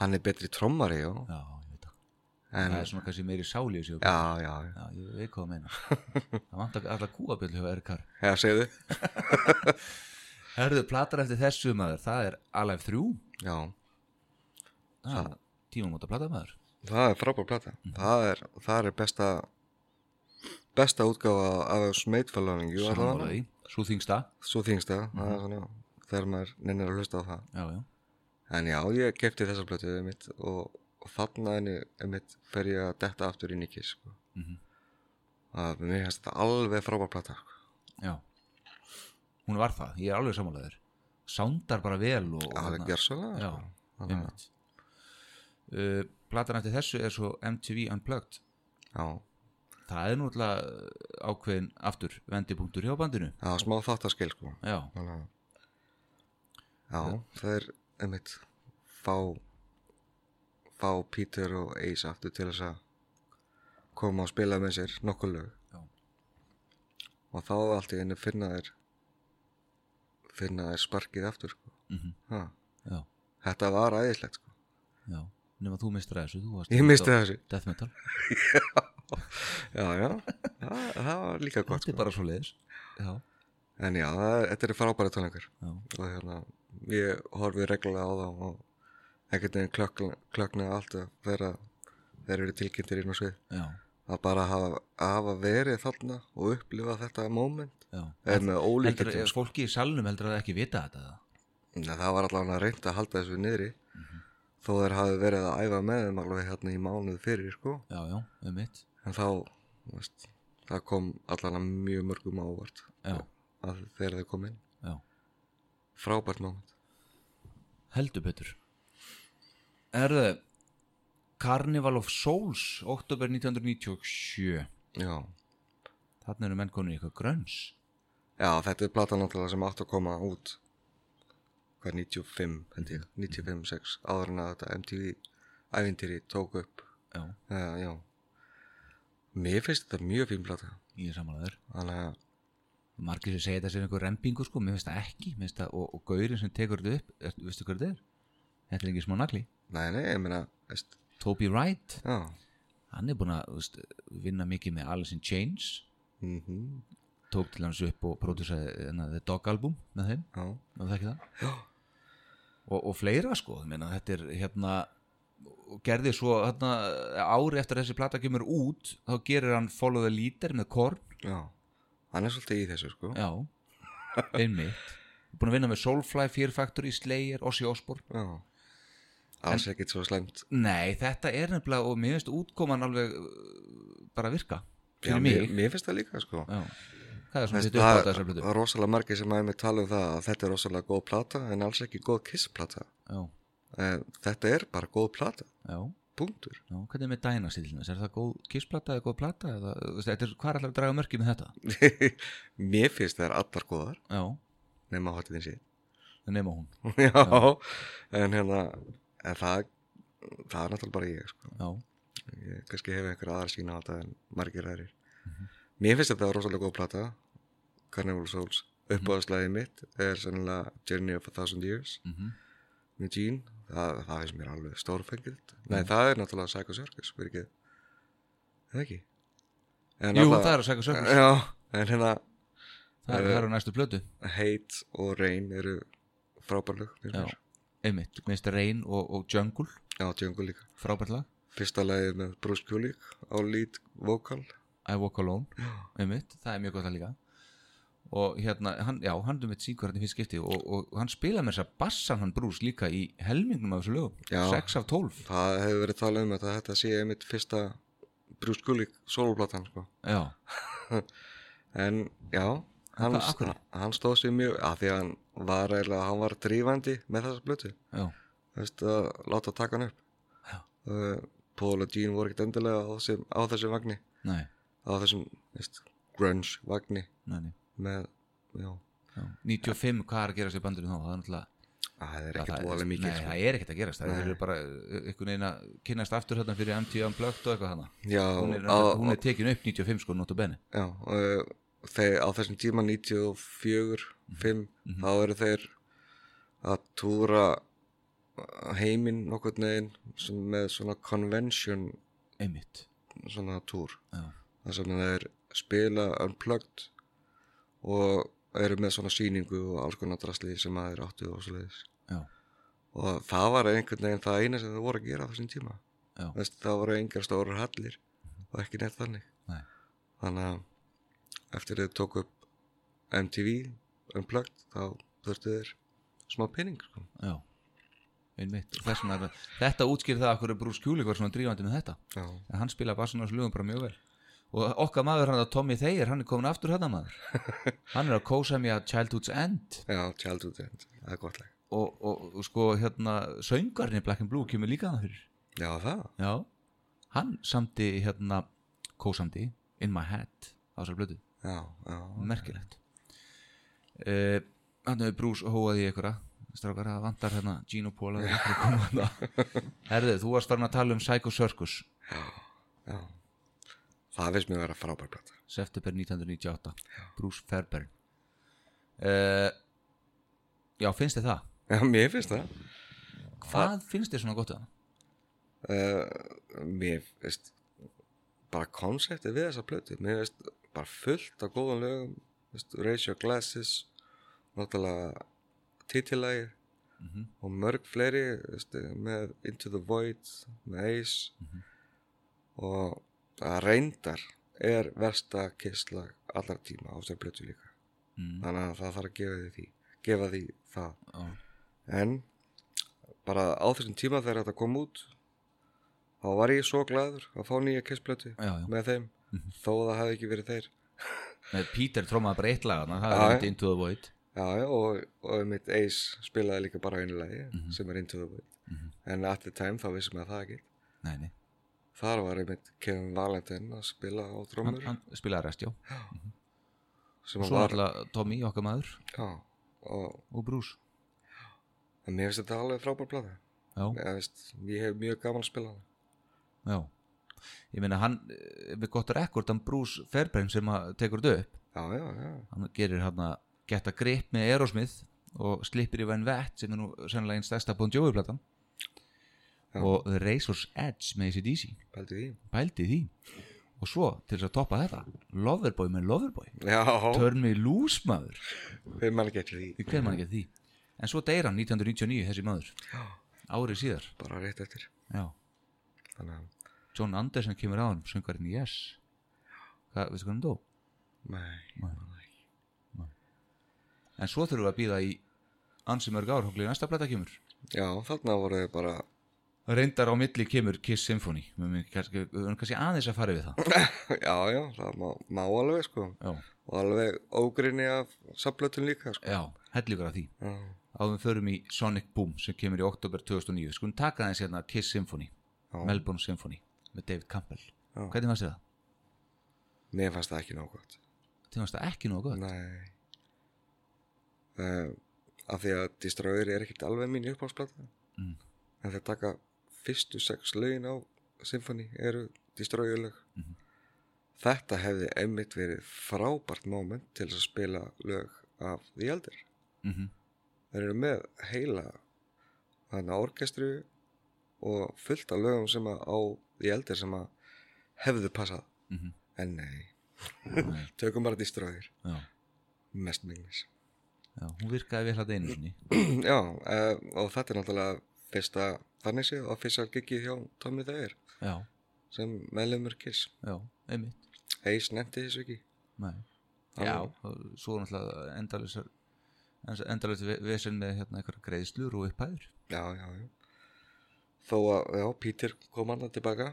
S2: hann er betri trommari, já
S1: Já, ég veit það.
S2: en,
S1: Það er svona kannski meiri sáli í sig.
S2: já, já, já
S1: Já, ég veit hvað að meina. Það vant að alla kúabjöld hjá RKR.
S2: Já, segðu.
S1: Herðu, platar eftir þessu maður, það er Alive 3,
S2: Já,
S1: það er tímamóta plata maður.
S2: það er frábær plata.
S1: Mhm.
S2: Það er, það er besta, besta útgáfa af smeitfælöningu.
S1: Sammála því, Mhm. svo þingsta.
S2: Svo þýngst það, það er svona, þegar maður nennir að hlusta á það.
S1: Já, já,
S2: En já, ég kefti þessa plötu mitt og, og þarna henni mitt fer ég að detta aftur í Nikki, sko.
S1: Mhm.
S2: Að mér finnst þetta alveg frábær plata. sko.
S1: já. Hún var það, ég er alveg sammálaður. Sándar bara vel og... og
S2: Það er
S1: þarna-
S2: gjörsalega,
S1: Já,
S2: sko. Þannig að-
S1: einmitt. Uh, platan eftir þessu er svo MTV Unplugged.
S2: Já,
S1: Það er náttúrulega ákveðin aftur vendipunktur hjá bandinu.
S2: það var smá þáttaskil, sko.
S1: Já,
S2: Þannig að Já, það er einmitt fá fá Peter og Ace aftur til þess að koma og spila með sér nokkur lög
S1: Já.
S2: og þá allt í einu finna þær finna þær sparkið aftur sko.
S1: Mhm.
S2: ha,
S1: já,
S2: þetta var æðislegt sko.
S1: já. Nefn þú mistir þessu, þú varst...
S2: ég misti þessu
S1: Death Metal.
S2: já, já, það, það var líka gott
S1: Þetta er
S2: sko.
S1: bara svo leiðis. Já,
S2: en já, það, er- þetta eru frábæra tónleikar
S1: já,
S2: og hérna ég horfi reglulega á þá og ekkert neginn klökna, klökna alltaf þegar þeir eru tilkynntir inn á svið
S1: já,
S2: að bara hafa, hafa verið þarna og upplifa þetta moment
S1: já.
S2: er með
S1: Heldur,
S2: ólíkjöndum
S1: er
S2: sko.
S1: fólki í salnum heldur að það ekki vita þetta eða?
S2: Nei, það var allavega reynd að halda þessu niðri
S1: Mhm.
S2: þó þeir hafi verið að æfa með þeim alveg hérna í mánuð fyrir sko
S1: Já, já, um mitt
S2: en þá þú veist, það kom allavega mjög mörgum á óvart
S1: Já,
S2: að þegar þau kom inn
S1: já,
S2: frábært moment
S1: heldur betur Erðu Carnival of Souls oktober 1997
S2: já.
S1: þarna eru menn konur í eitthvað grönns
S2: já, þetta er platan náttúrulega sem átt að koma út hvað 95 held ég, 95, 6 áður en að þetta MTV ævindýri tók upp
S1: já,
S2: uh, já mér finnst þetta mjög fín plata
S1: ég er samanlegaður
S2: þannig að
S1: margir sem segja þetta sem einhver rempingu sko, mér finnst það ekki mér finnst það, og, og gaurin sem tekur þetta upp er, veistu hvað þetta er? þetta er engin smá nagli
S2: Nei, nei, ég meina, veist,
S1: Toby Wright,
S2: já,
S1: hann er búin að þú veist, vinna mikið með Alice in Chains
S2: mhm,
S1: tók til hans upp og prodúsaði hérna, The Dog Album með þeim,
S2: já,
S1: ef það ekki það
S2: já,
S1: og, og fleira sko, ég meina, þetta er hérna og gerði svo hérna, ári eftir að þessi plata kemur út þá gerir hann Follow the Leader með Korn
S2: já, hann er svolítið í þessu, sko, já,
S1: já, einmitt búin að vinna með Soulfly, Fear Factory, Slayer Ozzy Osbourne
S2: alls ekkert svo slemt.
S1: nei, þetta er nefnilega og mér finnst útkoman alveg uh, bara virka
S2: Já,
S1: fyrir mig
S2: Mér, mér finnst það líka, sko.
S1: Já. hvað er svona
S2: Veist,
S1: þitt upp á
S2: það
S1: þessar plötu
S2: það er rosalega margir sem aðeins tala um það að þetta er rosalega góð plata en alls ekki góð kissplata.
S1: já,
S2: Eh, Þetta er bara góð plata,
S1: já,
S2: punktur.
S1: já, hvernig er með Dynasty til þess, er það góð kissplata eða góð plata eða, þú veist, þetta er, hvað er allar að draga mörki með þetta
S2: mér finnst það er allar góðar,
S1: já,
S2: nema hotið síðan.
S1: nema hún
S2: já, en hérna, en það, það er náttúrulega bara ég, sko.
S1: já,
S2: ég kannski hef einhverja aðra sína á þetta en margir aðrir
S1: Mhm.
S2: mér finnst þetta rosalega góð plata Carnival of Souls
S1: Mhm.
S2: uppáðslæðið mitt er sennilega Journey of a Thousand Years
S1: mhm
S2: með Gene, það, það finnst mér alveg stórfengild nei
S1: Mhm.
S2: það er náttúrulega Psycho Circus fyrir ekki það ekki en
S1: Jú,
S2: alla-
S1: það er að segja sögur
S2: já, en hérna
S1: Það er- það
S2: eh,
S1: eru næstu plötu
S2: Hate og Rain eru frábærlög finnst
S1: Já.
S2: mér.
S1: Einmitt, minnst Rain og, og Jungle
S2: já, Django líka
S1: Frábært lag
S2: fyrsta lagið með Bruce Kulik á lead vocal
S1: I Walk Alone Einmitt, það er mjög gott að líka Og hérna, hann, já, hann er mitt syngur hérna í fyrst skipti og, og hann spila með þess að bassan hann brús líka í helmingnum af þessu lögum
S2: Já.
S1: 6 af 12
S2: Það hefur verið talað um þetta, þetta sé einmitt fyrsta Bruce Kulik soloplatan sko.
S1: Já,
S2: En já, hann,
S1: En hvað, af hverju?
S2: hann stóð sér mjög, að því að hann var eiginlega, hann var drífandi með þessa blötu
S1: já,
S2: Þú veist, að láta taka hann upp
S1: Já.
S2: uh, Paul og Gene voru ekkert endilega á þessum, á þessum vagni
S1: nei,
S2: á þessum þú veist, grunge vagni
S1: nei, nei
S2: með, já,
S1: já. 95, hvað er að gerast í bandinu þá? Það er náttúrulega
S2: að það er
S1: Já,
S2: ekkert
S1: það-
S2: voðalega mikið
S1: Nei,
S2: sko.
S1: það er ekkert að gerast Það
S2: Nei.
S1: eru bara uh, einhvern veginn að kynnast aftur hérna fyrir MTV Unplugged og eitthvað hana
S2: Já,
S1: Hún er,
S2: á-
S1: hún er tekin upp 95 sko, notabene
S2: Já, uh, þeir, á þessum tíma 94,
S1: Mhm,
S2: 5 þá eru þeir að túra heiminn nokkurn veginn sem með svona convention
S1: Einmitt,
S2: svona túr
S1: já
S2: þar sem þeir spila unplugged og eru með svona sýningu og alls konar drasli sem að þeir áttu og svoleiðis
S1: Já,
S2: og það var einhvern veginn það eina sem þeir voru að gera á þessum tíma
S1: Já.
S2: Þess, það voru engar stórar hallir og ekki neitt þannig
S1: Nei.
S2: þannig að eftir þeir tók upp MTV Unplugged þá þurftu þeir smá pening sko.
S1: já einmitt, Og þess vegna er þetta útskýr það okkur Bruce Kulik var svona drífandi með þetta
S2: já,
S1: en hann spila bara svona slugum bara mjög vel og okkar maður hann að Tommy Thayer hann er komin aftur hérna maður hann er að kósa mér að Childhood's End
S2: já Childhood End, það er gott lag
S1: og, og, og sko hérna söngarni Black and Blue kemur líka hann fyrir
S2: já það,
S1: já, hann samti hérna kósamdi In My Head á þessar blötu,
S2: já, já
S1: merkilegt uh, hann hefur Bruce hóaði í einhverja strákar að vantar hérna Gino Póla herðu, þú varst farin að tala um Psycho Circus
S2: já það veist mér að vera frábær plata
S1: september 1998 Bruce Fairbairn uh, Já, finnst þið það?
S2: já, mér finnst það
S1: Hvað finnst þið svona gott að það?
S2: uh, mér veist bara konseptið við þessa plötu mér veist bara fullt af góðan lögum veist, Raise Your Glasses náttúrulega titilægir
S1: Mhm.
S2: og mörg fleiri veist, með Into the Void með Ace og að reyndar er versta kissla allra tíma á þessar plötu líka
S1: Mm,
S2: þannig að það þarf að gefa því, því gefa því það
S1: já,
S2: en bara á þessum tíma þegar þetta kom út þá var ég svo gladur að fá nýja kissplötu
S1: já, já. Mhm.
S2: með þeim þó að það hafi ekki verið þeir
S1: Nei, Peter trómaði bara eitt lag þarna, það
S2: Já,
S1: er
S2: já.
S1: þetta Into the Void
S2: já, já, og, og mitt
S1: Mhm.
S2: Ace spilaði líka bara einu lagi sem er Into the Void en at the time þá vissum við að það ekki
S1: nei, nei.
S2: Þar var einmitt Kevin Valentine að spila á
S1: Hann,
S2: trómur
S1: hann spilaði rest, já.
S2: sem hann
S1: Svo
S2: var,
S1: alltaf Tommy, okkar maður
S2: já, og
S1: og Bruce.
S2: en mér finnst þetta alveg frábær plata.
S1: Já,
S2: Ég, veist, ég hef mjög gaman að spila hana.
S1: já. Ég meina, hann, eh, við gott rekord, hann Bruce Fairbairn sem að tekur þetta upp.
S2: Já, já, já,
S1: Hann gerir hann að geta grip með Aerosmith og slipper í Van Vett sem er nú sennilega einn stærsta Bon Jovi-platan.
S2: Já.
S1: Og The Razor's Edge með ACDC.
S2: pældu því.
S1: Pældi því. Og svo, til þess að toppa þetta, Loverboy með Loverboy.
S2: Já,
S1: Turn me loose, maður.
S2: við mann getur því.
S1: Því hver mann ekki að því En svo deyr hann 1999 þessi maður
S2: Já,
S1: Árið síðar
S2: bara rétt eftir.
S1: Já.
S2: Þannig að,
S1: John Anderson kemur á hann Söngarinn í Yes Hvað, veistu hvað hann dó?
S2: nei,
S1: En svo þurfum við að býða í ansi mörg ár Hóklið næsta plata kemur
S2: já, þarna voru þau bara,
S1: Reyndar á milli kemur Kiss Symphony Við erum kannski, við erum kannski aðeins að fara við það
S2: já, já, það má, má alveg, sko.
S1: Já,
S2: Og alveg ógrinni af sablötun líka, sko.
S1: já hellugur af því
S2: Já,
S1: Áðum förum í Sonic Boom sem kemur í oktober 2009 Skulum taka aðeins hérna Kiss Symphony
S2: Já.
S1: Melbourne Symphony með David Campbell
S2: Já.
S1: Hvernig fannst þér það?
S2: mér fannst það ekki nóg gott.
S1: Þið fannst það ekki nógu gott?
S2: Nei. Uh, af því að Destroyer er ekkert alveg mín uppáðsplata.
S1: Mm.
S2: En þeir taka fyrstu sex lögin á symfóni eru Destroyer lög.
S1: Mhm.
S2: Þetta hefði einmitt verið frábært moment til þess að spila lög af The Elder.
S1: Mm -hmm.
S2: Þeir eru með heila þannig orkestru og fullt af lögum sem að á The Elder sem að hefðu passað.
S1: Mhm.
S2: En nei,
S1: Nei.
S2: tökum bara Destroyer,
S1: Já
S2: mest minglis.
S1: Já, hún virkaði vel hægt einu sinni
S2: Já, uh, og þetta er náttúrulega fyrsta, þannig séð, og fyrsta gigið hjá Tommy Thayer
S1: Já,
S2: sem meðlumur Kiss.
S1: já, einmitt
S2: Eis nefndi þessu ekki.
S1: Nei.
S2: Já.
S1: og Svo náttúrulega endalisar endalist vesen með hérna einhverja greiðslur og upphæður
S2: Já, já, já. Þó að, já, Peter kom hann tilbaka,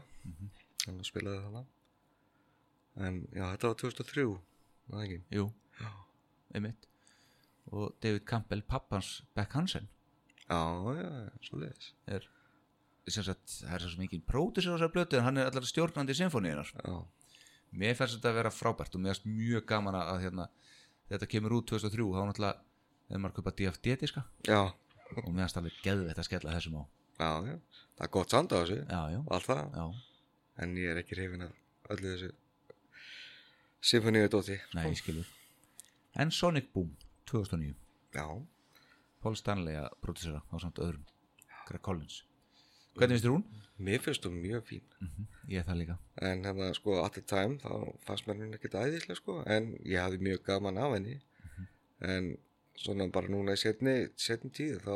S2: hann spilaði þarna. En já, þetta var 2003, var það ekki?
S1: Jú,
S2: Já.
S1: einmitt og David Campbell, pappans Beck Hansen
S2: Já, já, svo leiðis.
S1: er sem sagt, það er svo sem engin pródusir á þessar blötu en hann er allar stjórnandi sinfoníunar
S2: Já,
S1: Mér fannst þetta að vera frábært og mér fannst mjög gaman að hérna, þetta kemur út 2003 þá náttúrulega þegar maður kaupa DFD-diska
S2: já,
S1: og mér fannst alveg geðveitt að skella þessum á
S2: já, já. Það er gott sand á þessu,
S1: Já, já,
S2: og allt það.
S1: já
S2: En ég er ekki hrifin af öllu þessu symfóníu dóti.
S1: Nei, ég skilur En Sonic Boom 2009
S2: Já.
S1: Paul Stanley að pródusera á samt öðrum Greg Collins Hvernig finnst þér hún?
S2: Mér finnst hún mjög fín
S1: Ég er það líka
S2: en hérna sko at the time þá fannst mér hún ekkert æðislega sko en ég hafði mjög gaman af henni
S1: Mhm.
S2: en svona bara núna í setni, setni tíð þá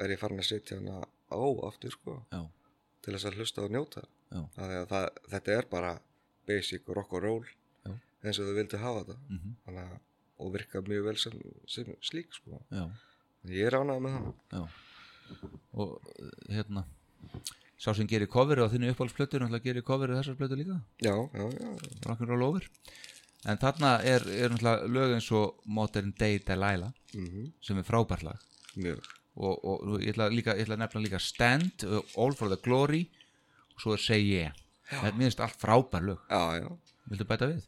S2: er ég farin að setja hana á aftur sko
S1: Já,
S2: til þess að hlusta og njóta
S1: Já.
S2: Af því að það, þetta er bara basic rock og roll
S1: Já.
S2: eins og þau vildu hafa þetta
S1: mm
S2: Þannig, að- og virka mjög vel sem, sem slík sko
S1: já,
S2: ég er ánægð með hana
S1: já Og uh, hérna Sá sem gerir coverið á þinni uppáhaldsplötu Náttúrulega gerir coverið á þessar plötu líka
S2: já, já, já,
S1: Rock'n'Roll over En þarna er, er náttúrulega lög eins og Modern Day Delilah
S2: mm
S1: sem er frábært lag
S2: mjög
S1: og, og nú ég ætla, líka, ég ætla að nefna líka Stand, uh, All for the Glory og svo er Say Yeah Þetta er minnst allt frábær lög
S2: já, já
S1: Viltu bæta við?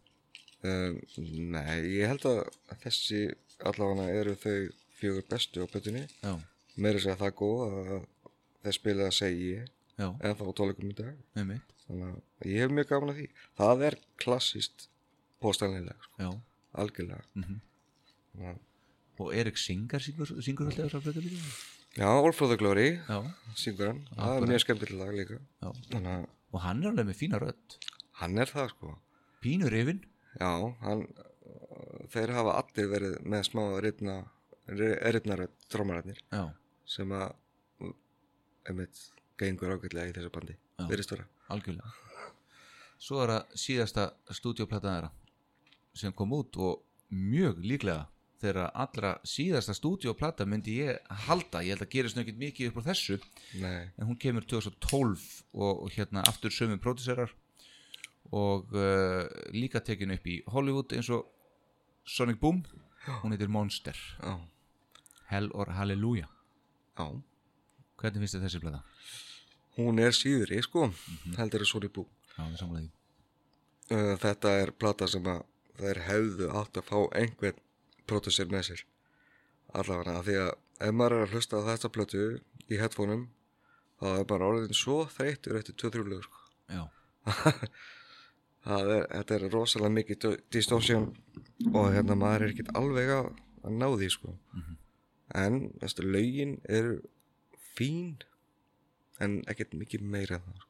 S2: Um, nei, ég held að þessi allavega eru þau fjögur bestu á plötunni.
S1: Já,
S2: Mér er að segja það góð að þeir spila að segja ég,
S1: já,
S2: eða þá tólikum í dag.
S1: með mitt
S2: Þannig að ég hef mjög gaman að því. Það er klassist póstælinlega, sko,
S1: já.
S2: algjörlega. Mm
S1: Mhm. Og Erik Singer syngur, syngur alltaf þessar flötu líka
S2: Já, All for the Glory,
S1: já,
S2: syngur hann. Það er mjög skemmtilega lag líka.
S1: já.
S2: Þannig að
S1: Og hann er alveg með fína rödd
S2: hann er það, sko.
S1: Pínur yfinn
S2: Já, hann, þeir hafa allir verið með smá ripna, ripnaröð trómarætnir.
S1: Já,
S2: sem að mm, einmitt gengur ágætlega í þessu bandi
S1: Já.
S2: verðist vera
S1: algjörlega Svo er það síðasta stúdíóplata þeirra sem kom út og mjög líklega þegar allra síðasta stúdíóplata myndi ég halda, ég held að gerist nöggit mikið upp á þessu
S2: Nei,
S1: en hún kemur 2012 og, og hérna aftur sömu pródúserar og uh, líka tekin upp í Hollywood eins og Sonic Boom hún heitir Monster,
S2: já,
S1: Hell or Hallelujah
S2: já
S1: hvernig finnst þér þessi blöða?
S2: hún er síðri sko
S1: Mhm.
S2: heldur er Sony Boo
S1: Já, við samlega því.
S2: uh, þetta er plata sem að þær hefðu átt að fá einhvern pródusir með sér allavega af því að ef maður er að hlusta á þetta plötu í headphoneum þá er maður orðin svo þreytur eftir 2-3 lögur sko.
S1: Já,
S2: Það er, þetta er rosalega mikið dö- distortion og hérna maður er ekkert alveg að, að ná því sko en þessi lögin eru fín en ekkert mikið meira en það sko.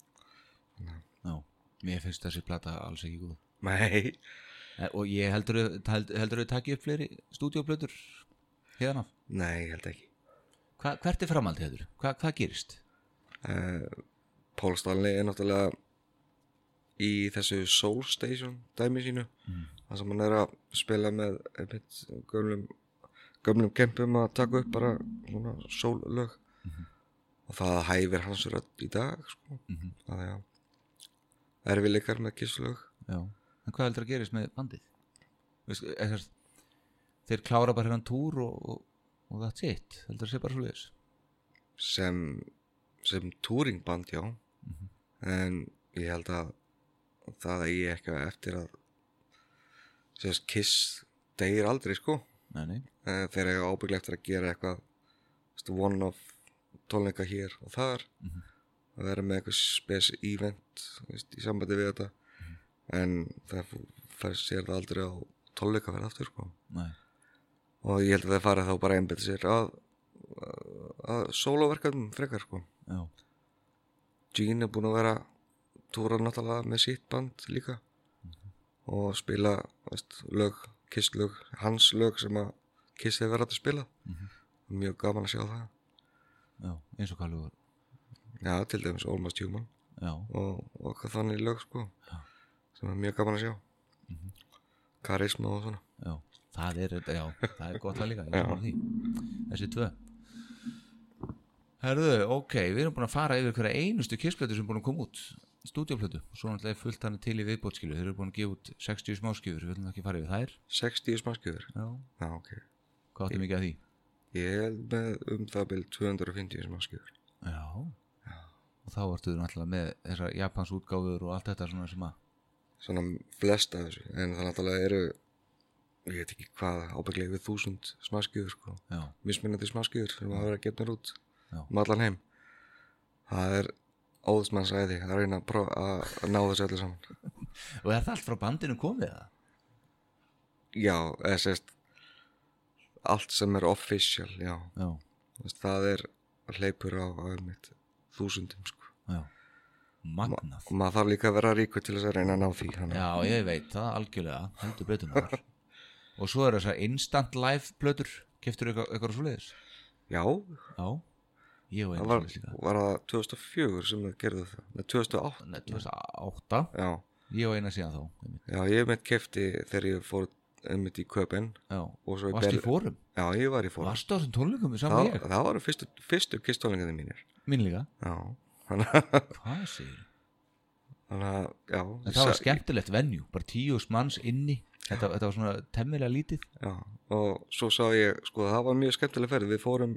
S1: já. Mér finnst þessi plata alls ekki góð.
S2: nei,
S1: Eh, Og ég heldur held, heldur þau takki upp fleiri stúdíoplötur hérna.
S2: nei, ég held ekki
S1: Hva, hvert er framhald hefur? Hva, hvað gerist?
S2: uh, Paul Stanley er náttúrulega í þessu Soul Station dæmi sínu þar sem hann er að spila með einmitt, gömlum, gömlum kempum að taka upp bara svona soul lög og það hæfir hans rödd í dag sko. mm -hmm. það er erfileikar með kisslög
S1: Já. En hvað heldur að gerist með bandið? Veist, ekkert, þeir klára bara hérna túr og, og, og that's it. Heldur að sé bara svo leiðis.
S2: sem sem túringband já en ég held að það eigi eitthvað eftir að sérst kiss deyir aldrei sko
S1: Nei, nei.
S2: Eh, þeir eru ábygglega eftir að gera eitthvað stu, one of tónleika hér og þar að vera með eitthvað spes event veist, í sambandi við þetta en það f- fær sér það aldrei á tónleika verið aftur sko.
S1: Nei.
S2: og ég held að það fara þá bara einbætt sér að, að sóloverkefnum frekar sko.
S1: Já.
S2: Gene er búin að vera túra náttúrulega með sitt band líka og spila veist, lög, Kiss lög hans lög sem að Kiss hefur verið að spila mjög gaman að sjá það
S1: Já. Eins og hvað lögur.
S2: já, til dæmis Almost Human
S1: Já.
S2: og, og hvað þannig lög sko
S1: Já.
S2: sem er mjög gaman að sjá karisma og svona
S1: Já. Það er, já, það er gott að líka. Ég er
S2: Já.
S1: sammála því. Þessi tvö. Herðu, ok, við erum búin að fara yfir hverja einustu kissplötu sem er búin að koma út. Stúdíoplötu. Svo náttúrulega er fullt hann til í viðbótskilu. Þeir eru búin að gefa út 60 smáskjöfur. Við viljum ekki fara yfir þær.
S2: 60 smaskjöfur
S1: Já.
S2: já, ok
S1: Hvað áttu mikið að því?
S2: ég held með um það byrð 250 smaskjöfur
S1: Já. Og þá ertu náttúrulega með þessar Japans útgáfur og allt þetta svona sem að
S2: svona flest af þessu en það náttúrulega eru ég veit ekki hvað, ábygglega yfir þúsund smaskjöfur sko
S1: Já,
S2: mismunandi smáskýður sem hafa verið að gefna út
S1: Já.
S2: um allan heim það er óðsmannsæði að reyna að, prófa að að ná þessu öllu saman
S1: og er það allt frá bandinu komið það?
S2: já, eða sérst allt sem er official, já
S1: Já,
S2: Þess, það er hleypur á, á mitt þúsundum sko
S1: já Magnað
S2: og maður þarf líka að vera ríkur til þess að reyna að ná því þannig
S1: Já, ég veit það algjörlega, heldur betur maður Og svo er þessar instant live plötur Keftur eitthvað, eitthvað svoleiðis?
S2: já,
S1: Já, ég veit
S2: það var, var það 2004 sem þau gerðu það Nei, 2008,
S1: Nei, 2008,
S2: já
S1: ég og eina síðan þá einmitt.
S2: já, ég mitt kefti þegar ég fór einmitt í Köpen
S1: Já,
S2: og svo í
S1: varstu í
S2: Berlín
S1: fórum?
S2: já, ég var í fórum
S1: Varstu á þessum tónleikum við saman
S2: það,
S1: ég?
S2: það voru fyrstu, fyrstu kistólingarnir mínir
S1: Mín líka,
S2: já þannig að-
S1: hvað segir
S2: þannig að já,
S1: En það var
S2: sa-
S1: skemmtilegt venjú, bara tíus manns inni Þetta, þetta var svona temmilega lítið
S2: já, og svo sá ég sko það var mjög skemmtileg ferð við fórum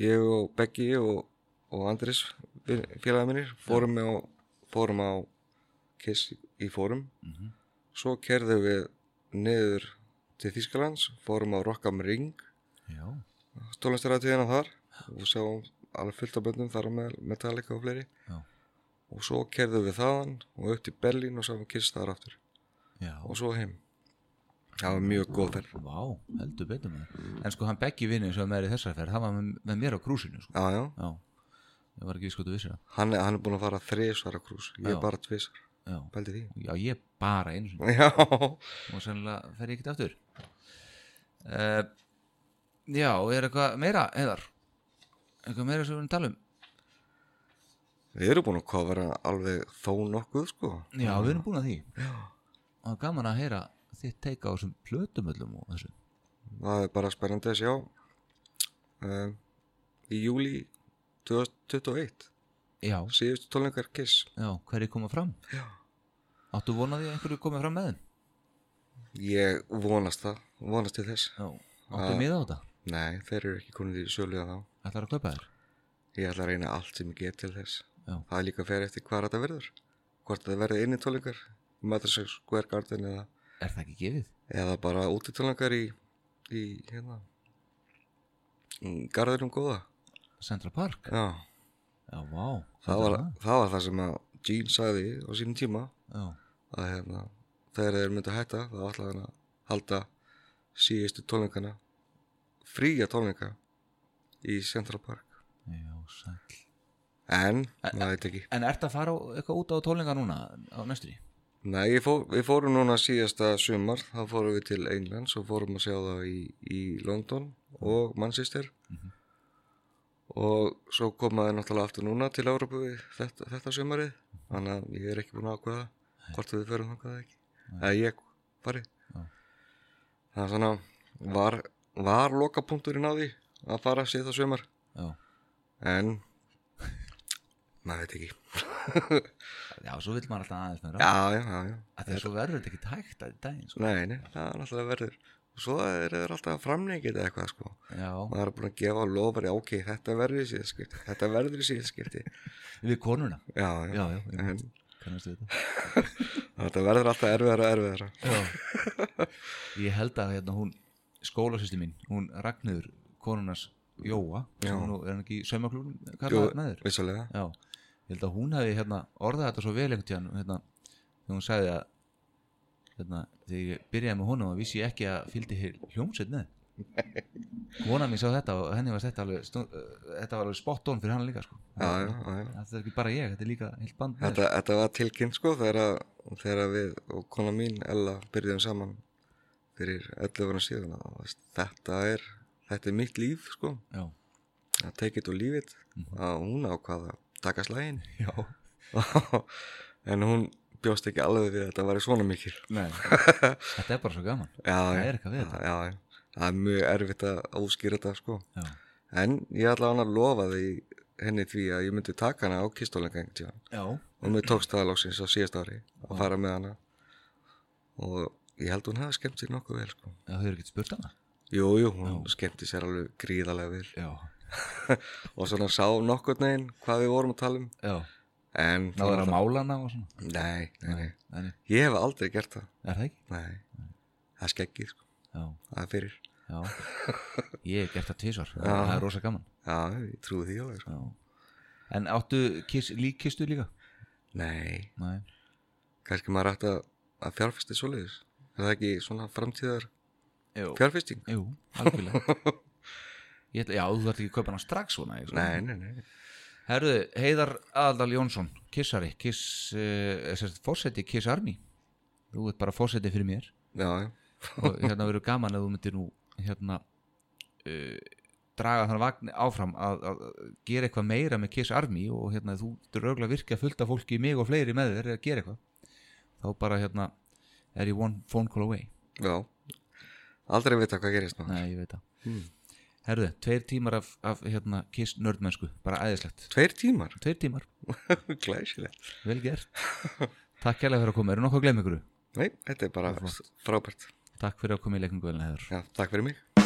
S2: ég og Beggi og, og Andris félagið mínir fórum, á, fórum á Kiss í fórum
S1: Mhm.
S2: svo kerðum við niður til Þýskalands fórum á Rock am Ring
S1: Já,
S2: stólinstæratíðina þar og sjáum alveg fullt af böndum þar á með Metallica og fleiri
S1: Já.
S2: og svo kerðum við þaðan og upp til Berlín og sáum Kiss þar aftur
S1: já,
S2: og svo heim það var mjög góð ferð
S1: vá, heldur betur maður En sko hann Beggi vinnur sem er með í þessari ferð Hann var með, með mér á krúsinu sko.
S2: já, já.
S1: Já, ég var ekki viðskotu vissir
S2: Hann, er- hann er búin að fara þrisvara krús ég
S1: Já.
S2: er bara tvisar,
S1: það Já,
S2: pældi því
S1: já ég bara einu sinni
S2: já,
S1: Og sennilega fer ég ekkert aftur uh, Já, er eitthvað meira, heiðar Eitthvað meira sem við erum að tala um
S2: við erum búin að kofra alveg þó nokkuð sko
S1: Já, við erum búin að því Já Og gaman að heyra þitt teika á þessum plötumöllum og þessu
S2: það er bara spennandi að sjá um, í júli 2021
S1: Já,
S2: síðustu tólengar Kiss
S1: já, hverju koma fram
S2: já
S1: Áttu vonaði að einhverju komið fram með þeim
S2: Ég vonast það, vonast til þess.
S1: Ah. Já, áttu miða á þetta
S2: Nei, þeir eru ekki konið í sölu að þá.
S1: Ætlar að kaupa þér
S2: Ég ætla að reyna allt sem ég get til þess.
S1: Já.
S2: Það er líka að fer eftir hvað þetta verður. Hvort það verður inni tólingar, Madison Square Garden eða,
S1: Er það ekki gefið?
S2: eða bara úti tólingar í, í hérna, í garðinum góða.
S1: Central Park?
S2: Já,
S1: Já, vá.
S2: það
S1: þetta
S2: var,
S1: er
S2: það var það sem að Gene sagði á sínum tíma
S1: Já,
S2: að hérna, þegar þeir myndu að hætta, þá ætlaði hann að halda síðustu tólingana, fría tólinga í Central Park.
S1: já, sæll.
S2: En, maður veit ekki.
S1: En ert að fara á- eitthvað út á tólinga núna á næstri?
S2: Nei, ég fór, við fórum núna síðasta sumar, þá fórum við til Englands og fórum að sjá það í, í London og Manchester og svo komaði náttúrulega aftur núna til Európu við þetta, þetta sumarið, þannig að ég er ekki búin að ákveða hvort við förum þangað eða ekki, eða ég farið.
S1: Já.
S2: Það er svona, var, var lokapunkturinn á því að fara síðasta sumar,
S1: Já.
S2: en maður veit ekki.
S1: Já, svo vill maður alltaf aðeins meira.
S2: Já, já, já, já.
S1: Að því að svo verður þetta ekki hægt að daginn, sko.
S2: Nei, nei, það er náttúrulega verður og svo er það alltaf að framleikið eða eitthvað sko
S1: Já,
S2: maður er búin að gefa lofari, ok, þetta verður í síðaskipti þetta verður í síðaskipti já,
S1: við konuna.
S2: já,
S1: Já, já, ég
S2: en
S1: kannast við þetta.
S2: þetta verður alltaf erfiðara og erfiðara
S1: Já. Ég held að hérna hún skólasýsti mín, hún Ragnhjör konunars Jóa sem
S2: Já.
S1: nú er hann ekki í saumaklúrum
S2: Jú,
S1: kallað með þér
S2: vissulega,
S1: Já, ég held að hún hefði hérna orðað þetta svo vel einhvern tíðan hérna, þegar hún sagði að hérna, þegar ég byrjaði með honum að vissi ég ekki að fylgdi hér hljómsveit með Kona mín sá þetta og henni var þetta alveg, stund, þetta var alveg spot on fyrir hann líka sko.
S2: já, já, já, já.
S1: Þetta er ekki bara ég, þetta er líka heilt band með
S2: Þetta, þetta var tilkynnt sko þegar, að- þegar við og kona mín Ella byrjuðum saman fyrir 11 ára síðan að, þú veist, þetta er, þetta er mitt líf sko
S1: Já,
S2: að take it or leave it
S1: Mhm.
S2: að hún ákvað að taka slægin
S1: já,
S2: en hún bjóst ekki alveg við að þetta væri svona mikil
S1: nei Þetta er bara svo gaman
S2: já,
S1: Það
S2: já,
S1: er eitthvað við þetta.
S2: já, já. það er mjög erfitt að óskýra þetta sko.
S1: Já,
S2: en ég ætla hann að lofa því henni því að ég myndi taka hana á kistólinga einhvern tíðan
S1: já.
S2: og mér tókst það lóksins á síðast ári að fara með hana og ég held hún hafa skemmt sér nokkuð vel sko.
S1: Já, þau eru ekkert spurt hana
S2: jú, jú, hún skemmti sér alveg gríðarlega vel
S1: Já,
S2: og svona sá nokkurn veginn hvað við vorum að tala um
S1: já
S2: en
S1: Náður að mála hana og svona
S2: nei, nei, nei,
S1: Nei,
S2: ég hef aldrei gert það
S1: er það ekki?
S2: Nei, það er skeggið sko,
S1: Já,
S2: það er fyrir.
S1: já Ég hef gert það tvisvar,
S2: Já.
S1: það er rosa gaman
S2: Já, ég trúi því alveg sko.
S1: já. En áttu kiss, líkistu líka?
S2: Nei,
S1: Nei,
S2: kannski maður ætti að, að fjárfesti svoleiðis. Er það ekki svona framtíðar
S1: jú,
S2: fjárfesting?
S1: jú algjörlega Ég ætla, Já, þú þarf ekki að kaupa hana strax svona ég, sko.
S2: Nei, nei, nei.
S1: Herðu, Heiðar Aðaldal Jónsson Kissari, kiss uh, sérst, Forseti Kiss Army Þú ert bara forseti fyrir mér
S2: Já, já.
S1: og hérna verður gaman að þú myndir nú hérna uh, draga þannig vagn áfram að, að gera eitthvað meira með Kiss Army og hérna þú getur örugglega að virka fullt af fólki mig og fleiri með þér að gera eitthvað þá bara hérna er ég one phone call away
S2: já. Aldrei vita hvað gerist maður.
S1: Nei, ég veit það Herðu, tveir tímar af, af hérna Kiss nördmennsku, bara æðislegt
S2: Tveir tímar,
S1: Tveir tímar,
S2: glæsilegt.
S1: vel gert Takk kærlega fyrir að koma, eru nokkuð að glemma ykkur?
S2: Nei, þetta er bara frábært.
S1: Takk fyrir að koma í leikningu velna, Heiðar
S2: Já, takk fyrir mig.